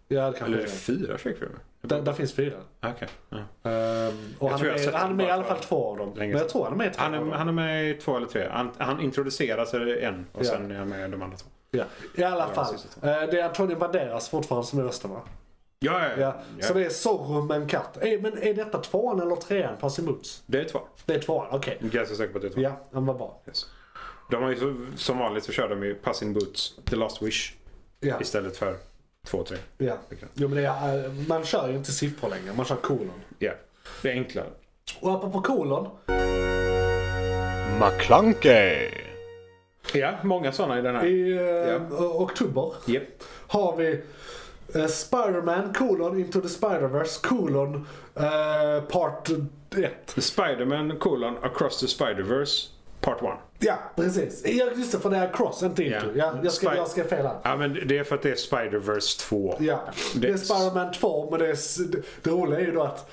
S3: ja det kanske
S4: Eller är
S3: det
S4: det
S3: är.
S4: fyra Shrek-filmer?
S3: Där, där finns fyra.
S4: Ah, Okej. Ja.
S3: Ehm, och
S4: Jag tror
S3: han,
S4: jag har
S3: är
S4: sett
S3: med, han är
S4: dem
S3: med i
S4: bara
S3: alla fall
S4: för
S3: två av dem.
S4: länge
S3: Men jag
S4: sedan.
S3: tror han är med i tre
S4: Han,
S3: av dem.
S4: är, han är med i två eller tre. Han, han introduceras i en och
S3: Ja.
S4: sen är han med i de andra två.
S3: Ja. I alla
S4: Ja,
S3: fall.
S4: sista två.
S3: eh, Det är Antonio Banderas fortfarande som är rösten va?
S4: Ja, ja,
S3: Ja.
S4: ja.
S3: Så det är Zorro med en katt. Eh, Men är detta tvåan eller trean? Pass emot.
S4: Det är två.
S3: Det är tvåan, okej.
S4: Jag är ganska säker på att det är två.
S3: Ja, den var bra.
S4: Yes. De har ju så, som vanligt så kör de ju Pass in Boots, The Last Wish
S3: Ja,
S4: istället för två och tre.
S3: ja. Jo, men det är, eh, man kör ju inte siffror längre, man kör kolon.
S4: Ja, det är enklare.
S3: Och apropå kolon.
S6: McClunkey.
S4: Ja, många sådana i den här.
S3: I eh,
S4: Ja.
S3: oktober
S4: Japp.
S3: har vi eh, Spider-Man kolon Into the Spider-Verse kolon eh, Part 1.
S4: The Spider-Man colon Across the Spider-Verse Part 1.
S3: Ja, precis. Ja, just det, för det är Cross, inte Into.
S4: Ja.
S3: Ja, jag ska,
S4: Spi-
S3: jag ska fel här.
S4: Ja, men det är för att det är Spider-Verse 2.
S3: Ja, det är Spider-Man 2 men det, är, s- det- det roliga är ju då att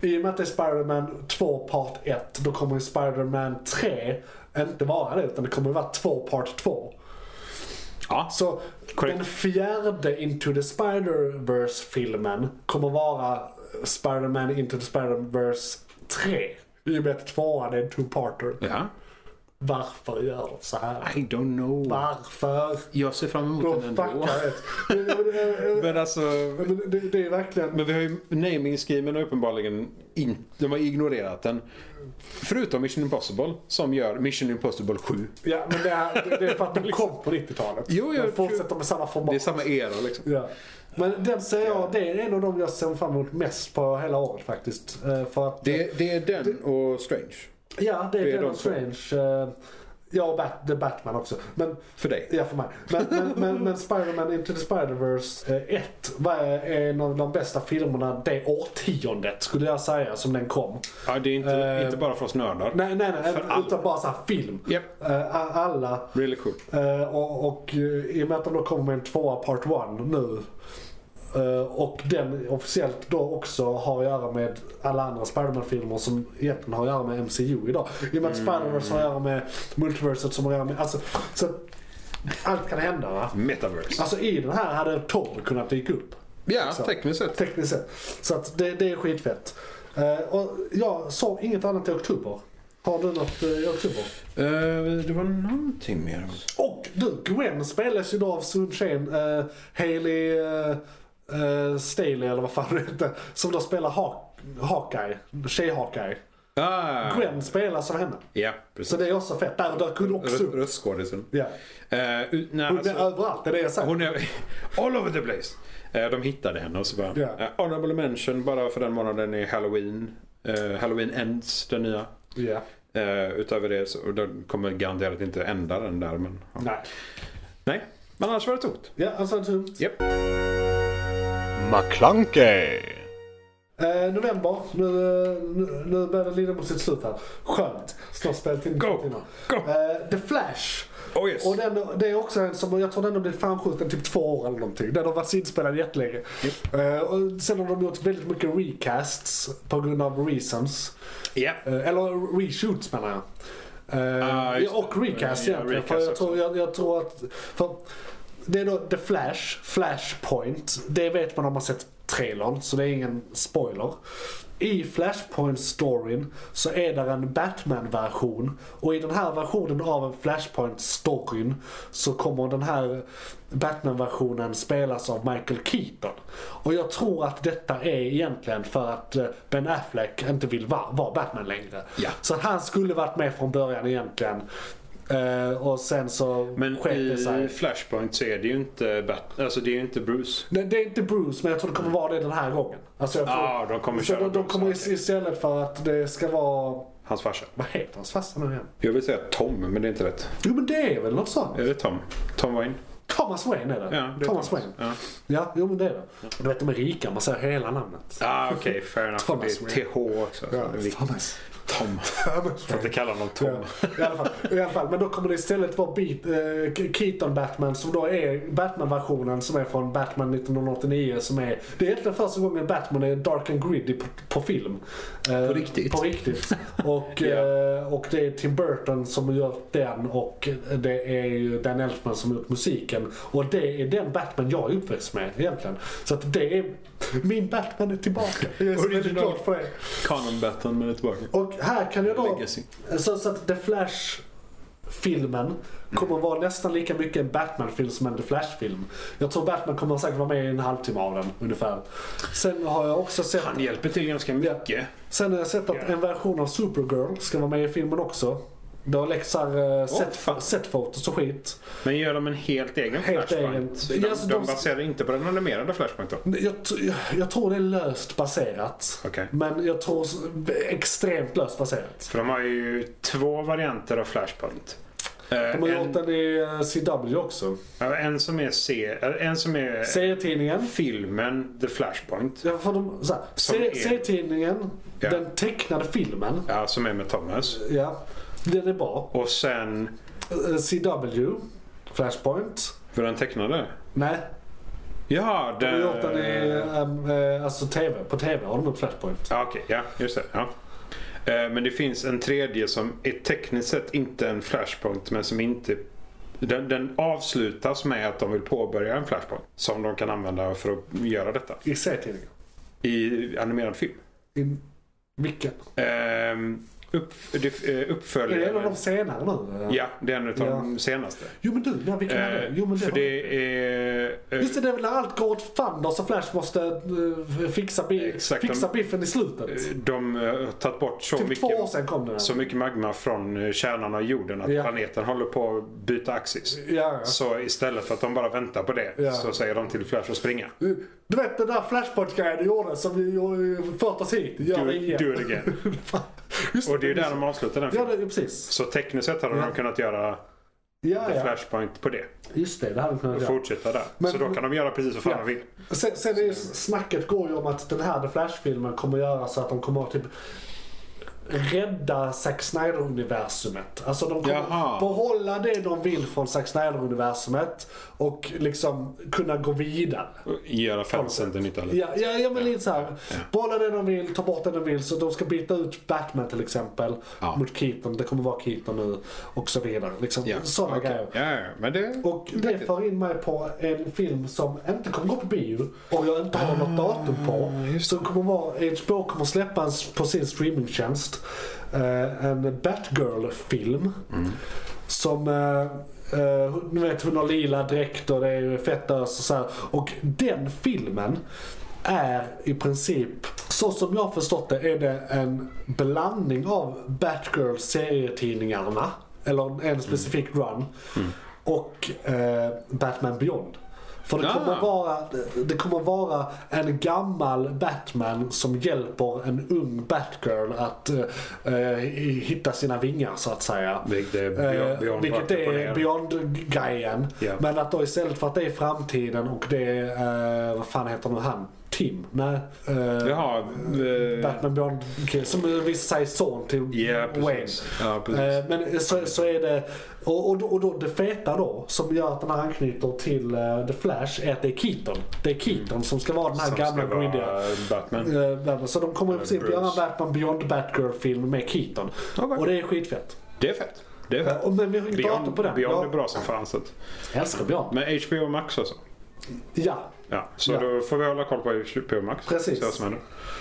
S3: i och med att det är Spider-Man 2 Part 1 då kommer ju Spider-Man 3 inte vara det utan det kommer ju vara 2 Part 2.
S4: Ja,
S3: Så
S4: Korrekt.
S3: den fjärde Into the Spider-Verse filmen kommer vara Spider-Man Into the Spider-Verse 3. I och med att tvåan är en two-parter.
S4: ja.
S3: Varför gör de så här?
S4: I don't know.
S3: Varför?
S4: Jag ser fram emot
S3: De
S4: den ändå.
S3: fuckar ett. Men- men- men-
S4: [LAUGHS] Men alltså...
S3: men Det, det är verkligen...
S4: Men vi har ju naming-schemen har uppenbarligen in, de har ignorerat den. Förutom Mission Impossible som gör Mission Impossible 7.
S3: Ja, men det är, det- det är för
S4: [LAUGHS]
S3: att de kom på 90-talet.
S4: Jo, jo,
S3: de fortsätter med samma format.
S4: Det är samma era liksom.
S3: Ja. Men den ser jag, det är en av de jag ser fram emot mest på hela året faktiskt. Eh, För att,
S4: Det, det är den och Strange.
S3: Ja, det är,
S4: Det är
S3: Doctor
S4: de två.
S3: Strange. eh, Ja, och Bat- The Batman också. Men,
S1: För dig.
S3: ja, för mig. Men, men, men, men Spider-Man Into the Spider-Verse eh, 1 var en av de bästa filmerna det årtiondet, skulle jag säga, som den kom.
S4: Ja, det är inte,
S3: Eh,
S4: inte bara för oss nördar.
S3: Nej, nej, nej.
S4: För alla.
S3: Utan bara så här film.
S4: Japp.
S3: Eh, a- Alla.
S4: Really cool.
S3: Eh, och, och eh, i och med att de då kommer med en tvåa part one nu. eh, och den officiellt då också har att göra med alla andra Spiderman-filmer som egentligen har att göra med MCU idag. I och med att Spider-Verse har att göra med multiverset som har att göra med... Alltså, så att allt kan hända va?
S4: Metaverse.
S3: Alltså i den här hade Thor kunnat dyka upp.
S4: Ja,
S3: så.
S4: tekniskt sett.
S3: Tekniskt sett. Så att det, det är skitfett. Eh, och jag såg inget annat i oktober. Har du något eh, i oktober?
S4: Eh, det var någonting mer.
S3: Och du, Gwen spelas ju då av Sun Chen, eh, Hailey eh, eh, Staley eller vad fan det heter. Som då spelar ha- Hawkeye, tjej-Hawkeye.
S4: Ah,
S3: Gwen spelas av henne.
S4: ja,
S3: Så
S4: precis.
S3: det är också fett. Där dök hon också upp.
S4: Röstskådisen.
S3: Ja.
S4: Eh, ut- nej,
S3: Hon är
S4: alltså,
S3: överallt, det är det jag säger.
S4: hon är [LAUGHS] all over the place. Eh, de hittade henne och så bara...
S3: Ja.
S4: eh, honorable mention bara för den månaden är Halloween. Eh, Halloween Ends, den nya.
S3: Ja.
S4: Eh, utöver det så och den kommer garanterat inte ända den där. Men, ja.
S3: Nej.
S4: Nej, men annars var det tomt.
S3: Ja, alltså typ.
S4: Japp.
S6: McClunkey!
S3: Eh, november, nu, eh, nu, nu börjar det lida mot sitt slut här. Skönt. Snart spelat in
S4: Go!
S3: timmar.
S4: Go!
S3: Eh, The Flash.
S4: Oh yes.
S3: Och den, det är också en som, jag tror den har blivit framskjuten typ två år eller någonting. Den har varit inspelad jättelänge. Eh, och sen har de gjort väldigt mycket recasts på grund av reasons.
S4: Ja.
S3: Eh, eller reshoots menar jag. Eh,
S4: Ah,
S3: ja,
S4: just
S3: och
S4: det.
S3: recast
S4: Ja,
S3: egentligen.
S4: recast
S3: för jag
S4: också.
S3: tror, jag, jag tror att... För det är då The Flash, Flashpoint. Det vet man om man sett trailern, så det är ingen spoiler. I Flashpoint-storyn så är där en Batman-version. Och i den här versionen av en Flashpoint-storyn så kommer den här Batman-versionen spelas av Michael Keaton. Och jag tror att detta är egentligen för att eh, Ben Affleck inte vill va- vara Batman längre.
S4: Ja.
S3: Så att han skulle varit med från början egentligen. Eh, och sen så
S4: Men eh,
S3: sket det
S4: i
S3: sig.
S4: Flashpoint så är det ju inte, Bat- alltså, det är ju inte Bruce.
S3: Nej, det är inte Bruce, men jag tror det kommer vara det den här gången. Alltså jag tror,
S4: Ja, de kommer
S3: så
S4: köra
S3: de, de
S4: Bruce,
S3: kommer
S4: okej.
S3: istället för att det ska vara...
S4: Hans farsa.
S3: Vad heter hans farsa nu igen?
S4: Jag vill säga Tom, men det är inte rätt.
S3: Jo men det är väl något sånt.
S4: Är det Tom? Tom Wayne?
S3: Thomas Wayne är det.
S4: Ja, det är
S3: Thomas
S4: Thomas.
S3: Wayne.
S4: Ja.
S3: Ja, jo men det är det. Och du vet de är rika, man säger hela namnet.
S4: Ah, okej. fair enough.
S3: Thomas
S4: det är TH också. så det är viktigt.
S3: Thomas.
S4: Tom.
S3: [LAUGHS] Thomas
S4: Får inte kalla honom Tom.
S3: Ja, I, alla fall, I alla fall, men då kommer det istället vara Beat, eh, Ke- Keaton Batman som då är Batman-versionen som är från Batman 1989 som är, det är egentligen första gången Batman är dark and gritty på, på film. Eh,
S4: På riktigt. [LAUGHS]
S3: På riktigt. Och, eh, och det är Tim Burton som gör den och det är ju Dan Elfman som har gjort musiken. Och det är den Batman jag är uppväxt med egentligen. Så att det är, min Batman är tillbaka. Jag är så väldigt
S4: Original.
S3: glad för det.
S4: Canon Batman, men är tillbaka.
S3: Och här kan jag då...
S4: Legacy.
S3: Så, så att The Flash filmen
S4: Mm.
S3: kommer vara nästan lika mycket en Batman-film som en The Flash-film. Jag tror Batman kommer säkert vara med i en halvtimme av den ungefär. Sen har jag också sett,
S4: Han hjälper till ganska mycket.
S3: sen har jag sett att en version av Supergirl ska vara med i filmen också. Då läxar eh, set-
S4: fan.
S3: setfotos och skit.
S4: Men gör de en helt egen
S3: Helt egen.
S4: Flashpoint? De,
S3: Ja, alltså,
S4: de,
S3: de-
S4: baserar inte på den animerade Flashpoint då?
S3: Jag, t- jag, jag tror det är löst baserat.
S4: Okej.
S3: Men jag tror s- extremt löst baserat.
S4: För de har ju två varianter av Flashpoint. Eh,
S3: De har gjort
S4: en,
S3: den i eh, CW också.
S4: ja, en som är, se, eller en som är
S3: Serietidningen.
S4: filmen The Flashpoint.
S3: Ja, för de, så här,
S4: Som
S3: se,
S4: är-
S3: serietidningen,
S4: Ja.
S3: den tecknade filmen,
S4: Ja, som är med Thomas.
S3: ja, den är bra.
S4: Och sen...
S3: Eh, CW, Flashpoint.
S4: För den tecknade?
S3: Nej,
S4: Ja,
S3: de
S4: den...
S3: har gjort den i, ehm, eh, alltså TV, på TV har de gjort Flashpoint.
S4: Ja, okej. Ja, just det. Ja. Eh, Men det finns en tredje som är tekniskt sett inte en flashpoint men som inte... Den, den avslutas med att de vill påbörja en flashpoint som de kan använda för att göra detta
S3: I serietidningen.
S4: i animerad film.
S3: I vilken?
S4: Ehm, upp, det- eh,
S3: Är det en av
S4: uppföljaren...
S3: de senare nu? Eh,
S4: Ja, det är en av de
S3: Ja.
S4: senaste.
S3: Jo men du, ja, vilken var det?
S4: Eh,
S3: Jo, men det
S4: för
S3: var...
S4: det är... eh,
S3: Just det, det är väl när allt går åt fanders och Flash måste eh, fixa, bi-
S4: Exakt,
S3: fixa
S4: de-
S3: biffen i slutet.
S4: De eh, har tagit bort så
S3: typ två
S4: mycket...
S3: år sedan kom den.
S4: Så mycket magma från eh, kärnan av jorden att
S3: Ja.
S4: planeten håller på att byta axis.
S3: Ja, ja.
S4: Så istället för att de bara väntar på det
S3: Ja.
S4: så säger de till Flash att springa.
S3: Du vet den där flashpoint-grejen du gjorde som vi gjorde- förde oss hit. Gör
S4: Do
S3: det
S4: it, do
S3: igen.
S4: it again.
S3: [LAUGHS] Just
S4: Och det är ju där de avslutar den
S3: Ja,
S4: filmen.
S3: det, precis.
S4: Så tekniskt sett hade
S3: Ja.
S4: de kunnat göra
S3: Ja,
S4: The
S3: ja.
S4: Flashpoint på det.
S3: Just det, det hade de
S4: Och
S3: kunnat göra.
S4: fortsätta där.
S3: Men-
S4: så då kan de göra precis vad fan
S3: Ja.
S4: de vill.
S3: Sen, sen är ju snacket går ju om att den här The Flash-filmen kommer göra så att de kommer att typ rädda Zack Snyder-universumet. Alltså de kommer
S4: Jaha.
S3: behålla det de vill från Zack Snyder-universumet och liksom kunna gå vidare.
S4: Och Göra fansen till nytta. eller?
S3: Ja, ja, ja men lite såhär. Behålla det de vill, ta bort det de vill. Så de ska byta ut Batman till exempel
S4: Ja.
S3: mot Keaton. Det kommer vara Keaton nu och så vidare. Liksom,
S4: Ja,
S3: Sådana
S4: okej.
S3: grejer.
S4: Ja, ja, men det...
S3: Och det för in mig på en film som inte kommer gå på bio och jag inte har
S4: Ah,
S3: något datum på. Som kommer vara, HBO kommer släppa en, s- på sin streamingtjänst eh, en Batgirl-film.
S4: Mm.
S3: Som, eh, eh, ni vet hon har lila dräkt och det är ju fett ös och så här. Och den filmen är i princip, så som jag har förstått det, är det en blandning av Batgirl serietidningarna, eller en specifik run, och eh, Batman Beyond. För det
S4: Ah.
S3: kommer, vara, det kommer vara en gammal Batman som hjälper en ung Batgirl att eh, eh, hitta sina vingar så att säga.
S4: Vilket är
S3: Eh,
S4: Beyond- Beyond
S3: vilket
S4: rakt upp och
S3: är
S4: ner.
S3: Beyond-grejen.
S4: Ja.
S3: Men att då istället för att det är framtiden och det är, eh, vad fan heter nu han? Tim? Nej. eh,
S4: Jaha. eh,
S3: Batman Beyond, okay, som visar sig son till
S4: Ja, precis.
S3: Wayne.
S4: Ja, precis.
S3: Eh, men så, så är det, och, och, då- och då det feta då, som gör att den här anknyter till eh, The Flash, är att det är Keaton. Det är Keaton som ska vara den här
S4: Mm. som
S3: gamla
S4: ska vara
S3: grittiga
S4: Batman.
S3: Eh, Batman. Så de kommer i princip
S4: Bruce.
S3: göra en Batman Beyond Batgirl-film med Keaton.
S4: Okej.
S3: Och det är skitfett.
S4: Det är fett. Det är fett.
S3: Och, men vi har inget datum
S4: Beyond,
S3: på den.
S4: Beyond
S3: Jag
S4: är bra som fan. så att-
S3: älskar Beyond.
S4: Men HBO Max också.
S3: Ja.
S4: Ja, så
S3: Ja.
S4: då får vi hålla koll på HBO Max.
S3: Precis.
S4: Se vad som händer.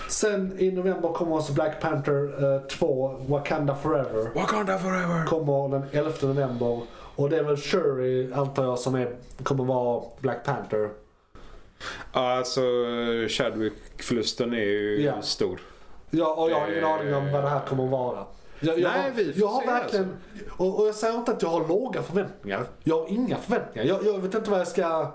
S3: Sen i november kommer också Black Panther eh, 2, Wakanda Forever.
S4: Wakanda forever!
S3: kommer den 11 november. Och det är väl Shuri, antar jag, som är, kommer vara Black Panther.
S4: Alltså, Chadwick-förlusten är ju
S3: Ja.
S4: stor.
S3: Ja, och jag har ingen
S4: Det-
S3: aning om vad det här kommer vara. Jag, jag,
S4: Nej,
S3: har-
S4: vi får
S3: jag har
S4: se, alltså.
S3: verkligen, och, och jag säger inte att jag har låga förväntningar. Jag har inga förväntningar. Jag, jag vet inte vad jag ska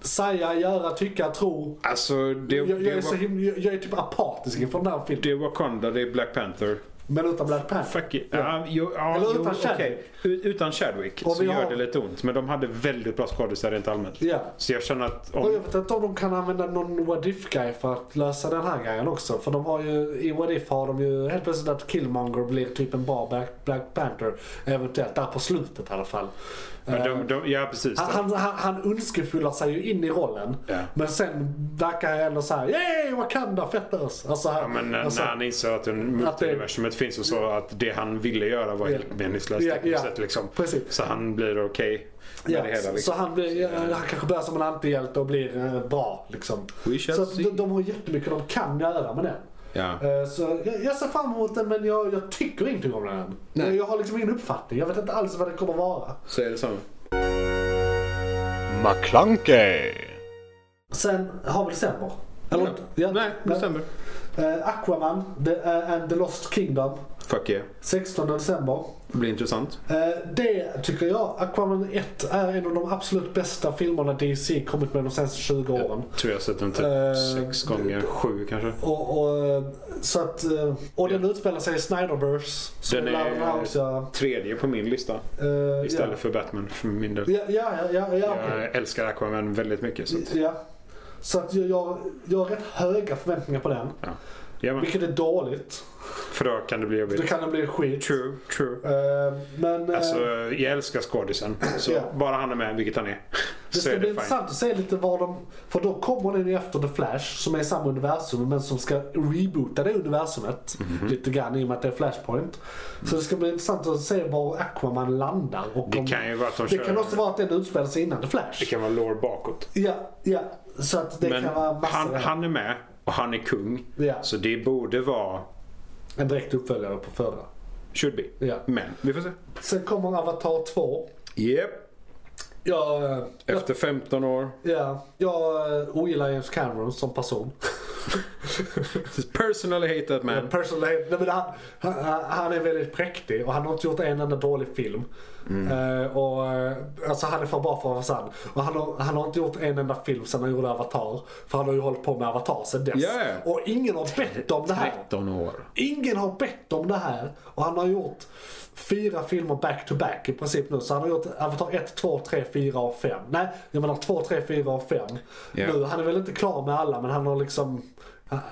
S3: säga, göra, tycka, tro.
S4: Alltså, det,
S3: Jag, jag,
S4: det,
S3: är, så
S4: var,
S3: himla, jag, jag är typ apatisk inför den här filmen.
S4: det är Wakanda, det är Black Panther.
S3: Men utan Black Panther.
S4: Fuck it. Ja, jo, ja,
S3: Eller
S4: jo,
S3: utan Chadwick.
S4: okej. U- Utan Chadwick
S3: Och
S4: så
S3: vi har-
S4: gör det lite ont. Men de hade väldigt bra skådisar rent allmänt.
S3: Ja.
S4: Så jag känner att
S3: Och jag
S4: om...
S3: vet inte om de kan använda någon What If-guy för att lösa den här grejen också. För de har ju, i What If har de ju helt plötsligt att Killmonger blir typ en bra Black, Black Panther. Eventuellt där på slutet i alla fall.
S4: Men
S3: Eh,
S4: de, de, ja, precis.
S3: han, han, han, han önskefullar sig ju in i rollen.
S4: Ja.
S3: Men sen verkar han ändå såhär, yay Wakanda fett ös." alltså, han,
S4: Ja, men eh, när,
S3: alltså,
S4: när han inser att
S3: Att det-
S4: multiversumet finns och så att det han ville göra var
S3: Ja.
S4: helt meningslöst
S3: Ja,
S4: tekniskt sett.
S3: ja.
S4: Liksom.
S3: Precis.
S4: Så han blir okej med
S3: Ja,
S4: det hela.
S3: så
S4: Liksom.
S3: han, blir, eh, han kanske börjar som en antihjälte och blir eh, bra. Liksom.
S4: We shall
S3: Så att
S4: see.
S3: de, de har jättemycket de kan göra med den.
S4: Ja.
S3: Eh, Så jag, jag ser fram emot den men jag, jag tycker ingenting om den än. Jag, jag har liksom ingen uppfattning. Jag vet inte alls vad det kommer vara.
S4: Så är det så.
S6: McClunkey!
S3: Sen har vi december. Eller,
S4: Ja. Nej, december.
S3: Eh, Aquaman the, eh, and the Lost Kingdom.
S4: Fuck yeah.
S3: 16 december.
S4: Det blir intressant.
S3: Eh, det tycker jag, Aquaman 1 är en av de absolut bästa filmerna DC kommit med de senaste 20 åren.
S4: Jag tror jag har sett den typ
S3: Eh,
S4: sex gånger, sju kanske.
S3: Och, och, eh, så att, eh, och den utspelar sig i Snyderverse. Så
S4: Den
S3: den
S4: är-
S3: är... Också,
S4: Tredje på min lista
S3: eh,
S4: istället för Batman för min del.
S3: ja. Ja, ja, ja, ja, ja, okej.
S4: Jag älskar Aquaman väldigt mycket. Så att,
S3: Ja. Så att jag, jag, jag har rätt höga förväntningar på den.
S4: ja. Ja, men,
S3: Vilket är dåligt.
S4: för då kan det bli
S3: Då
S4: jobbigt.
S3: kan det bli skit.
S4: True, true.
S3: Eh, Men eh,
S4: Alltså, jag älskar skådisen. Så
S3: Ja.
S4: bara han är med, vilket han är, [LAUGHS]
S3: det
S4: så
S3: ska
S4: är
S3: bli
S4: det fine.
S3: intressant att se lite vad de... För då kommer den ju efter The Flash som är i samma universum men som ska reboota det universumet.
S4: Mhm.
S3: Lite grann i och med att det är Flashpoint. Så det ska bli intressant att se var Aquaman landar. Och
S4: Det
S3: om-
S4: kan ju vara att de
S3: det
S4: kör-
S3: kan också vara att den utspelar sig innan The
S4: Det
S3: Flash.
S4: kan vara lore bakåt.
S3: Ja, ja. Så att det
S4: Men
S3: kan vara massor
S4: han,
S3: av-
S4: han är med och han är kung.
S3: Ja.
S4: Så det borde vara...
S3: En direkt uppföljare på förra.
S4: Should be.
S3: Ja.
S4: Men vi får se.
S3: Sen kommer Avatar 2.
S4: Yep.
S3: Jag, eh,
S4: Efter 15 år.
S3: ja, jag eh, ogillar James Cameron som person.
S4: [LAUGHS] Personally hate that
S3: [LAUGHS]
S4: man.
S3: Personally, nej, men han, han, han är väldigt präktig och han har inte gjort en enda dålig film.
S4: Mm.
S3: Eh, och, eh, alltså han är för bra för att vara sann. Och han har, han har inte gjort en enda film sedan han gjorde Avatar. För han har ju hållit på med Avatar sedan dess.
S4: Ja, ja.
S3: Och ingen har bett om det här.
S4: 13 år.
S3: Ingen har bett om det här. Och han har gjort fyra filmer back to back i princip nu. Så han har gjort Avatar 1, 2, 3, 4 och 5. Nej, jag menar 2, 3, 4 och 5.
S4: Ja.
S3: Nu, han är väl inte klar med alla men han har liksom...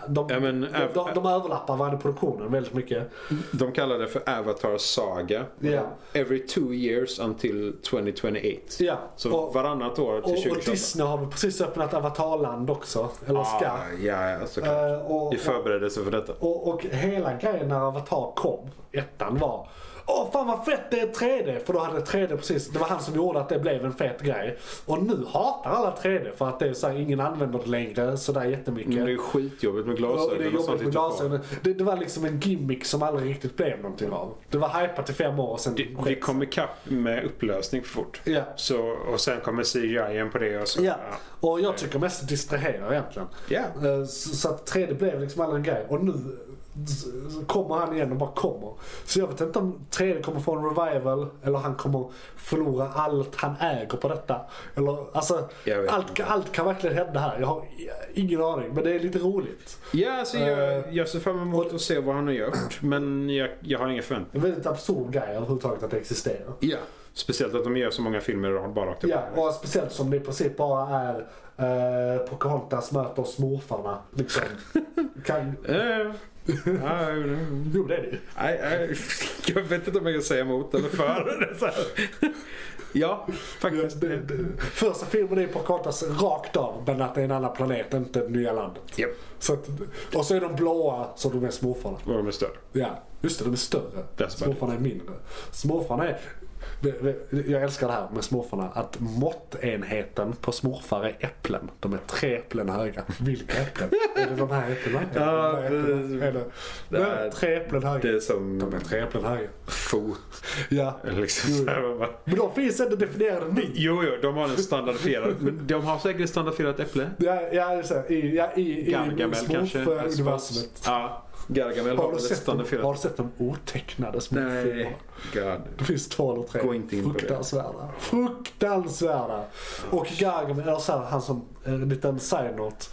S3: De,
S4: Ja, men,
S3: de, de, de överlappar varandra i produktionen väldigt mycket.
S4: De kallar det för Avatar Saga.
S3: Ja.
S4: Every two years until 2028.
S3: Ja,
S4: Så
S3: och-
S4: varannat år till
S3: Och, och
S4: 2028.
S3: Disney har väl precis öppnat Avatarland också. Eller ska.
S4: ah, ja, ja, såklart.
S3: Eh, och,
S4: I förberedelse för detta.
S3: Och, och hela grejen när Avatar kom, ettan var Åh fan vad fett det är 3D! För då hade 3D precis, det var han som gjorde att det blev en fet grej. Och nu hatar alla 3D för att det är så här, ingen använder det längre sådär jättemycket.
S4: Men Mm, det är ju skitjobbigt med
S3: Mm. Och det är
S4: glasögon och sånt.
S3: jobbigt med
S4: tittar på.
S3: glasögonen. Det, det var liksom en gimmick som aldrig riktigt blev någonting av. Det var hypat i fem år och sen
S4: Det- Vi kom ikapp med upplösning för fort.
S3: Ja.
S4: Så, och sen kommer CGI på det och så.
S3: Ja, och jag tycker mest distraherar egentligen.
S4: Ja.
S3: Eh, Så så att 3D blev liksom aldrig en grej. Och nu s- s- kommer han igen och bara kommer. Så jag vet inte om 3D kommer få en revival eller han kommer förlora allt han äger på detta. Eller, alltså,
S4: Jag vet
S3: allt, allt kan verkligen hända här. Jag har i- ingen aning, men det är lite roligt.
S4: Ja, alltså
S3: Eh,
S4: jag, jag ser fram emot att se vad han har gjort. Men jag, jag har inga förväntningar.
S3: En väldigt absurd grej överhuvudtaget att det existerar.
S4: Ja. Speciellt att de gör så många filmer i rad bara rakt upp.
S3: Ja, och speciellt som det i princip bara är eh, Pocahontas möter smurfarna.
S4: [LAUGHS]
S3: Liksom. kan,
S4: Eh, ja, jo,
S3: jo, det är det ju.
S4: Nej, nej, jag vet inte om jag kan säga emot eller
S3: [LAUGHS]
S4: för. Det är så här. ja, faktiskt.
S3: Det- det- Första filmen är på kortas rakt av men att det är en annan planet, inte nya landet.
S4: Japp.
S3: Så att, och så är de blåa så de är småfarna.
S4: Vad de är större.
S3: Ja, just det, de är större.
S4: That's
S3: Småfarna är mindre. Småfarna är... Jag älskar det här med småfarna. Att måttenheten på smurfar är äpplen. De är tre äpplen höga. Vilka äpplen? är det de här äpplena? Är det
S4: Ja,
S3: de här äpplena?
S4: det-
S3: Är det-
S4: det här-
S3: Nej, Tre äpplen
S4: Det är
S3: höga.
S4: som
S3: De är tre äpplen höga.
S4: fot.
S3: Ja.
S4: eller Liksom, så här, man bara.
S3: Men de finns inte definierade nu.
S4: Jo, jo, de har en standardfierad. Men de har säkert ett standardfierat äpple.
S3: Ja, ja, just det. I, ja, i, i
S4: Gargamel kanske. Alltså,
S3: smurf-universumet.
S4: Ja, Gargamel har
S3: Har du,
S4: väl ett
S3: sett de, har
S4: standardfierat.
S3: du sett de otecknade smurffilmerna?
S4: Nej, god.
S3: Det finns två eller tre.
S4: Gå inte in på det.
S3: Fruktansvärda. Fruktansvärda. Och Gargamel, eller så här, han som, eh, en liten side-note.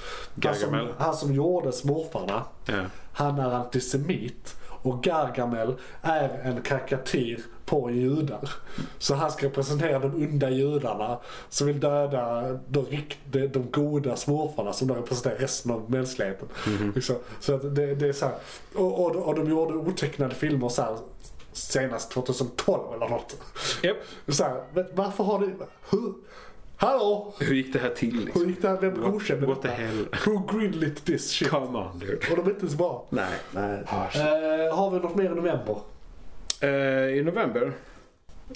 S3: Han som,
S4: Gargamel.
S3: han som gjorde smurfarna,
S4: Ja.
S3: han är antisemit. Och Gargamel är en karikatyr på judar. Så han ska representera de onda judarna som vill döda de, rikt, de, de goda smurfarna som då representerar resten av mänskligheten.
S4: Mhm.
S3: Liksom. Så att det, det är så här, och, och, och de gjorde otecknade filmer så här, senast 2012 eller något.
S4: Japp.
S3: Så här, men varför har du... Hur? Hallå?
S4: Hur gick det här till?
S3: Hur
S4: Liksom?
S3: gick det här? Vem godkände
S4: what the
S3: detta?
S4: hell?
S3: Who greenlit this shit?
S4: Come on, dude.
S3: Och de är inte ens bra.
S4: Nej, nej.
S3: Eh, har vi något mer i november?
S4: Eh, I november?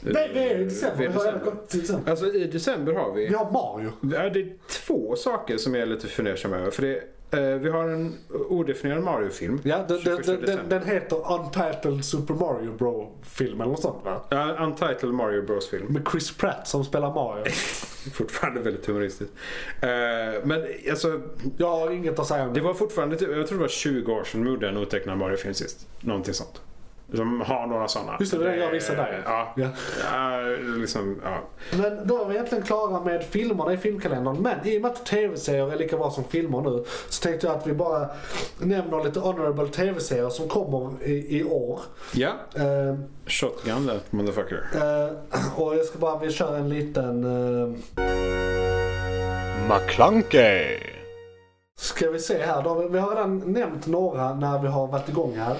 S3: Nej, vi är i
S4: Vi
S3: december.
S4: är i
S3: Vi har redan gått till december.
S4: Alltså i december har vi...
S3: Vi har Mario.
S4: Ja, det är två saker som jag är lite fundersam över. För det, eh, vi har en odefinierad Mario-film.
S3: Ja, den, den,
S4: 21
S3: den,
S4: december.
S3: den, den heter Untitled Super Mario Bro-film eller något sånt va?
S4: Ja, Untitled Mario Bros-film.
S3: Med Chris Pratt som spelar Mario.
S4: Fortfarande väldigt humoristiskt. Eh, men alltså,
S3: Jag har inget att säga om
S4: det
S3: det.
S4: var fortfarande typ, jag tror det var 20 år sedan de gjorde en otecknad Mario-film sist. Någonting sånt. De har några sådana.
S3: Just det, det var det jag visade dig.
S4: Ja.
S3: Ja.
S4: ja. liksom, ja.
S3: Men då är vi egentligen klara med filmerna i filmkalendern. Men i och med att tv-serier är lika bra som filmer nu så tänkte jag att vi bara nämner lite honorable tv-serier som kommer i, i år.
S4: Ja,
S3: Eh,
S4: shotgun that motherfucker.
S3: eh, [CLEARS THROAT] och jag ska bara, vi kör en liten... eh,
S6: McClunkey!
S3: Ska vi se här. Då, har vi- vi har redan nämnt några när vi har varit igång här.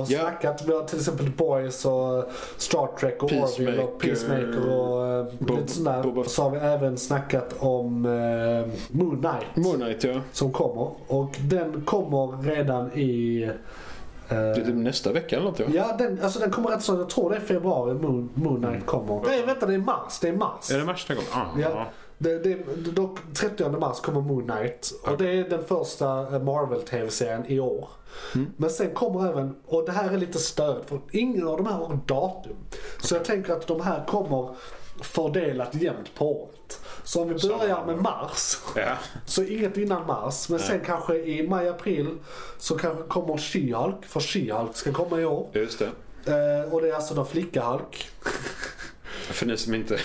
S3: Och
S4: Ja.
S3: snackat. Vi har till exempel The Boys och Star Trek och Orville och
S4: Peacemaker.
S3: Peacemaker och eh, lite sådär.
S4: Boba-
S3: Så har vi även snackat om eh, Moon Knight
S4: Moon Knight, ja.
S3: som kommer. Och den kommer redan i... eh,
S4: Det är typ nästa vecka eller något, ja.
S3: Ja, den, alltså den kommer rätt snart. Jag tror det är februari Moon, Moon Knight kommer. Nej, vänta. Det är mars. Det är mars.
S4: Mm. Är det mars den kommer? Ah,
S3: Ja. Det, det, dock, 30 mars kommer Moon Knight. Och det är den första eh, Marvel-tv-serien i år. Men sen kommer även, och det här är lite störigt för ingen av de här har datum. Så jag tänker att de här kommer fördelat jämnt på året. Så om vi börjar med mars,
S4: Ja.
S3: så inget innan mars, men sen kanske i maj-april så kanske kommer She-Hulk, för She-Hulk ska komma i år.
S4: Just det.
S3: Eh, och det är alltså då Flicka-Hulk.
S4: För ni som inte...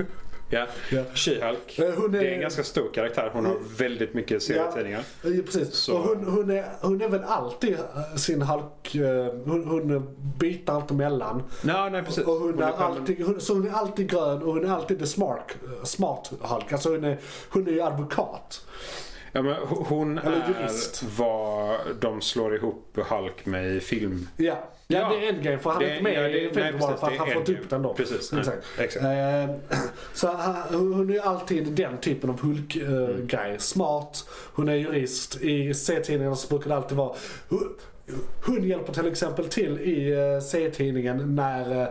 S4: [LAUGHS] ja.
S3: Ja.
S4: She-Hulk.
S3: Eh, hon är-
S4: Det är en ganska stor karaktär. Hon har väldigt mycket serietidningar.
S3: Ja, ja, precis.
S4: Så-
S3: Och hon, hon, är, hon är väl alltid eh, sin Hulk, eh, hon, hon bitar allt emellan.
S4: Nej, nej precis.
S3: Och hon
S4: Hon
S3: är
S4: är själv-
S3: alltid, hon, så hon är alltid grön och hon är alltid the smart, eh, smart Hulk. Alltså hon är, hon är ju advokat.
S4: Ja, men ho- hon
S3: Eller
S4: är
S3: jurist.
S4: vad de slår ihop Hulk med i film.
S3: Ja. Ja,
S4: Ja.
S3: det är Endgame för han
S4: Det-
S3: är inte med
S4: ja, det-
S3: i Infinity
S4: nej,
S3: War
S4: precis,
S3: för att
S4: det
S3: han
S4: är
S3: fått
S4: Endgame.
S3: upp den då.
S4: Precis, nej,
S3: Exakt.
S4: exakt.
S3: Eh, [CLEARS THROAT] så han, hon är ju alltid den typen av Hulk-grej.
S4: Mm.
S3: Smart, hon är jurist. I C-tidningarna så brukar det alltid vara hon, hon hjälper till exempel till i eh, C-tidningen när eh,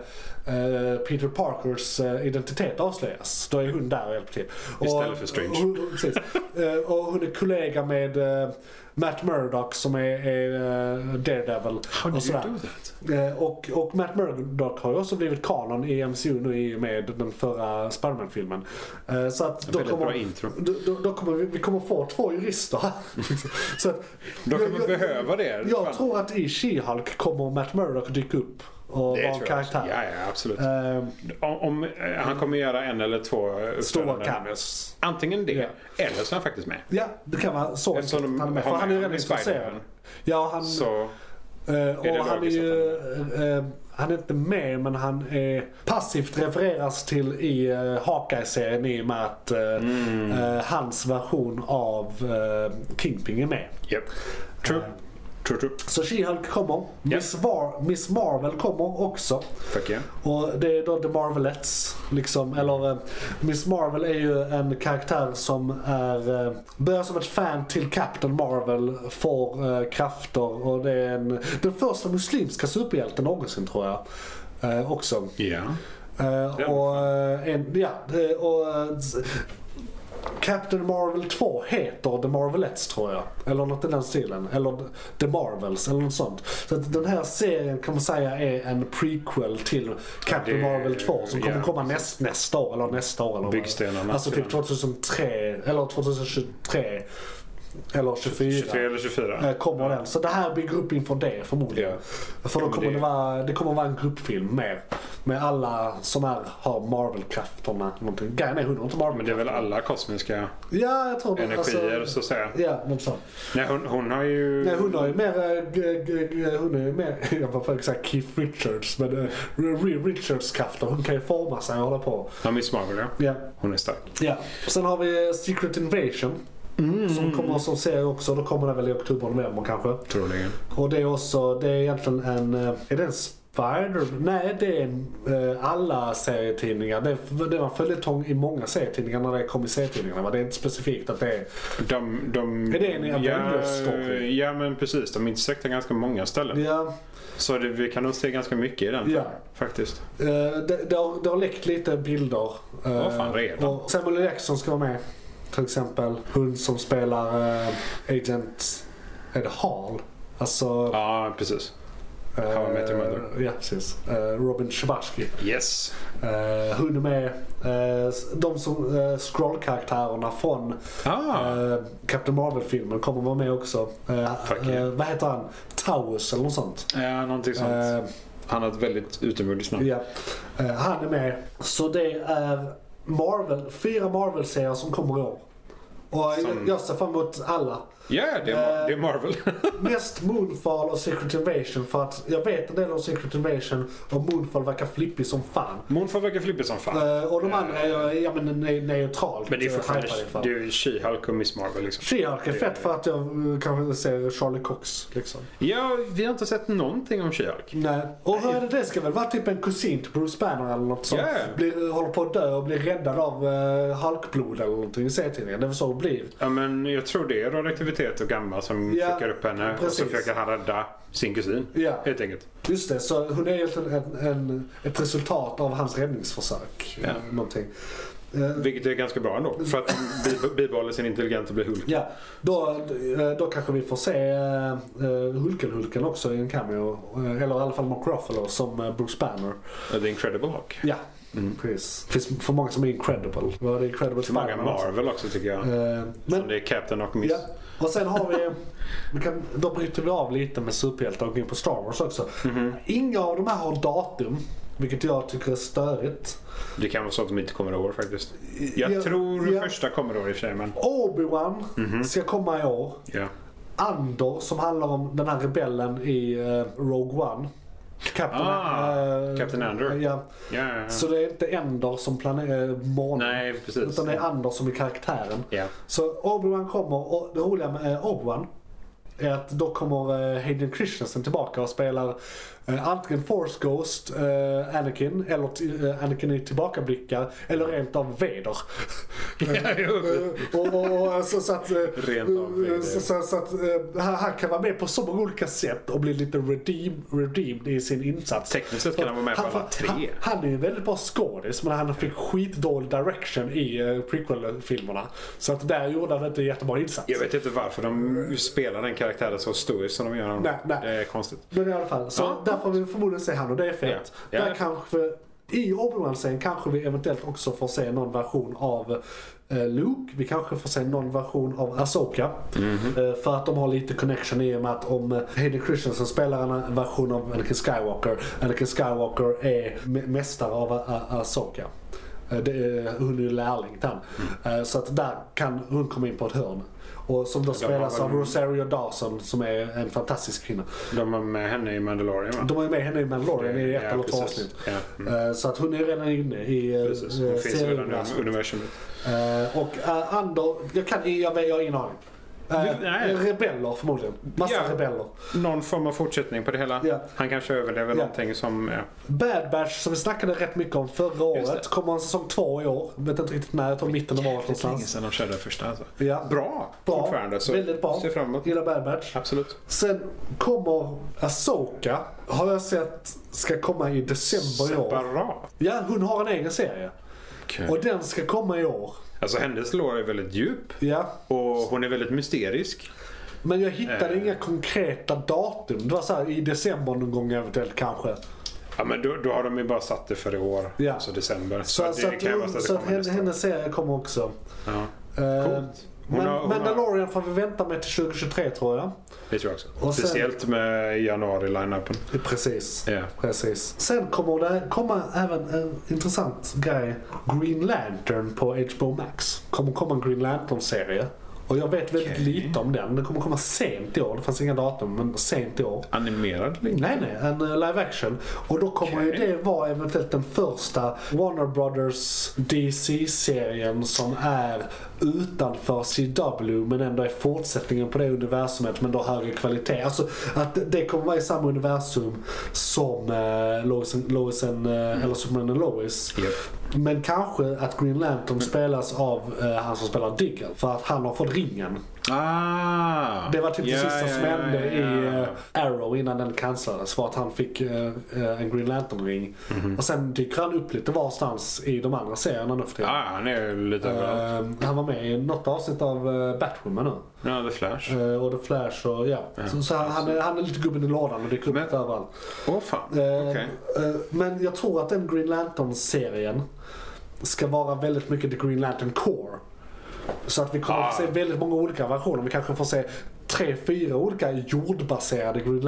S3: eh, Peter Parkers eh, identitet avslöjas. Då är hon där och hjälper till. Och,
S4: Istället för Strange.
S3: och- hon, precis. Eh, och hon är kollega med eh, Matt Murdock som är, är eh, Daredevil. How och sådär. Eh, Och, och Matt Murdock har ju också blivit kanon i MCU nu i och med den förra Spiderman-filmen. Eh, Så att då
S4: väldigt
S3: kommer,
S4: bra intro.
S3: Då, då, då kommer vi, vi kommer få två
S4: [LAUGHS]
S3: jurister här. Så att,
S4: De kommer
S3: jag, jag,
S4: behöva det.
S3: jag
S4: Fan.
S3: tror att i She-Hulk kommer Matt Murdock dyka upp och vara
S4: det
S3: en
S4: tror jag också.
S3: karaktär.
S4: Ja, ja, absolut.
S3: Eh,
S4: Om, om, eh, han kommer göra en eller två eh,
S3: Stora
S4: uppträdanden.
S3: cameos.
S4: Antingen det,
S3: Ja.
S4: eller så är han faktiskt med.
S3: Ja, det kan vara så.
S4: Eftersom de
S3: enkelt. han är med. För
S4: har
S3: han är ju
S4: med
S3: redan
S4: i Spider-Man.
S3: intresserad. Ja, han,
S4: Så,
S3: Eh,
S4: Är det
S3: och han är
S4: logiskt
S3: ju... eh, han är inte med men han är passivt refereras till i uh, Hawkeye-serien i och med att eh,
S4: Mm.
S3: eh, hans version av eh, Kingpin är med.
S4: yep. True.
S3: Eh.
S4: True, true.
S3: Så She-Hulk kommer. Miss, Var- Miss Marvel kommer också.
S4: Fuck yeah.
S3: Och det är då The Marvelettes. Liksom, eller, eh, Miss Marvel är ju en karaktär som är, eh, börjar som ett fan till Captain Marvel, får eh, krafter och det är en, den första muslimska superhjälten någonsin tror jag. Eh, också.
S4: Ja.
S3: Eh,
S4: Den.
S3: och, eh, en, ja, eh, och, eh, s- Captain Marvel 2 heter The Marvelettes tror jag. Eller något i den stilen. Eller The Marvels eller något sånt. Så att den här serien kan man säga är en prequel till Captain
S4: det-
S3: Marvel 2 som kommer
S4: ja.
S3: komma näst, nästa år eller nästa år. Eller vad.
S4: Byggstenarna.
S3: Alltså typ 2003 eller 2023 eller 24.
S4: 23 eller 24.
S3: Eh, kommer den. Så det här bygger upp inför det förmodligen.
S4: Ja.
S3: För
S4: Ja,
S3: då
S4: men
S3: kommer
S4: det-
S3: det... vara, det kommer vara en gruppfilm med, med alla som är, har Marvel-krafterna. någonting. Grejen är hon har inte
S4: Men det är
S3: Marvel.
S4: väl alla kosmiska
S3: Ja, jag tror det.
S4: energier
S3: Alltså,
S4: så att säga.
S3: ja, något sånt.
S4: Nej, hon, hon har ju...
S3: Nej, hon har ju mer, eh, g- g- g- hon är ju mer, [LAUGHS] jag var på säga Keith Richards, men eh, Ree Richards krafter, hon kan ju forma sig och hålla på.
S4: Ja, Miss Marvel ja.
S3: Ja,
S4: Hon är stark.
S3: ja. Sen har vi eh, Secret Invasion.
S4: Mm.
S3: Som kommer som serie också, då kommer den väl i oktober, november kanske.
S4: Troligen.
S3: Och det är också, det är egentligen en, eh, är det en Spider? Nej, det är en, eh, alla serietidningar. Det, det var en följetong i många serietidningar när det kom i serietidningarna. va? Det är inte specifikt att det är...
S4: De, de,
S3: Är det en Avengers-story?
S4: Ja, men precis. De intersektar ganska många ställen.
S3: Ja,
S4: Så det, vi kan nog se ganska mycket i den.
S3: Ja.
S4: Faktiskt.
S3: eh, det, det, har, det har läckt lite bilder. Eh,
S4: Vad fan, redan?
S3: och Samuel L. Jackson ska vara med. Till exempel hon som spelar eh, Agent... Är det Hall? Alltså...
S4: Ja, precis. How I Met Your Mother.
S3: eh, Ja, precis. Eh, Robin Schabatsky.
S4: Yes.
S3: Eh, hon är med eh, de som eh, scrollkaraktärerna från
S4: Ah,
S3: eh, Captain Marvel-filmen kommer vara med också. Eh,
S4: Fuck
S3: eh,
S4: yeah.
S3: vad heter han? Taurus eller något sånt.
S4: ja, någonting sånt.
S3: Eh,
S4: Han har ett väldigt utomjordiskt namn.
S3: ja. eh, han är med. Så det är Marvel, fyra Marvel-serier som kommer i år. Och jag- jag ser fram emot alla. [LAUGHS]
S4: Ja, det, är, Mar-
S3: Eh,
S4: det är Marvel. [LAUGHS]
S3: Mest Moonfall och Secret Invasion för att jag vet en del om Secret Invasion och Moonfall verkar flippig som fan.
S4: Moonfall verkar flippig som fan.
S3: Eh, och de andra är ja, men, ne- neutralt
S4: men det är
S3: eh,
S4: fortfarande
S3: hypade för.
S4: det är ju She-Hulk och Miss Marvel liksom.
S3: She-Hulk är fett för att jag eh, kanske ser Charlie Cox. Liksom.
S4: Ja, vi har inte sett någonting om She-Hulk.
S3: Nej. Och hörde, det ska väl vara typ en kusin till Bruce Banner eller något som
S4: Ja.
S3: blir, eh, håller på att dö och blir räddad av uh, Hulkblod eller någonting i serietidningen. Det är väl så det blir.
S4: Ja, men jag tror det är radioaktivitet och gamma som
S3: Ja,
S4: fuckar upp henne. Och så
S3: precis.
S4: försöker han rädda sin kusin.
S3: Ja.
S4: Helt enkelt.
S3: Just det, så hon är egentligen en, en, ett resultat av hans räddningsförsök.
S4: Ja.
S3: Någonting. Eh,
S4: Vilket är ganska bra ändå. För att han
S3: [LAUGHS]
S4: bi- bibehåller sin intelligens och blir Hulk.
S3: Ja, då, eh, då kanske vi får se eh, eh, Hulken-Hulken också i en cameo. eh, Eller i alla fall Mark Ruffalo som eh, Bruce Banner.
S4: The Incredible Hulk.
S3: Ja, Precis. Det finns för många som är incredible. Vi hade incredible
S4: Mm. För många
S3: Spider-Man också.
S4: Marvel också tycker jag.
S3: Eh,
S4: Som
S3: Men,
S4: det är Captain och Miss.
S3: ja. Och sen har vi, vi kan, då bryter vi av lite med superhjältar och går in på Star Wars också.
S4: Mhm.
S3: Inga av de här har datum, vilket jag tycker är störigt.
S4: Det kan vara så att de inte kommer ihåg faktiskt. Jag
S3: Ja,
S4: tror
S3: ja.
S4: första kommer ihåg i och för sig men...
S3: Obi-Wan
S4: Mhm.
S3: ska komma i år.
S4: Ja.
S3: Andor som handlar om den här rebellen i eh, Rogue One. Captain,
S4: Ah,
S3: eh,
S4: Captain Andor.
S3: Ja.
S4: Ja, ja,
S3: Så
S4: ja.
S3: det är inte Endor som planerar eh, månen.
S4: Nej, precis.
S3: Utan det är Anders som är karaktären.
S4: Ja. [LAUGHS]
S3: Så Obi-Wan kommer och det roliga med eh, Obi-Wan är att då kommer eh, Hayden Christensen tillbaka och spelar eh, antingen Force Ghost, eh, Anakin, eller t- eh, Anakin i tillbakablickar, eller rent av Vader. [LAUGHS]
S4: Ja, jo.
S3: Eh, och, och, och, så, så att, eh,
S4: Rent av Vader.
S3: så, så, så att eh, han, han kan vara med på så många olika sätt och bli lite redeem, redeemed i sin insats.
S4: Tekniskt sett kan han vara med på alla tre.
S3: Han, han är ju en väldigt bra skådis men han fick skitdålig direction i eh, prequel-filmerna. Så att där gjorde han inte jättebra insats.
S4: Jag vet inte varför de spelar den karaktären så stoiskt som de gör honom.
S3: Nej, nej.
S4: Det är konstigt.
S3: Men i alla fall, så
S4: Ja.
S3: där får vi förmodligen se han och det är fett.
S4: Ja. Ja.
S3: Där kanske, I Obi-Wan-serien kanske vi eventuellt också får se någon version av eh, Luke. Vi kanske får se någon version av Asoka.
S4: Mhm.
S3: för att de har lite connection i och med att om eh, Hayden Christensen spelar en eh, version av Anakin Skywalker. Anakin Skywalker är mä- mästare av uh, Asoka. Eh, Det är, hon är ju lärling till han.
S4: Mm.
S3: Eh, Så att där kan hon komma in på ett hörn. Och som då spelas
S4: var
S3: av
S4: väl-
S3: Rosario Dawson som är en fantastisk kvinna.
S4: De har med henne i Mandalorian va?
S3: De har ju med henne i Mandalorian i ett
S4: Ja,
S3: eller två
S4: precis.
S3: avsnitt.
S4: Ja, mm.
S3: Eh, Så att hon är redan inne i eh,
S4: Precis. Hon
S3: eh,
S4: finns i
S3: serien.
S4: hela universumet.
S3: Eh, Och eh, Andor, jag kan jag vet- jag har ingen aning. Eh,
S4: Du- nej.
S3: Rebeller förmodligen. Massa
S4: Ja.
S3: rebeller.
S4: Någon form av fortsättning på det hela.
S3: Ja.
S4: Han kanske överlever någonting som... Ja.
S3: Bad Batch som vi snackade rätt mycket om förra
S4: Just
S3: året
S4: det.
S3: kommer en säsong två i år. Vet inte riktigt när, jag tror mitten av året någonstans.
S4: sedan de körde första alltså.
S3: Ja.
S4: Bra,
S3: Bra.
S4: fortfarande. Så
S3: Väldigt bra.
S4: Se fram emot.
S3: Gillar Bad Batch.
S4: Absolut.
S3: Sen kommer Asoka, har jag sett, ska komma i december i år.
S4: Separat.
S3: Ja, hon har en egen serie. Och den ska komma i år.
S4: Alltså hennes lår är väldigt djup
S3: Ja.
S4: och hon är väldigt mysterisk.
S3: Men jag hittade
S4: Eh.
S3: inga konkreta datum. Det var så här i december någon gång eventuellt kanske.
S4: Ja men då, då har de ju bara satt det för i år.
S3: Ja.
S4: Alltså december. Så,
S3: Så,
S4: det
S3: så att,
S4: kan ju vara så att
S3: så
S4: det
S3: att
S4: kommer
S3: hennes,
S4: nästa år.
S3: hennes serie kommer också.
S4: Ja.
S3: Eh,
S4: Coolt. Hon
S3: Men,
S4: har- hon har-
S3: Mandalorian får vi vänta med till 2023 tror jag.
S4: Det tror jag också.
S3: Och sen-
S4: Speciellt med januari-lineupen.
S3: Precis.
S4: Ja.
S3: Precis. Sen kommer det komma även en intressant grej. Green Lantern på HBO Max. kommer komma en Green Lantern-serie. Och jag vet väldigt lite om den. Den kommer komma sent i år. Det fanns inga datum, men sent i år.
S4: Animerad link.
S3: Nej, nej. En eh, live action. Och då kommer ju
S4: Okej.
S3: det vara eventuellt den första Warner Brothers DC-serien som är utanför CW men ändå är fortsättningen på det universumet men då högre kvalitet. Alltså att det kommer vara i samma universum som eh, Lois, and- Lois and, eh, eller Superman and Lois.
S4: Japp.
S3: Men kanske att Green Lantern spelas av eh, han som spelar Diggle för att han har fått ringen.
S4: Ah!
S3: Det var typ det
S4: Ja,
S3: sista
S4: ja,
S3: som
S4: ja,
S3: hände
S4: ja,
S3: i
S4: ja.
S3: eh, Arrow innan den cancellades var att han fick eh, eh, en Green Lantern-ring.
S4: Mhm.
S3: Och sen dyker han upp lite varstans i de andra serierna nu för tiden.
S4: Ja, han är ju lite överallt.
S3: Eh, han var med i något avsnitt av eh, Batwoman nu.
S4: Ja, The Flash.
S3: Eh, och The Flash och ja. så så han, han, är, han är lite gubben i lådan och dyker upp
S4: Men-
S3: lite överallt.
S4: Åh fan.
S3: Eh,
S4: Okej.
S3: eh, Men jag tror att den Green Lantern-serien ska vara väldigt mycket The Green Lantern Core. Så att vi kommer att få
S4: Ah.
S3: se väldigt många olika versioner. Vi kanske får se tre, fyra olika jordbaserade Green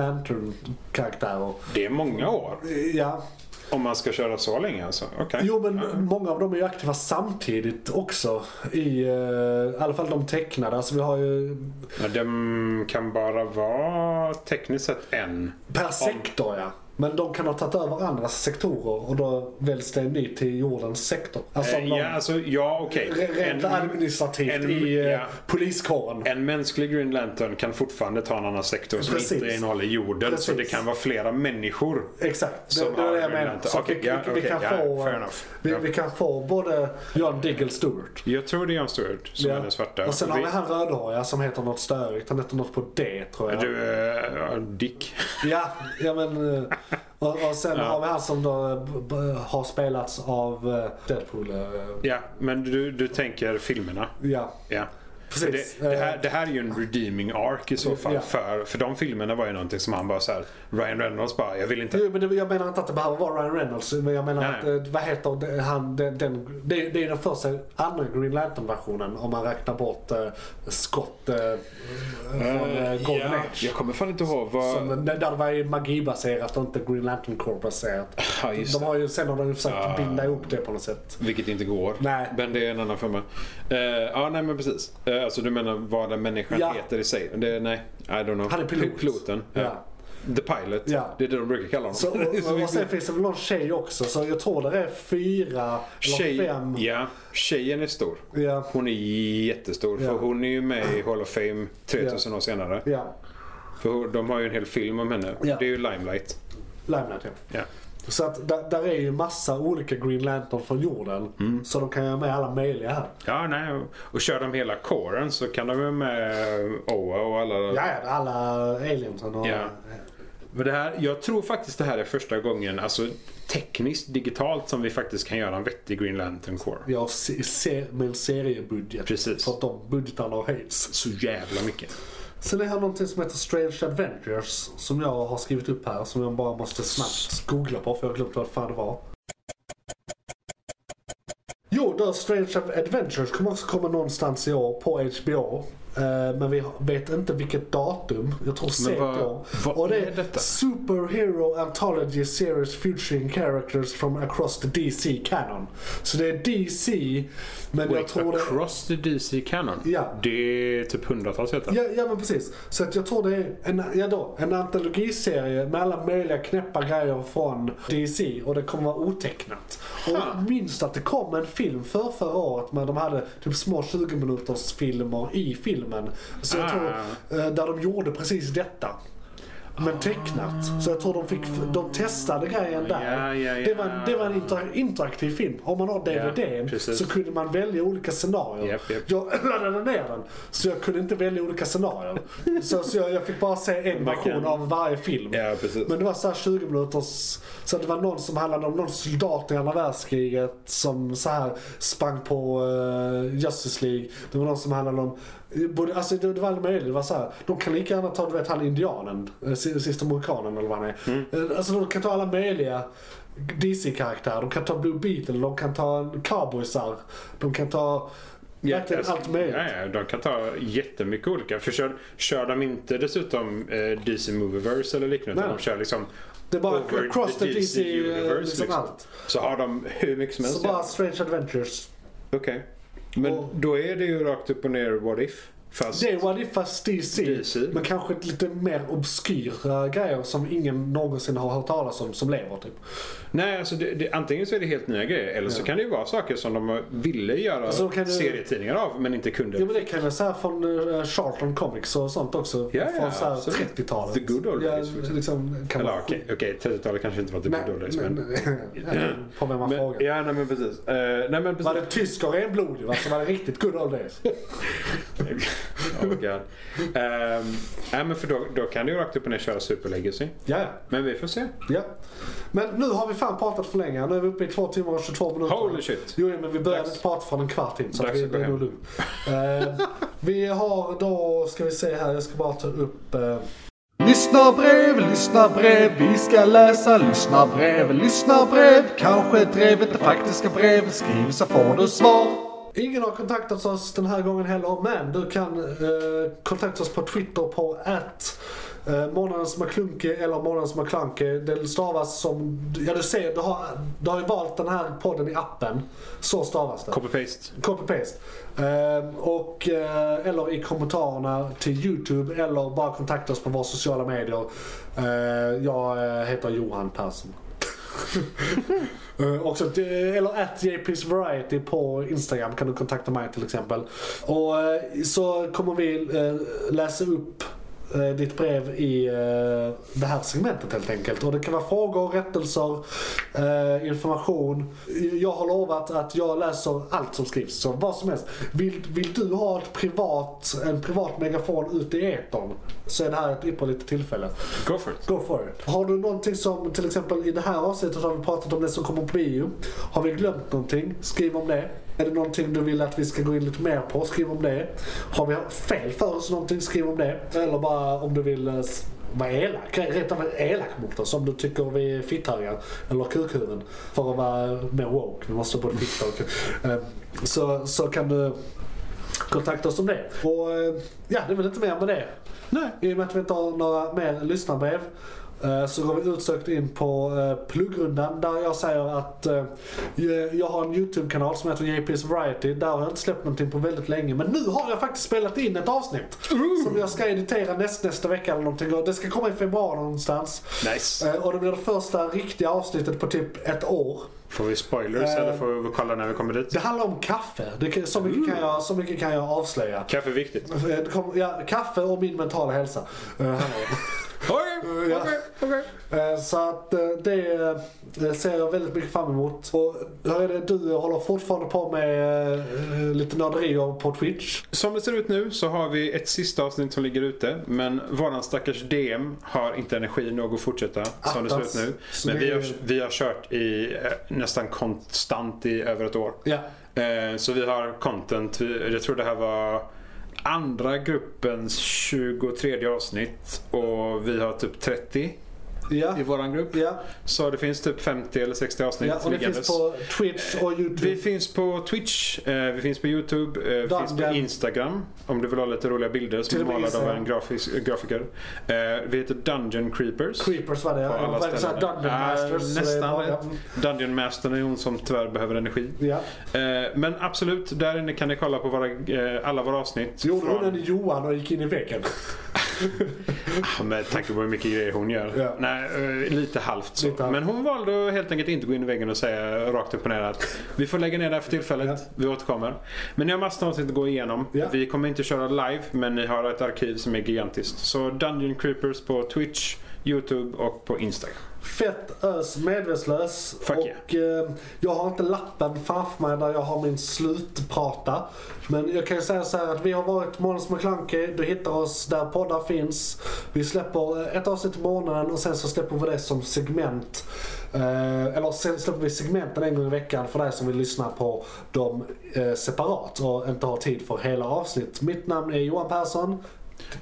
S3: Lantern-karaktärer.
S4: Det är många år.
S3: Eh, Ja.
S4: Om man ska köra så länge alltså. Okej.
S3: Jo men många av dem är ju aktiva samtidigt också. I, eh, i alla fall de tecknade. Alltså vi har ju
S4: Ja, de kan bara vara tekniskt sett en.
S3: per sektor ja. Men de kan ha tagit över andra sektorer och då väljs det en ny till jordens sektor. Alltså, om
S4: Eh,
S3: de-
S4: ja, alltså, ja okej.
S3: Re- Rent
S4: En,
S3: administrativt
S4: en-
S3: i eh,
S4: ja.
S3: poliskåren.
S4: en mänsklig Green Lantern kan fortfarande ta en annan sektor som
S3: Precis.
S4: inte innehåller jorden. Så
S3: Precis.
S4: det kan vara flera människor.
S3: Exakt, det,
S4: Som
S3: det är
S4: har
S3: det jag
S4: Green
S3: menar.
S4: Lantern.
S3: Så
S4: Okej,
S3: vi,
S4: ja,
S3: vi, vi,
S4: okej,
S3: kan
S4: ja,
S3: få, eh,
S4: fair enough.
S3: vi,
S4: Ja.
S3: vi kan få både John Diggle Stewart
S4: Jag tror det är Jon Stewart som
S3: ja.
S4: är den svarta.
S3: och sen har
S4: Vi-
S3: vi han rödhåriga som heter något störigt. Han heter något på D tror jag.
S4: Du, eh, Dick. [LAUGHS]
S3: Ja, ja men... eh, Och, och sen har vi han som då eh, b- b- har spelats av eh, Deadpool. eh,
S4: Ja, men du, du tänker filmerna.
S3: Ja.
S4: Ja. Precis. Det, det, här, det här är ju en redeeming arc i så fall.
S3: Eh. Ja.
S4: För, för de filmerna var ju någonting som han bara så här, Ryan Reynolds bara, jag vill inte.
S3: Jo, men det, jag menar inte att det behöver vara Ryan Reynolds. Men jag menar
S4: Nej.
S3: att, eh, vad heter det- han, den, den, det, är- det är den första, andra Green Lantern-versionen om man räknar bort eh, Scott eh, från eh,
S4: Eh,
S3: Golden
S4: ja,
S3: Age.
S4: jag kommer fan inte ihåg vad...
S3: Som, eh, där det var ju magibaserat och inte Green Lantern Corp-baserat.
S4: Ja, just
S3: De
S4: det. Ah.
S3: har ju, sen har de ju försökt
S4: Ja.
S3: binda ihop det på något sätt.
S4: Vilket inte går.
S3: Nej.
S4: Men det är en annan femma. Eh, ja, nej men precis. Eh, alltså du menar vad den människan
S3: Ja.
S4: heter i sig. Det, nej, I don't know.
S3: Han är pilot.
S4: Pil- Piloten. Ja.
S3: Ja.
S4: The pilot.
S3: Ja.
S4: Det är det de brukar kalla honom. [LAUGHS]
S3: Så,
S4: Det är så
S3: och, och sen
S4: mycket.
S3: finns det väl någon tjej också, så jag tror det är fyra
S4: Tjej,
S3: eller fem.
S4: ja, tjejen är stor.
S3: Ja.
S4: Hon är jättestor.
S3: Ja.
S4: För hon är ju med i Hall of Fame 3000 år senare.
S3: Ja,
S4: För de har ju en hel film om henne.
S3: Ja.
S4: Det är ju Limelight.
S3: Limelight ja.
S4: Ja.
S3: Så att där, där är ju massa olika Green Lantern från jorden.
S4: Mm.
S3: Så de kan göra med alla möjliga här.
S4: Ja, nej. och- Och kör de hela kåren så kan de ju med Oa och alla.
S3: Ja, ja, alla aliensen och...
S4: Ja. Men det här, jag tror faktiskt det här är första gången, alltså tekniskt, digitalt, som vi faktiskt kan göra en vettig Green Lantern Core.
S3: Jag se, se, med en seriebudget.
S4: Precis.
S3: För att de budgetarna har höjts.
S4: Så jävla mycket.
S3: Sen är här någonting som heter Strange Adventures. Som jag har skrivit upp här. Som jag bara måste snabbt googla på för jag har glömt vad fan det var. Jo, då Strange Adventures kommer också komma någonstans i år på HBO. Eh, Men vi vet inte vilket datum. Jag tror sent
S4: vad-
S3: i år.
S4: vad
S3: Och det
S4: är detta?
S3: Superhero Anthology Series featuring characters from across the DC canon. Så det är DC, men jag
S4: Wait,
S3: tror det...
S4: across the DC Canon?
S3: Ja.
S4: Det är typ hundratals heter
S3: Ja, ja men precis. Så att jag tror det är en, ja då, en antologiserie med alla möjliga knäppa grejer från DC och det kommer vara otecknat. Och jag minns att det kom en film för förra året men de hade typ små 20 minuters filmer i filmen. Så jag
S4: Ah.
S3: tror, eh, där de gjorde precis detta. Men tecknat. Så jag tror de, fick, de testade grejen där.
S4: Ja, ja, ja.
S3: Det var en, det var en inter, interaktiv film. Om man har DVDn
S4: precis.
S3: så kunde man välja olika scenarier.
S4: Japp, japp.
S3: Jag [CLEARS THROAT] laddade ner den så jag kunde inte välja olika scenarier. Så, så jag, jag fick bara se en version
S4: kan-
S3: av varje film.
S4: Ja, precis.
S3: Men det var så här 20 minuters... Så det var någon som handlade om någon soldat i andra världskriget som så här sprang på uh, Justice League. Det var någon som handlade om... Både, alltså det, det var allt möjligt. Det var så här, de kan lika gärna ta du vet, han indianen, eh, si- sista mohikanen eller vad han är.
S4: Mm.
S3: Eh, Alltså de kan ta alla möjliga DC-karaktärer. De kan ta Blue Beetle, de kan ta en cowboysar. De kan ta verkligen allt möjligt.
S4: Ja, ja, de kan ta jättemycket olika. För kör, kör de inte dessutom eh, DC Movieverse eller liknande,
S3: Nej.
S4: utan de kör liksom
S3: Det är bara
S4: over
S3: across the DC,
S4: universe,
S3: liksom allt.
S4: Så har de hur mycket som helst.
S3: Så bara
S4: ja.
S3: Strange Adventures.
S4: Okej. Men
S3: Och-
S4: då är det ju rakt upp och ner What If. Fast...
S3: Det är What If fast DC,
S4: DC.
S3: Men kanske ett lite mer obskyra grejer som ingen någonsin har hört talas om som lever typ.
S4: Nej, alltså det, det, antingen så är det helt nya grejer eller så kan det ju vara saker som de ville göra
S3: Alltså, kan du-
S4: serietidningar av men inte kunde.
S3: Ja men det kan jag säga från uh, Charlton Comics och sånt också.
S4: Ja, ja,
S3: från så här
S4: absolut.
S3: 30-talet.
S4: The good old
S3: ja,
S4: days, liksom.
S3: liksom, kan
S4: Eller
S3: man-
S4: okej, okej, 30-talet kanske inte var the
S3: Nej,
S4: good old days,
S3: men,
S4: men...
S3: [LAUGHS] men, på vem man
S4: men
S3: frågar.
S4: ja, nej, men precis. Eh, nej, men precis.
S3: Var det tysk och renblodig va? Så var det riktigt good old days.
S4: [LAUGHS] oh, God. Ehm, nej, men för då, då kan du ju rakt upp och ner köra Super Legacy.
S3: Ja, ja.
S4: Men vi får se.
S3: Ja. Men nu har vi fan pratat för länge. Nu är vi uppe i 2 timmar och 22 minuter.
S4: Holy shit.
S3: Jo, men vi började
S4: Dags.
S3: inte prata från en kvart in. Så
S4: Dags
S3: vi,
S4: att gå
S3: det är
S4: hem.
S3: nog lugnt. Eh, vi har då, ska vi se här, jag ska bara ta upp. eh,
S5: Lyssna brev, lyssna brev, vi ska läsa lyssna brev, lyssna brev. Kanske drevet det faktiska brevet skriv så får du svar.
S3: ingen har kontaktat oss den här gången heller, men du kan eh, kontakta oss på Twitter på att eh, månadens McKlunke eller månadens McKlunke. Det stavas som, ja du ser, du har, du har ju valt den här podden i appen. Så stavas det.
S4: Copy-paste.
S3: Copy-paste. Ehm, och, eh, eller i kommentarerna till YouTube eller bara kontakta oss på våra sociala medier. Eh, jag eh, heter Johan Persson. Eh, också, till- eller at JP's Variety på Instagram kan du kontakta mig till exempel. Och eh, så kommer vi eh, läsa upp eh, ditt brev i eh, det här segmentet helt enkelt. Och det kan vara frågor, rättelser, eh, information. Jag har lovat att jag läser allt som skrivs, så vad som helst. Vill, vill du ha ett privat, en privat megafon ute i etern så är det här ett ypperligt tillfälle.
S4: Go for it.
S3: Go for it. Har du någonting som, till exempel i det här avsnittet har vi pratat om det som kommer på bio. Har vi glömt någonting? Skriv om det. Är det någonting du vill att vi ska gå in lite mer på, skriv om det. Har vi fel för oss någonting, skriv om det. Eller bara om du vill eh, s- vara elak, rent av elak mot oss om du tycker vi är fitthögar eller kukhuvuden. För att vara mer woke, vi måste både fitta och kuk. Eh, så, så kan du kontakta oss om det. Och eh, ja, det är väl inte mer med det.
S4: Nej.
S3: I och med att vi inte har några mer lyssnarbrev eh, så går vi utsökt in på eh, pluggrundan där jag säger att eh, jag- jag har en YouTube-kanal som heter JP's Variety. Där har jag inte släppt någonting på väldigt länge. Men nu har jag faktiskt spelat in ett avsnitt som jag ska editera näst, nästa vecka eller någonting. Och det ska komma i februari någonstans.
S4: Nice.
S3: Eh, Och det blir det första riktiga avsnittet på typ ett år.
S4: Får vi spoilers
S3: Ehm.
S4: eller får vi kolla när vi kommer dit?
S3: Det handlar om kaffe. Det, kan- så, mycket kan jag, så mycket kan jag avslöja.
S4: Kaffe är viktigt.
S3: Eh, det kommer- ja, kaffe och min mentala hälsa. eh, handlar det om.
S4: Okej,
S3: ja.
S4: okej, okej.
S3: Eh, Så att eh, det eh, ser jag väldigt mycket fram emot. Och hur är det, du håller fortfarande på med eh, lite nörderier på Twitch.
S4: Som det ser ut nu så har vi ett sista avsnitt som ligger ute. Men våran stackars DM har inte energi nog att fortsätta som det ser ut
S3: Attans.
S4: nu.
S3: Så
S4: Men
S3: det
S4: vi har,
S3: är-
S4: vi har kört i eh, nästan konstant i över ett år.
S3: Ja.
S4: Eh, Så vi har content. Vi- Jag tror det här var andra gruppens 23 avsnitt. Och vi har typ 30
S3: Ja.
S4: i våran grupp.
S3: Ja.
S4: Så det finns typ 50 eller 60 avsnitt
S3: Ah. ja. Och det
S4: liggandes.
S3: finns på Twitch och
S4: Vi
S3: YouTube.
S4: finns på Twitch, eh, vi finns på YouTube, eh, vi
S3: Dungeon.
S4: finns på Instagram. Om du vill ha lite roliga bilder som
S3: Till
S4: är
S3: och med
S4: målade av
S3: Instagram.
S4: en grafis- eh, grafiker. Eh, vi heter Dungeon Creepers.
S3: Creepers var det
S4: på
S3: ja.
S4: alla
S3: Vad är det, så här
S4: ställen.
S3: Dungeon
S4: Ah,
S3: Masters. så det är
S4: nästan
S3: bara-
S4: rätt. Dungeon Mastern är hon som tyvärr behöver energi.
S3: Ja.
S4: Eh, men absolut, där inne kan ni kolla på våra, eh, alla våra avsnitt.
S3: Gjorde hon
S4: från-
S3: en Johan och gick in i väggen?
S4: Ja, Med tanke på hur mycket grejer hon gör.
S3: Ja.
S4: Nej, eh, lite halvt så.
S3: Lite halvt.
S4: Men hon valde att helt enkelt inte gå in i väggen och säga rakt upp och ner att vi får lägga ner det här för tillfället. Vi återkommer. Men ni har massor av avsnitt att gå igenom.
S3: Ja.
S4: Vi kommer inte köra live men ni har ett arkiv som är gigantiskt. Så Dungeon Creepers på Twitch, Youtube och på Instagram.
S3: Fett ös medvetslös.
S4: Fuck
S3: och eh, jag har inte lappen framför mig där jag har min slutprata. Men jag kan ju säga så här att vi har varit Måns McClunky. Du hittar oss där poddar finns. Vi släpper eh, ett avsnitt i månaden och sen så släpper vi det som segment. Eh, eller sen släpper vi segmenten en gång i veckan för dig som vill lyssna på dem eh, separat och inte har tid för hela avsnitt. Mitt namn är Johan Persson.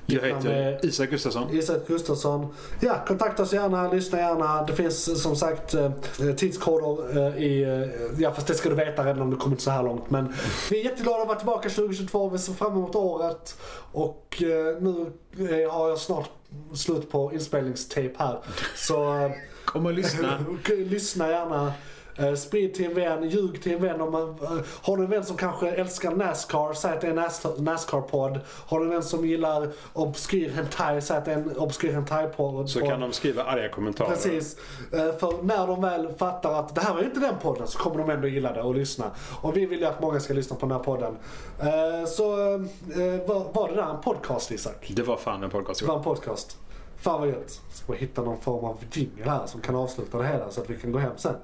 S4: Jag
S3: Hittar
S4: heter
S3: med-
S4: Isak Gustafsson.
S3: Isak Gustafsson. Ja, kontakta oss gärna, lyssna gärna. Det finns eh, som sagt eh, tidskoder eh, i... eh, Ja, fast det ska du veta redan om du kommit så här långt. Men vi är jätteglada att vara tillbaka 2022. Vi ser fram emot året. Och eh, nu eh, har jag snart slut på inspelningstape här. Så eh,
S4: Kom och lyssna.
S3: och, eh, lyssna gärna. Eh, Sprid till en vän, ljug till en vän. Om man, eh, har du en vän som kanske älskar Nascar, säg att det är en Nas- Nascar-podd. Har du en vän som gillar obskyr hentai, säg att det är en obskyr hentai-podd.
S4: Så kan de skriva arga kommentarer.
S3: Precis. Eh, För när de väl fattar att det här var ju inte den podden så kommer de ändå gilla det och lyssna. Och vi vill ju att många ska lyssna på den här podden. Eh, Så eh, var var det där en podcast Isak?
S4: Det var fan en podcast.
S3: Det var en podcast. Fan vad gött. Ska bara hitta någon form av jingel här som kan avsluta det hela så att vi kan gå hem sen.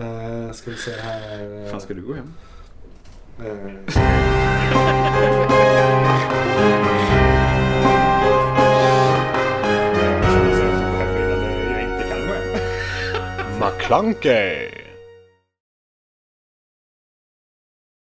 S3: Uh, ska vi se här. eh,
S4: Fan ska du gå hem?
S3: eh.
S4: Jag inte kan gå hem.
S6: McClunkey!